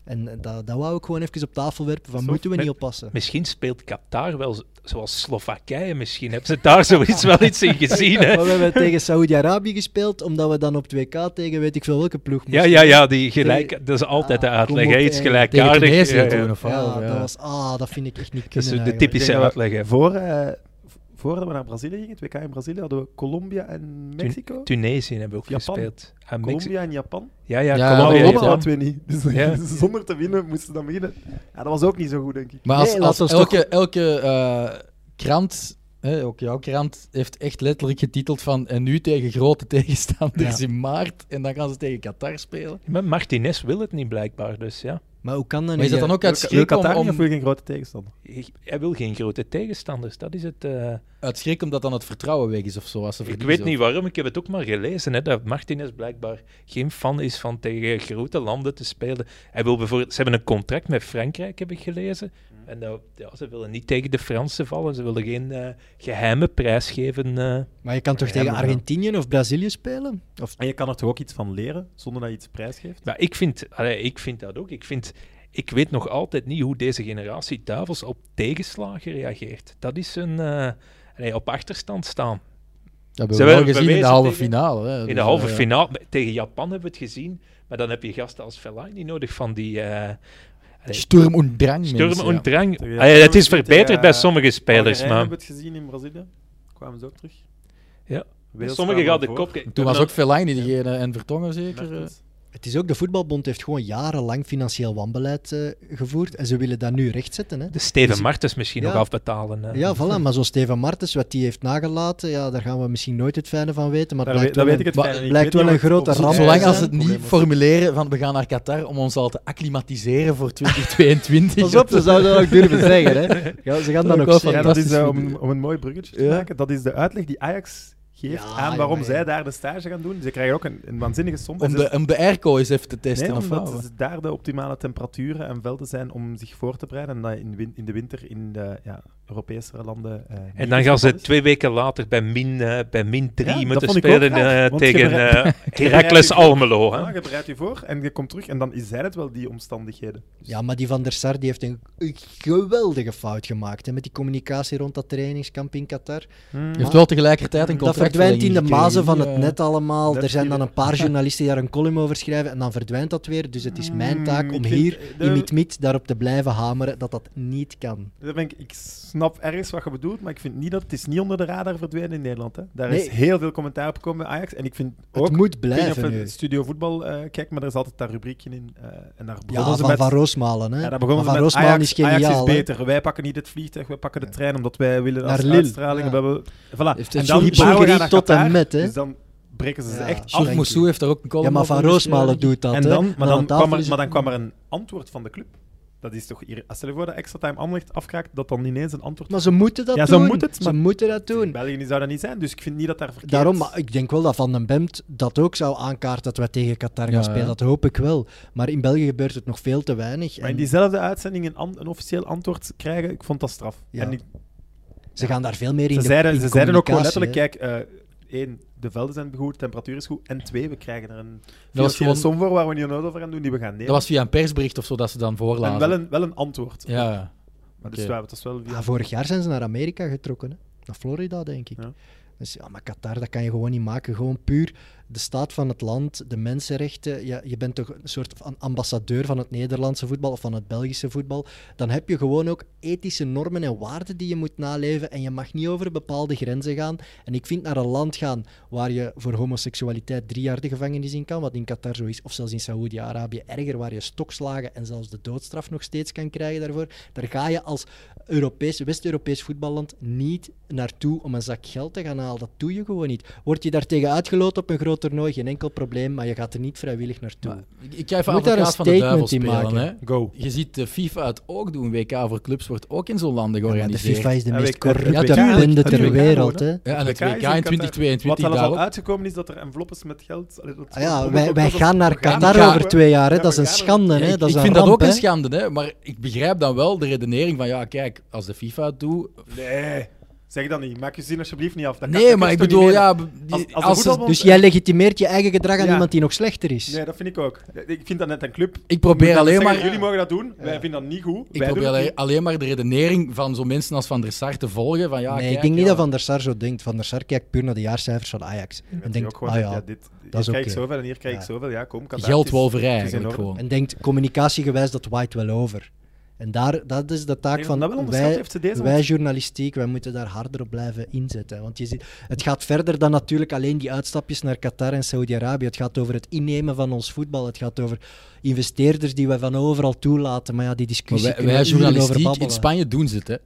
Speaker 3: En eh, dat, dat wou ik gewoon even op tafel werpen, van
Speaker 2: Zo,
Speaker 3: moeten we
Speaker 4: met-
Speaker 3: niet oppassen.
Speaker 4: Misschien speelt Qatar wel z- zoals Slowakije. Misschien hebben ze daar zoiets wel iets in gezien. Hè.
Speaker 3: Maar we hebben tegen Saoedi-Arabië gespeeld, omdat we dan op 2K tegen weet ik veel welke ploeg
Speaker 4: Ja,
Speaker 3: moesten.
Speaker 4: ja, ja, die gelijk, dat is altijd de
Speaker 3: Ah,
Speaker 4: uitleg.
Speaker 3: kom
Speaker 4: hè.
Speaker 3: op,
Speaker 4: Iets
Speaker 3: eh,
Speaker 5: Tegen
Speaker 4: gelijkaardig.
Speaker 5: Tunesië
Speaker 4: ja, ja.
Speaker 5: toen, of
Speaker 3: Ja,
Speaker 5: wel? Ja.
Speaker 3: dat was, ah, dat vind ik echt niet
Speaker 4: Dat is
Speaker 3: kunnen
Speaker 4: de
Speaker 3: eigenlijk.
Speaker 4: typische
Speaker 2: dat we-
Speaker 4: uitleg. hè.
Speaker 2: Voor, eh, v- voordat we naar Brazilië gingen, het WK in Brazilië, hadden we Colombia en Mexico.
Speaker 4: Tunesië hebben we ook
Speaker 2: Japan.
Speaker 4: gespeeld. Ah, Mexi-
Speaker 2: Colombia en Japan.
Speaker 4: Ja, ja,
Speaker 5: Oh, Ja,
Speaker 2: Maar we
Speaker 4: Colombia.
Speaker 5: Japan.
Speaker 2: wonnen alle
Speaker 4: Japan.
Speaker 2: twee niet. Dus
Speaker 4: Ja.
Speaker 2: zonder te winnen moesten ze dan beginnen. Ja, dat was ook niet zo goed, denk ik.
Speaker 5: Maar als,
Speaker 3: Nee,
Speaker 5: als
Speaker 3: laat ons
Speaker 5: elke, elke eh, krant, hè, ook jouw krant, heeft echt letterlijk getiteld van en nu tegen grote tegenstanders
Speaker 3: Ja.
Speaker 5: in maart en dan gaan ze tegen Qatar spelen.
Speaker 4: Maar Martinez wil het niet blijkbaar, dus ja.
Speaker 3: Maar hoe kan dat
Speaker 5: Maar
Speaker 3: nu?
Speaker 5: is dat dan ook uit
Speaker 2: Wil- wil
Speaker 5: schrik om,
Speaker 2: Qatar niet
Speaker 5: om,
Speaker 2: of wil geen grote tegenstander?
Speaker 4: Hij- Hij wil geen grote tegenstanders, dat is het. eh.
Speaker 5: uit schrik omdat dan het vertrouwen weg is of zo? Als ze
Speaker 4: Ik
Speaker 5: verliezen
Speaker 4: weet
Speaker 5: of-
Speaker 4: niet waarom, ik heb het ook maar gelezen, hè, dat Martinez blijkbaar geen fan is van tegen grote landen te spelen. Hij wil bijvoorbeeld, ze hebben een contract met Frankrijk, heb ik gelezen. Eh, En dat, ja, ze willen niet tegen de Fransen vallen. Ze willen geen eh, geheime prijs geven. eh.
Speaker 3: Maar je kan toch
Speaker 4: Ja,
Speaker 3: tegen
Speaker 4: maar-
Speaker 3: Argentinië of Brazilië spelen? Of
Speaker 2: En je kan er toch ook iets van leren, zonder dat je iets prijsgeeft?
Speaker 4: Maar ik vind, allee, ik vind dat ook. Ik, vind, ik weet nog altijd niet hoe deze generatie duivels op tegenslagen reageert. Dat is een... eh, allee, op achterstand staan.
Speaker 5: Dat hebben
Speaker 4: Ze
Speaker 5: we wel
Speaker 4: werden
Speaker 5: gezien in de
Speaker 4: bewezen
Speaker 5: halve
Speaker 4: tegen-
Speaker 5: finale. Hè.
Speaker 4: In
Speaker 5: Dus,
Speaker 4: de halve
Speaker 5: eh,
Speaker 4: finale met- tegen Japan hebben we het gezien. Maar dan heb je gasten als Fellaini nodig van die... eh
Speaker 5: Sturm und Drang.
Speaker 4: Sturm
Speaker 5: mensen,
Speaker 4: en
Speaker 5: ja.
Speaker 4: drang.
Speaker 2: Tegen
Speaker 4: Allee, het is
Speaker 2: Japan,
Speaker 4: verbeterd
Speaker 2: tegen,
Speaker 4: bij
Speaker 2: eh,
Speaker 4: sommige spelers,
Speaker 2: Algerije
Speaker 4: maar...
Speaker 2: hebben we het gezien in Brazilië. Kwamen ze ook terug.
Speaker 4: Ja.
Speaker 2: Wales
Speaker 4: Sommigen
Speaker 2: kwamen
Speaker 4: gaan de
Speaker 2: voor.
Speaker 4: kop... kijken.
Speaker 5: Toen was
Speaker 4: Dan-
Speaker 5: ook Fellaini diegene en Vertongen zeker. eh.
Speaker 2: Mertens.
Speaker 3: het is ook, de voetbalbond heeft gewoon jarenlang financieel wanbeleid eh, gevoerd en ze willen dat nu rechtzetten. Hè?
Speaker 4: De Steven
Speaker 3: Dus-
Speaker 4: Martens misschien
Speaker 3: Ja.
Speaker 4: nog afbetalen. eh.
Speaker 3: Ja, voilà, maar zo'n Steven Martens, wat die heeft nagelaten, ja, daar gaan we misschien nooit het fijne van weten. Maar
Speaker 2: Daar
Speaker 3: het
Speaker 2: weet,
Speaker 3: blijkt
Speaker 2: daar
Speaker 3: wel
Speaker 2: weet ik
Speaker 3: een-
Speaker 2: het
Speaker 5: maar-
Speaker 2: fijne niet.
Speaker 3: het blijkt
Speaker 2: Ik weet
Speaker 3: wel
Speaker 2: niet
Speaker 3: een
Speaker 2: of-
Speaker 3: grote
Speaker 2: of-
Speaker 3: ramp
Speaker 2: Ja,
Speaker 5: Zolang
Speaker 2: ja,
Speaker 5: als
Speaker 2: ja.
Speaker 5: het niet
Speaker 2: Probleem was-
Speaker 5: formuleren van we gaan naar Qatar om ons al te acclimatiseren voor 2022.
Speaker 3: Pas op, ze zouden dat ook durven zeggen. Hè? Ja, ze gaan
Speaker 5: Dat ook
Speaker 3: dan
Speaker 5: wel
Speaker 2: Ja,
Speaker 3: ook zeggen.
Speaker 2: dat is
Speaker 5: fantastisch
Speaker 2: eh,
Speaker 5: voor
Speaker 2: om,
Speaker 5: die-
Speaker 2: om een mooi bruggetje te
Speaker 5: Ja.
Speaker 2: maken. Dat is de uitleg die Ajax geeft
Speaker 3: Ja,
Speaker 2: aan waarom
Speaker 3: ja, ja.
Speaker 2: zij daar de stage gaan doen. Ze krijgen ook een, een waanzinnige som. En
Speaker 5: Om
Speaker 2: ze-
Speaker 5: de, om de airco eens even te testen
Speaker 2: Nee,
Speaker 5: of
Speaker 2: omdat
Speaker 5: wat?
Speaker 2: ze daar de optimale temperaturen en velden zijn om zich voor te bereiden. En dat in, win- in de winter in de ja, Europese landen. eh, niet
Speaker 4: En dan
Speaker 2: het
Speaker 4: gaan ze
Speaker 2: geval is.
Speaker 4: twee weken later bij min, eh, bij min 3
Speaker 2: dat
Speaker 4: moeten
Speaker 2: vond ik ook
Speaker 4: spelen
Speaker 2: raar,
Speaker 4: eh,
Speaker 2: want je
Speaker 4: tegen
Speaker 2: bereidt-
Speaker 4: eh Heracles
Speaker 2: je-
Speaker 4: Almelo. Hè.
Speaker 2: Ja, je bereidt Ah, je voor en je komt terug. En dan zijn het wel die omstandigheden. Dus
Speaker 3: Ja, maar die Van der Sar die heeft een geweldige fout gemaakt hè, met die communicatie rond dat trainingskamp in Qatar.
Speaker 2: Hmm.
Speaker 5: Je hebt wel tegelijkertijd een
Speaker 3: Dat
Speaker 5: contract.
Speaker 3: verdwijnt in de mazen van het net allemaal.
Speaker 2: eh, dat
Speaker 3: Er zijn
Speaker 2: zie je.
Speaker 3: dan een paar journalisten die daar een column over schrijven en dan verdwijnt dat weer. Dus het is mijn
Speaker 2: Mm,
Speaker 3: taak
Speaker 2: ik
Speaker 3: om
Speaker 2: vind-
Speaker 3: hier
Speaker 2: de-
Speaker 3: in het mid daarop te blijven hameren dat dat niet kan.
Speaker 2: Dat ben ik, ik snap ergens wat je bedoelt, maar ik vind niet dat het is niet onder de radar verdwenen in Nederland. Hè. Daar is
Speaker 3: Nee.
Speaker 2: heel veel commentaar op gekomen bij Ajax. En ik vind ook.
Speaker 3: het moet
Speaker 2: ik weet niet
Speaker 3: blijven
Speaker 2: of je
Speaker 3: nu.
Speaker 2: studio voetbal eh kijkt, maar er is altijd dat rubriekje in. eh, en daar
Speaker 3: Ja,
Speaker 2: begonnen
Speaker 3: van
Speaker 2: ze met.
Speaker 3: Van Roosmalen. Hè.
Speaker 2: Ja, daar begonnen
Speaker 3: Maar
Speaker 2: ze
Speaker 3: Van
Speaker 2: met
Speaker 3: Roosmalen
Speaker 2: Ajax
Speaker 3: is geniaal.
Speaker 2: Ajax is
Speaker 3: hè.
Speaker 2: beter. Wij pakken niet het vliegtuig, wij pakken de trein, omdat wij willen
Speaker 3: Naar
Speaker 2: als
Speaker 3: Lille.
Speaker 2: uitstraling.
Speaker 3: Ja.
Speaker 2: hebben we- Voilà.
Speaker 5: Heeft
Speaker 2: en
Speaker 5: het
Speaker 2: dan
Speaker 5: Johnny
Speaker 2: bouwen we
Speaker 3: Bogerie
Speaker 2: naar
Speaker 3: tot en
Speaker 2: Qatar,
Speaker 3: met, hè?
Speaker 2: Dus dan breken ze ze
Speaker 3: Ja.
Speaker 2: echt af.
Speaker 3: Sjoerd
Speaker 5: Sjoerd Moussou heeft daar ook een column
Speaker 3: Ja, maar Van Roosmalen doet dat.
Speaker 2: En
Speaker 3: hè.
Speaker 2: dan, maar,
Speaker 3: aan
Speaker 2: dan
Speaker 3: tafel
Speaker 2: kwam er,
Speaker 3: is
Speaker 2: maar dan
Speaker 3: het-
Speaker 2: kwam er een antwoord van de club. Dat is toch... Hier, als stel je voor dat extra time Anderlecht afkraakt, dat dan ineens een antwoord...
Speaker 3: Maar ze moeten dat
Speaker 2: Ja, ze
Speaker 3: doen.
Speaker 2: moeten het,
Speaker 3: Ze
Speaker 2: maar-
Speaker 3: moeten dat
Speaker 2: In
Speaker 3: doen.
Speaker 2: België die zou dat niet zijn, dus ik vind niet dat daar verkeerd...
Speaker 3: Daarom, maar ik denk wel dat Van den Bemt dat ook zou aankaarten dat wij tegen Qatar gaan
Speaker 5: Ja,
Speaker 3: spelen.
Speaker 5: hè.
Speaker 3: Dat hoop ik wel. Maar in België gebeurt het nog veel te weinig.
Speaker 2: Maar
Speaker 3: En
Speaker 2: in diezelfde uitzending een, an- een officieel antwoord krijgen, ik vond dat straf.
Speaker 3: Ja.
Speaker 2: En ik-
Speaker 3: Ze gaan daar veel meer in
Speaker 2: ze
Speaker 3: de
Speaker 2: zeiden,
Speaker 3: in
Speaker 2: ze zeiden ook gewoon
Speaker 3: communicatie,
Speaker 2: letterlijk, kijk... eh, Één, de velden zijn goed, temperatuur is goed. En twee, we krijgen er een
Speaker 5: Dat was,
Speaker 2: financiële
Speaker 5: gewoon,
Speaker 2: som voor waar we niet nodig over gaan doen, die we gaan nemen.
Speaker 5: dat was via een persbericht of zo dat ze dan
Speaker 2: en
Speaker 5: voorlazen.
Speaker 2: wel een, wel een antwoord.
Speaker 5: Ja,
Speaker 2: Maar
Speaker 5: oké.
Speaker 2: Dus ja, dat is wel...
Speaker 3: hè. Ja, Ah, vorig jaar zijn ze naar Amerika getrokken. Hè? Naar Florida, denk ik.
Speaker 2: Ja.
Speaker 3: Dus ja, maar Qatar, dat kan je gewoon niet maken. Gewoon puur de staat van het land, de mensenrechten. Ja, je bent toch een soort van ambassadeur van het Nederlandse voetbal of van het Belgische voetbal. Dan heb je gewoon ook ethische normen en waarden die je moet naleven. En je mag niet over bepaalde grenzen gaan. En ik vind naar een land gaan waar je voor homoseksualiteit drie jaar de gevangenis in kan, wat in Qatar zo is, of zelfs in Saoedi-Arabië erger, waar je stokslagen en zelfs de doodstraf nog steeds kan krijgen daarvoor. Daar ga je als Europees, West-Europees voetballand niet naartoe om een zak geld te gaan halen. Dat doe je gewoon niet. Word je daartegen uitgeloot op een groot toernooi, geen enkel probleem, maar je gaat er niet vrijwillig naartoe.
Speaker 5: Maar ik- ik ga even
Speaker 3: Moet daar een
Speaker 5: advocaat van de duivel
Speaker 3: statement in
Speaker 5: spelen.
Speaker 3: maken.
Speaker 5: Hè.
Speaker 2: Go.
Speaker 5: Je ziet de FIFA het ook doen. WK voor clubs wordt ook in zo'n landen
Speaker 3: Ja, maar de
Speaker 5: georganiseerd.
Speaker 3: FIFA is de
Speaker 2: Ja,
Speaker 3: meest
Speaker 2: weet ik, het-
Speaker 3: corrupte
Speaker 5: ja, tuurlijk,
Speaker 3: bende ter
Speaker 5: tuurlijk.
Speaker 3: wereld. Hè.
Speaker 5: Ja, en het
Speaker 2: WK is
Speaker 5: WK in
Speaker 2: in Qatar.
Speaker 5: 2022
Speaker 2: Wat er al
Speaker 5: daarop.
Speaker 2: uitgekomen is dat er enveloppes met geld. Allee, dat-
Speaker 3: Ah ja,
Speaker 2: dat-
Speaker 3: wij,
Speaker 2: dat-
Speaker 3: wij
Speaker 2: dat-
Speaker 3: gaan naar
Speaker 2: we gaan-
Speaker 3: Qatar
Speaker 5: gaan-
Speaker 3: over twee jaar. Hè.
Speaker 2: Ja,
Speaker 3: Dat is
Speaker 2: we
Speaker 3: een
Speaker 2: gaan er-
Speaker 3: schande. Hè.
Speaker 5: Ja, ik
Speaker 3: Dat
Speaker 5: ik
Speaker 3: is een
Speaker 5: vind
Speaker 3: ramp,
Speaker 5: dat ook
Speaker 3: hè.
Speaker 5: een schande, hè? maar ik begrijp dan wel de redenering van ja, kijk, als de FIFA het doet.
Speaker 2: Nee, zeg dat niet. Maak je zin alsjeblieft niet af. Dat kan- dat
Speaker 5: nee,
Speaker 2: kun
Speaker 5: maar
Speaker 2: je
Speaker 5: ik
Speaker 2: toch
Speaker 5: bedoel,
Speaker 2: niet
Speaker 5: ja,
Speaker 2: Als-
Speaker 5: die-
Speaker 2: als de
Speaker 5: als ze-
Speaker 2: voetbalbond-
Speaker 3: Dus jij legitimeert je eigen gedrag aan
Speaker 2: Ja.
Speaker 3: iemand die nog slechter is.
Speaker 2: menen? Nee, dat vind ik ook. Ik vind dat net een club.
Speaker 5: ik probeer alleen maar.
Speaker 2: Jullie mogen dat doen. Wij vinden dat niet goed.
Speaker 5: Ik
Speaker 2: wij
Speaker 5: probeer
Speaker 2: doen het
Speaker 5: alleen, Ah,
Speaker 2: niet.
Speaker 5: alleen maar de redenering van zo'n mensen als Van der Sar te volgen. Van, ja,
Speaker 3: nee,
Speaker 5: kijk,
Speaker 3: ik denk niet
Speaker 5: ja.
Speaker 3: dat Van der Sar zo denkt. Van der Sar kijkt puur naar de jaarcijfers van Ajax.
Speaker 2: Dat
Speaker 3: En
Speaker 2: je
Speaker 3: denkt,
Speaker 2: ook gewoon
Speaker 3: ah
Speaker 2: zegt,
Speaker 3: ja.
Speaker 2: dit, hier
Speaker 3: dat is
Speaker 2: krijg ik
Speaker 3: oké.
Speaker 2: zoveel en hier krijg ik
Speaker 3: Ja.
Speaker 2: zoveel. Ja, kom, Qatar,
Speaker 5: Geldwolverij
Speaker 2: het is- het is in
Speaker 5: eigenlijk
Speaker 2: orde.
Speaker 5: gewoon.
Speaker 3: En denkt communicatiegewijs dat waait wel over. En daar, dat is de taak
Speaker 2: Ik denk
Speaker 3: van
Speaker 2: dat wel onderschat
Speaker 3: wij,
Speaker 2: heeft ze deze
Speaker 3: wij
Speaker 2: want-
Speaker 3: journalistiek. Wij moeten daar harder op blijven inzetten. hè. Want je ziet, het gaat verder dan natuurlijk alleen die uitstapjes naar Qatar en Saudi-Arabië. Het gaat over het innemen van ons voetbal. Het gaat over investeerders die wij van overal toelaten. Maar ja, die
Speaker 5: Maar
Speaker 3: discussie
Speaker 5: wij,
Speaker 3: kunnen
Speaker 5: wij
Speaker 3: we uren over
Speaker 5: journalistiek in
Speaker 3: babbelen.
Speaker 5: Spanje doen ze het, hè?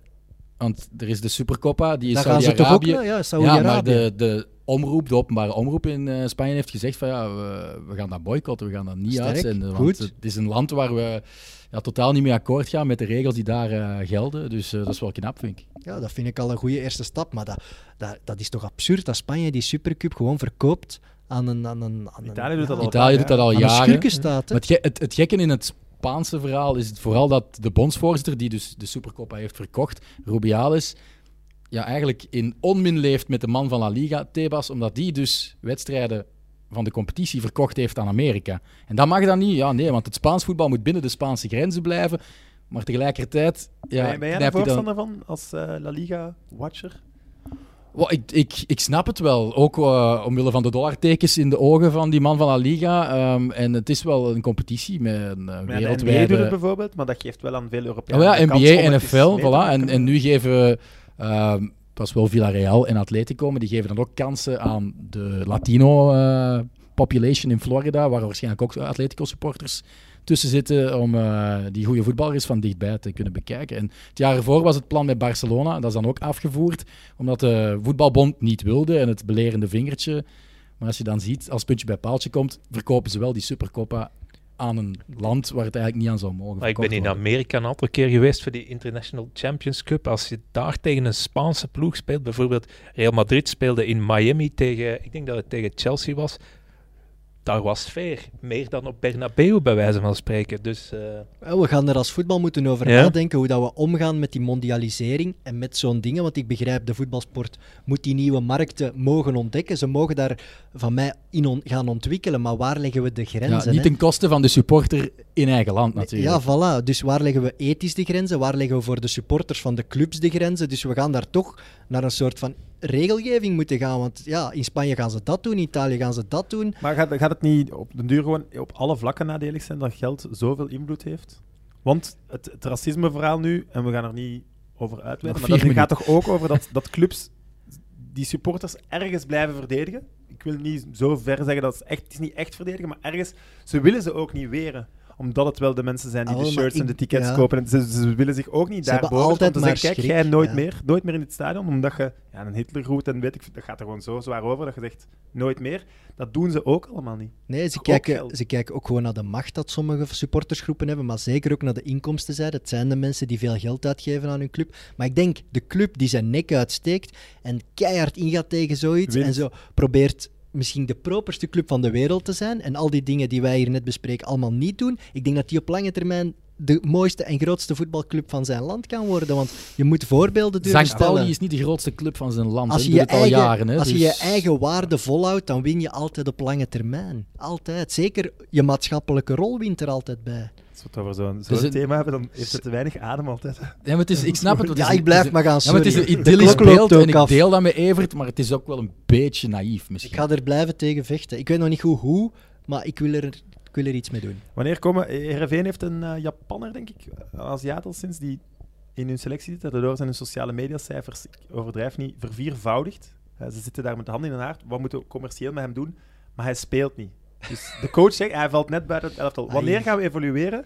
Speaker 5: Want er is de Supercoppa, die is
Speaker 3: Daar gaan ze toch ook
Speaker 5: Saudi-Arabië.
Speaker 3: naar? Ja,
Speaker 5: Ja, maar
Speaker 3: Saudi-Arabië.
Speaker 5: de, de omroep, de openbare omroep in eh, Spanje heeft gezegd van ja, we, we gaan dat boycotten, we gaan dat niet
Speaker 3: Sterk,
Speaker 5: uitzenden. Want
Speaker 3: goed.
Speaker 5: het is een land waar we ja, totaal niet mee akkoord gaan met de regels die daar eh, gelden. Dus eh, dat is wel knap, vind ik.
Speaker 3: Ja, dat vind ik al een goede eerste stap. Maar dat, dat, dat is toch absurd dat Spanje die Supercup gewoon verkoopt aan een... Aan een aan een-
Speaker 2: Italië doet dat
Speaker 3: ja,
Speaker 2: al.
Speaker 5: Italië
Speaker 2: ja.
Speaker 5: doet dat al
Speaker 3: aan een
Speaker 5: jaren.
Speaker 3: schurkenstaat, hè.
Speaker 5: Maar het, ge- het, het gekke in het Spaanse verhaal is het vooral dat de bondsvoorzitter, die dus de Supercoppa heeft verkocht, Rubiales, ja, eigenlijk in onmin leeft met de man van La Liga, Tebas, omdat die dus wedstrijden van de competitie verkocht heeft aan Amerika. En dat mag dan niet, ja, nee, want het Spaans voetbal moet binnen de Spaanse grenzen blijven. Maar tegelijkertijd. Ja,
Speaker 2: ben, jij- ben jij
Speaker 5: knijpt
Speaker 2: er
Speaker 5: hij dan-
Speaker 2: voorstander van als eh, La Liga-watcher?
Speaker 5: Wel, ik, ik, ik snap het wel. Ook eh, omwille van de dollartekens in de ogen van die man van La Liga. Ehm, en het is wel een competitie met een eh,
Speaker 2: Met een NBA-duur
Speaker 5: wereldwijde...
Speaker 2: bijvoorbeeld, maar dat geeft wel aan veel Europeanen
Speaker 5: Oh ja,
Speaker 2: de kans om
Speaker 5: NBA,
Speaker 2: het eens
Speaker 5: NFL,
Speaker 2: mee te
Speaker 5: voilà. En,
Speaker 2: maken.
Speaker 5: en nu geven we... ehm, dat is wel Villarreal en Atletico, maar die geven dan ook kansen aan de Latino eh, population in Florida, waar waarschijnlijk ook Atletico-supporters tussen zitten om eh, die goede voetballers van dichtbij te kunnen bekijken. En het jaar ervoor was het plan met Barcelona, dat is dan ook afgevoerd, omdat de voetbalbond niet wilde en het belerende vingertje. Maar als je dan ziet, als puntje bij paaltje komt, verkopen ze wel die Supercoppa aan een land waar het eigenlijk niet aan zou mogen
Speaker 4: Maar ik ben
Speaker 5: verkocht
Speaker 4: in
Speaker 5: worden.
Speaker 4: Amerika een aantal keer geweest voor die International Champions Cup. Als je daar tegen een Spaanse ploeg speelt, bijvoorbeeld Real Madrid speelde in Miami tegen, ik denk dat het tegen Chelsea was. Daar was sfeer. Meer dan op Bernabeu, bij wijze van spreken. Dus eh,
Speaker 3: Wel, We gaan er als voetbal moeten over
Speaker 4: Ja.
Speaker 3: nadenken hoe dat we omgaan met die mondialisering en met zo'n dingen. Want ik begrijp, de voetbalsport moet die nieuwe markten mogen ontdekken. Ze mogen daar van mij in on- gaan ontwikkelen. Maar waar leggen we de
Speaker 5: Ja,
Speaker 3: grenzen?
Speaker 5: niet
Speaker 3: hè?
Speaker 5: ten koste van de supporter in eigen land natuurlijk.
Speaker 3: Ja, voilà. Dus waar leggen we ethisch de grenzen? Waar leggen we voor de supporters van de clubs de grenzen? Dus we gaan daar toch naar een soort van regelgeving moeten gaan. Want ja, in Spanje gaan ze dat doen, in Italië gaan ze dat doen.
Speaker 2: Maar gaat, gaat het niet op den duur gewoon op alle vlakken nadelig zijn dat geld zoveel invloed heeft? Want het, het racismeverhaal nu, en we gaan er niet over
Speaker 5: Nog
Speaker 2: uitweiden, maar
Speaker 5: vier
Speaker 2: dat dit gaat toch ook over dat, dat clubs die supporters ergens blijven verdedigen? Ik wil niet zo ver zeggen dat ze echt, het is niet echt verdedigen, maar ergens, ze willen ze ook niet weren omdat het wel de mensen zijn die
Speaker 3: Ah,
Speaker 2: de
Speaker 3: wel, maar
Speaker 2: shirts en
Speaker 3: ik-
Speaker 2: de tickets
Speaker 3: ja.
Speaker 2: kopen. En ze, ze willen zich ook niet
Speaker 3: Ze
Speaker 2: daarboven.
Speaker 3: hebben altijd
Speaker 2: om te
Speaker 3: maar
Speaker 2: zeggen, kijk,
Speaker 3: schrik,
Speaker 2: jij nooit
Speaker 3: ja.
Speaker 2: meer, nooit meer in het stadion, omdat je ja, een Hitlergroet en weet ik, dat gaat er gewoon zo zwaar over dat je zegt, nooit meer. Dat doen ze ook allemaal niet.
Speaker 3: Nee, ze
Speaker 2: Ook
Speaker 3: kijken,
Speaker 2: geld.
Speaker 3: ze kijken ook gewoon naar de macht dat sommige supportersgroepen hebben, maar zeker ook naar de inkomstenzijde. Het zijn de mensen die veel geld uitgeven aan hun club. Maar ik denk, de club die zijn nek uitsteekt en keihard ingaat tegen zoiets
Speaker 2: Wint.
Speaker 3: en zo probeert misschien de properste club van de wereld te zijn en al die dingen die wij hier net bespreken allemaal niet doen. Ik denk dat die op lange termijn de mooiste en grootste voetbalclub van zijn land kan worden, want je moet voorbeelden durven
Speaker 5: St.
Speaker 3: stellen.
Speaker 5: Pauli is niet de grootste club van zijn land.
Speaker 3: Als
Speaker 5: hè.
Speaker 3: je
Speaker 5: Die
Speaker 3: je,
Speaker 5: doet het
Speaker 3: eigen,
Speaker 5: al jaren. Hè,
Speaker 3: als je
Speaker 5: dus-
Speaker 3: je eigen waarde volhoudt, dan win je altijd op lange termijn. Altijd. Zeker je maatschappelijke rol wint er altijd bij.
Speaker 2: Als we het over zo'n
Speaker 5: Dus
Speaker 2: zo'n
Speaker 5: het-
Speaker 2: thema hebben, dan heeft het te weinig adem altijd.
Speaker 5: Ja, maar het is, ik snap het. want het
Speaker 3: Ja,
Speaker 5: is-
Speaker 3: ik blijf
Speaker 5: het is-
Speaker 3: maar gaan
Speaker 5: Ja, maar het is
Speaker 3: sorry.
Speaker 5: een
Speaker 3: De
Speaker 5: idyllisch
Speaker 3: klok loopt
Speaker 5: beeld en
Speaker 3: ook
Speaker 5: ik
Speaker 3: af.
Speaker 5: deel dat met Evert, maar het is ook wel een beetje naïef
Speaker 3: Ik
Speaker 5: misschien.
Speaker 3: ga er blijven tegen vechten. Ik weet nog niet goed hoe, maar ik wil er, ik wil er iets mee doen.
Speaker 2: Wanneer komen... Heerenveen heeft een eh, Japanner, denk ik, een Aziat al sinds, die in hun selectie zit. Daardoor zijn hun sociale mediacijfers, ik overdrijf niet, verviervoudigd. Eh, ze zitten daar met de handen in hun haar. Wat moeten we commercieel met hem doen? Maar hij speelt niet. Dus de coach zegt, hij valt net buiten het elftal. Wanneer
Speaker 3: Ai.
Speaker 2: gaan we evolueren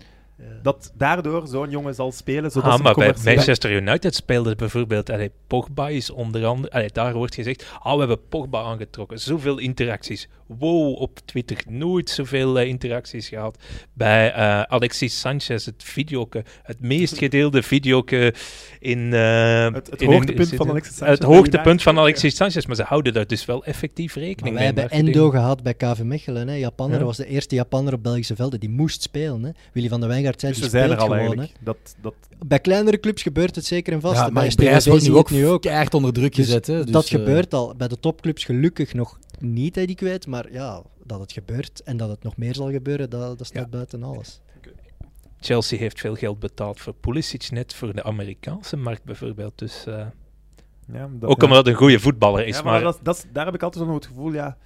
Speaker 2: dat daardoor zo'n jongen zal spelen? Zodat
Speaker 4: ah,
Speaker 2: ze
Speaker 4: maar bij
Speaker 2: commercieel-
Speaker 4: Manchester United speelde bijvoorbeeld allee, Pogba is onder andere... allee, daar wordt gezegd, ah, we hebben Pogba aangetrokken. Zoveel interacties. Wow, op Twitter nooit zoveel eh, interacties gehad. Bij eh, Alexis Sanchez, het videoke, het meest gedeelde videoke in... eh,
Speaker 2: Het- het
Speaker 4: in hun-
Speaker 2: hoogtepunt van Alexis Sanchez
Speaker 4: Het
Speaker 2: bij
Speaker 4: hoogtepunt
Speaker 2: United,
Speaker 4: van
Speaker 2: ja.
Speaker 4: Alexis Sanchez, maar ze houden daar dus wel effectief rekening
Speaker 3: Maar wij
Speaker 4: mee.
Speaker 3: hebben
Speaker 4: Maar ik
Speaker 3: Endo
Speaker 4: denk-
Speaker 3: gehad bij KV Mechelen. Hè. Japanner
Speaker 2: Ja.
Speaker 3: was de eerste Japanner op Belgische velden. Die moest spelen. Hè. Willy van der Wijngaard zei,
Speaker 2: Dus ze
Speaker 3: die
Speaker 2: zijn er
Speaker 3: speelt
Speaker 2: al
Speaker 3: gewoon.
Speaker 2: eigenlijk. Dat, dat,
Speaker 3: hè. Bij kleinere clubs gebeurt het zeker en vast.
Speaker 5: Ja,
Speaker 3: Bij
Speaker 5: maar
Speaker 3: SPVV
Speaker 5: Prijs wordt
Speaker 3: zie
Speaker 5: nu
Speaker 3: je
Speaker 5: ook,
Speaker 3: het nu ook.
Speaker 5: keihard onder druk
Speaker 3: Dus
Speaker 5: gezet. Hè, dus,
Speaker 3: dat
Speaker 5: eh,
Speaker 3: gebeurt al. Bij de topclubs gelukkig nog niet, dat ik weet. Maar ja, dat het gebeurt en dat het nog meer zal gebeuren, dat, dat staat
Speaker 4: Ja.
Speaker 3: buiten alles.
Speaker 4: Chelsea heeft veel geld betaald voor Pulisic, net voor de Amerikaanse markt bijvoorbeeld. Dus, eh,
Speaker 2: ja, dat-
Speaker 4: ook
Speaker 2: ja.
Speaker 4: omdat het een goede voetballer is,
Speaker 2: Ja, maar
Speaker 4: maar...
Speaker 2: dat, dat, is- daar heb ik altijd zo'n het gevoel, ja,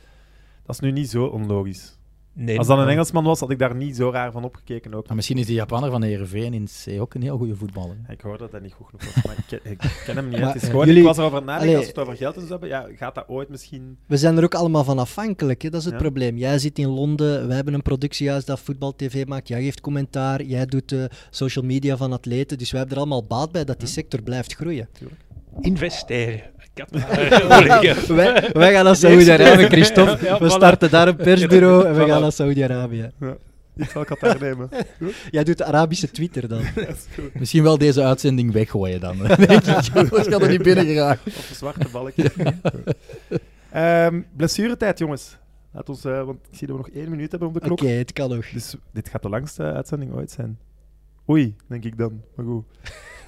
Speaker 2: dat is nu niet zo onlogisch.
Speaker 4: nee,
Speaker 2: Als dat een Engelsman was, had ik daar niet zo raar van opgekeken ook.
Speaker 5: Maar misschien is die Japanner van Herenveen in C ook een heel goede voetballer.
Speaker 2: Ik hoor dat dat niet goed genoeg was, maar ik ken, ik ken hem niet.
Speaker 3: Maar,
Speaker 2: het is
Speaker 3: eh,
Speaker 2: gewoon,
Speaker 3: jullie-
Speaker 2: ik was erover aan het nadenken, als
Speaker 3: Allee.
Speaker 2: we het over geld eens hebben, ja, gaat dat ooit misschien...
Speaker 3: We zijn er ook allemaal van afhankelijk, hè? dat is het
Speaker 2: Ja.
Speaker 3: probleem. Jij zit in Londen, wij hebben een productiehuis dat voetbal-tv maakt, jij geeft commentaar, jij doet de social media van atleten, dus wij hebben er allemaal baat bij dat die sector blijft groeien.
Speaker 4: investeren.
Speaker 3: wij, wij gaan naar Saoedi-Arabië, Christophe.
Speaker 4: Ja,
Speaker 3: we
Speaker 4: voilà.
Speaker 3: starten daar een persbureau en we
Speaker 2: Voilà.
Speaker 3: gaan naar Saoedi-Arabië.
Speaker 2: Ik zal Qatar nemen.
Speaker 3: Jij doet de Arabische Twitter dan.
Speaker 5: Misschien wel deze uitzending weggooien dan. hè, Denk ik. Anders gaat er niet binnen geraakt.
Speaker 2: Of een zwarte balk. Ehm blessuretijd, jongens. Laat ons, eh, want ik zie dat we nog één minuut hebben op de
Speaker 3: Oké,
Speaker 2: klok.
Speaker 3: het kan nog.
Speaker 2: Dus dit gaat de langste uitzending ooit zijn. Oei, denk ik dan. Maar goed.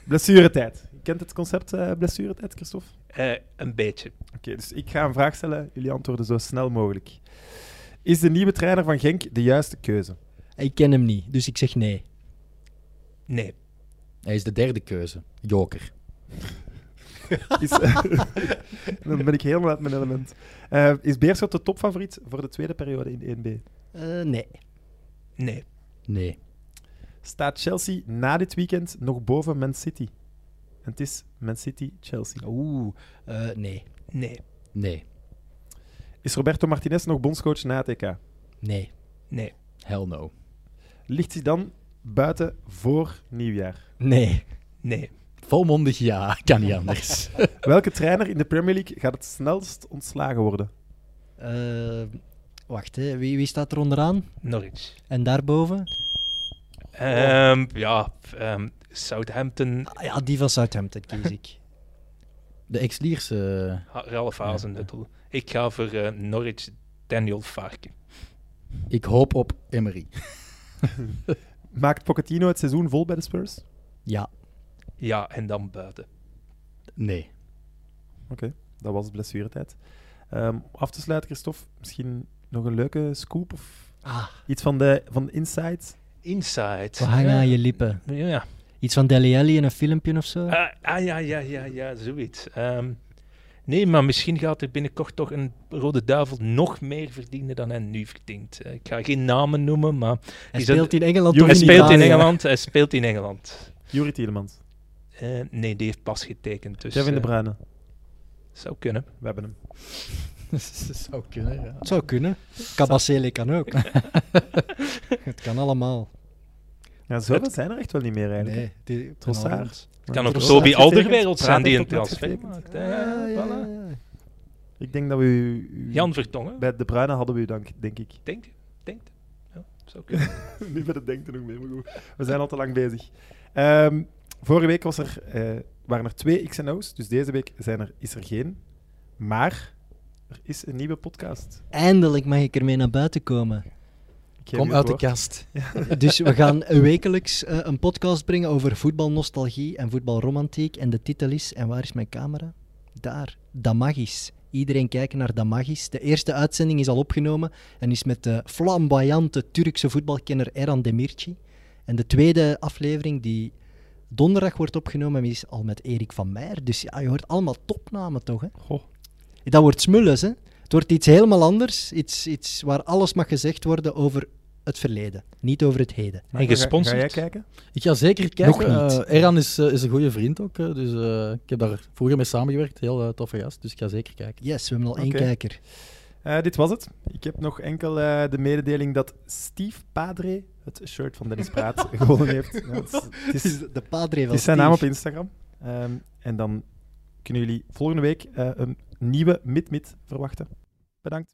Speaker 2: Blessuretijd. Je kent het concept eh blessuretijd, Christophe?
Speaker 4: Eh, een beetje.
Speaker 2: Oké, dus ik ga een vraag stellen. Jullie antwoorden zo snel mogelijk. Is de nieuwe trainer van Genk de juiste keuze?
Speaker 3: Ik ken hem niet, dus ik zeg nee.
Speaker 4: Nee.
Speaker 5: Hij is de derde keuze. Joker.
Speaker 2: Is, dan ben ik helemaal uit mijn element. Eh, is Beerschot de topfavoriet voor de tweede periode in de 1B?
Speaker 3: Eh, nee.
Speaker 4: Nee.
Speaker 5: Nee.
Speaker 2: Staat Chelsea na dit weekend nog boven Man City? En het is Man City-Chelsea.
Speaker 3: Oeh, eh, nee.
Speaker 4: Nee.
Speaker 5: Nee.
Speaker 2: Is Roberto Martinez nog bondscoach na het EK?
Speaker 3: Nee.
Speaker 4: Nee.
Speaker 5: Hell no.
Speaker 2: Ligt hij dan buiten voor nieuwjaar?
Speaker 3: Nee.
Speaker 4: Nee.
Speaker 5: Volmondig ja, kan niet anders.
Speaker 2: Welke trainer in de Premier League gaat het snelst ontslagen worden?
Speaker 3: Eh, wacht, hè. Wie, wie staat er onderaan?
Speaker 4: Norwich.
Speaker 3: En daarboven?
Speaker 4: Ehm, ja. ehm, Southampton.
Speaker 3: Ah, ja, die van Southampton kies ik.
Speaker 5: De ex-Lierse. eh,
Speaker 4: Ha- Ralf Hazenhuttel. Ik ga voor eh, Norwich Daniel Farke.
Speaker 5: Ik hoop op Emery.
Speaker 2: Maakt Pochettino het seizoen vol bij de Spurs?
Speaker 3: Ja.
Speaker 4: Ja, en dan buiten.
Speaker 5: Nee.
Speaker 2: Dat was blessuretijd. Ehm af te sluiten, Christophe, misschien nog een leuke scoop of
Speaker 3: Ah,
Speaker 2: iets van de, van de insight?
Speaker 4: Inside. Eh,
Speaker 3: we hangen aan je lippen.
Speaker 4: Ja.
Speaker 3: Iets van Deli Alli in een filmpje of zo?
Speaker 4: Ah, ah, ja, ja, ja, ja, zoiets. Ehm, nee, maar misschien gaat er binnenkort toch een Rode Duivel nog meer verdienen dan hij nu verdient. Eh, ik ga geen namen noemen, maar
Speaker 3: Hij
Speaker 4: is dat-
Speaker 3: speelt in Engeland.
Speaker 2: Jongen,
Speaker 3: toch Ah,
Speaker 4: hij
Speaker 2: in
Speaker 4: speelt in
Speaker 3: Italië?
Speaker 4: Engeland. Hij speelt in Engeland.
Speaker 2: Jurie Tielemans,
Speaker 4: Eh, nee, die heeft pas getekend. Dus,
Speaker 2: Kevin de
Speaker 4: eh,
Speaker 2: Bruyne,
Speaker 4: zou kunnen.
Speaker 2: we hebben hem.
Speaker 5: Dat zou kunnen, ja.
Speaker 3: Het zou kunnen. Cabasele kan ook. het kan allemaal.
Speaker 2: Ja, zoveel zijn er echt wel niet meer eigenlijk.
Speaker 3: Nee, die,
Speaker 2: Trossard.
Speaker 4: Het kan ook
Speaker 2: Trossard
Speaker 4: Toby
Speaker 2: heeft getekend,
Speaker 4: Alderwereld zijn die een
Speaker 2: Praat heeft ook net
Speaker 4: transfer
Speaker 2: getekend.
Speaker 4: maakt.
Speaker 3: Ah,
Speaker 4: hè. Ja, Eh, voilà.
Speaker 2: Ik denk dat we u, u-
Speaker 4: Jan Vertongen,
Speaker 2: bij de Bruyne hadden we u dank, denk ik.
Speaker 4: denk denk ja, zou kunnen.
Speaker 2: nu bij het denken nog mee, maar goed. We zijn al te lang bezig. Ehm, vorige week was er, eh, waren er twee XNO's, dus deze week zijn er, is er geen. Maar er is een nieuwe podcast.
Speaker 3: Eindelijk mag ik ermee naar buiten komen.
Speaker 2: Ik geef u
Speaker 5: Kom
Speaker 2: het
Speaker 5: uit de
Speaker 2: woord.
Speaker 5: kast.
Speaker 3: Dus we gaan wekelijks eh, een podcast brengen over voetbalnostalgie en voetbalromantiek. En de titel is, en waar is mijn camera? Daar, Damagis. Iedereen kijkt naar Damagis. De eerste uitzending is al opgenomen en is met de flamboyante Turkse voetbalkenner Erhan Demirci. En de tweede aflevering, die donderdag wordt opgenomen, is al met Erik van Meijer. Dus ja, je hoort allemaal topnamen toch, hè?
Speaker 2: Goh.
Speaker 3: Dat wordt smulles, hè? Het wordt iets helemaal anders. Iets, iets waar alles mag gezegd worden over het verleden, niet over het heden.
Speaker 2: Maar
Speaker 4: En
Speaker 2: ga-
Speaker 4: gesponsord?
Speaker 2: Ga jij kijken?
Speaker 5: Ik ga zeker kijken.
Speaker 3: Nog niet.
Speaker 5: Eh, Erhan is, eh, is een goede vriend ook. eh, dus eh, ik heb daar vroeger mee samengewerkt. Heel eh, toffe gast. Dus ik ga zeker kijken.
Speaker 3: Yes, we hebben al één
Speaker 2: Oké.
Speaker 3: kijker.
Speaker 2: Eh, dit was het. Ik heb nog enkel eh, de mededeling dat Steve Padre het shirt van Dennis Praat gewonnen heeft. Ja, het, is, het is-
Speaker 3: de padre
Speaker 2: het is zijn naam op Instagram. Ehm, en dan kunnen jullie volgende week eh, een nieuwe mid-mid verwachten. Bedankt.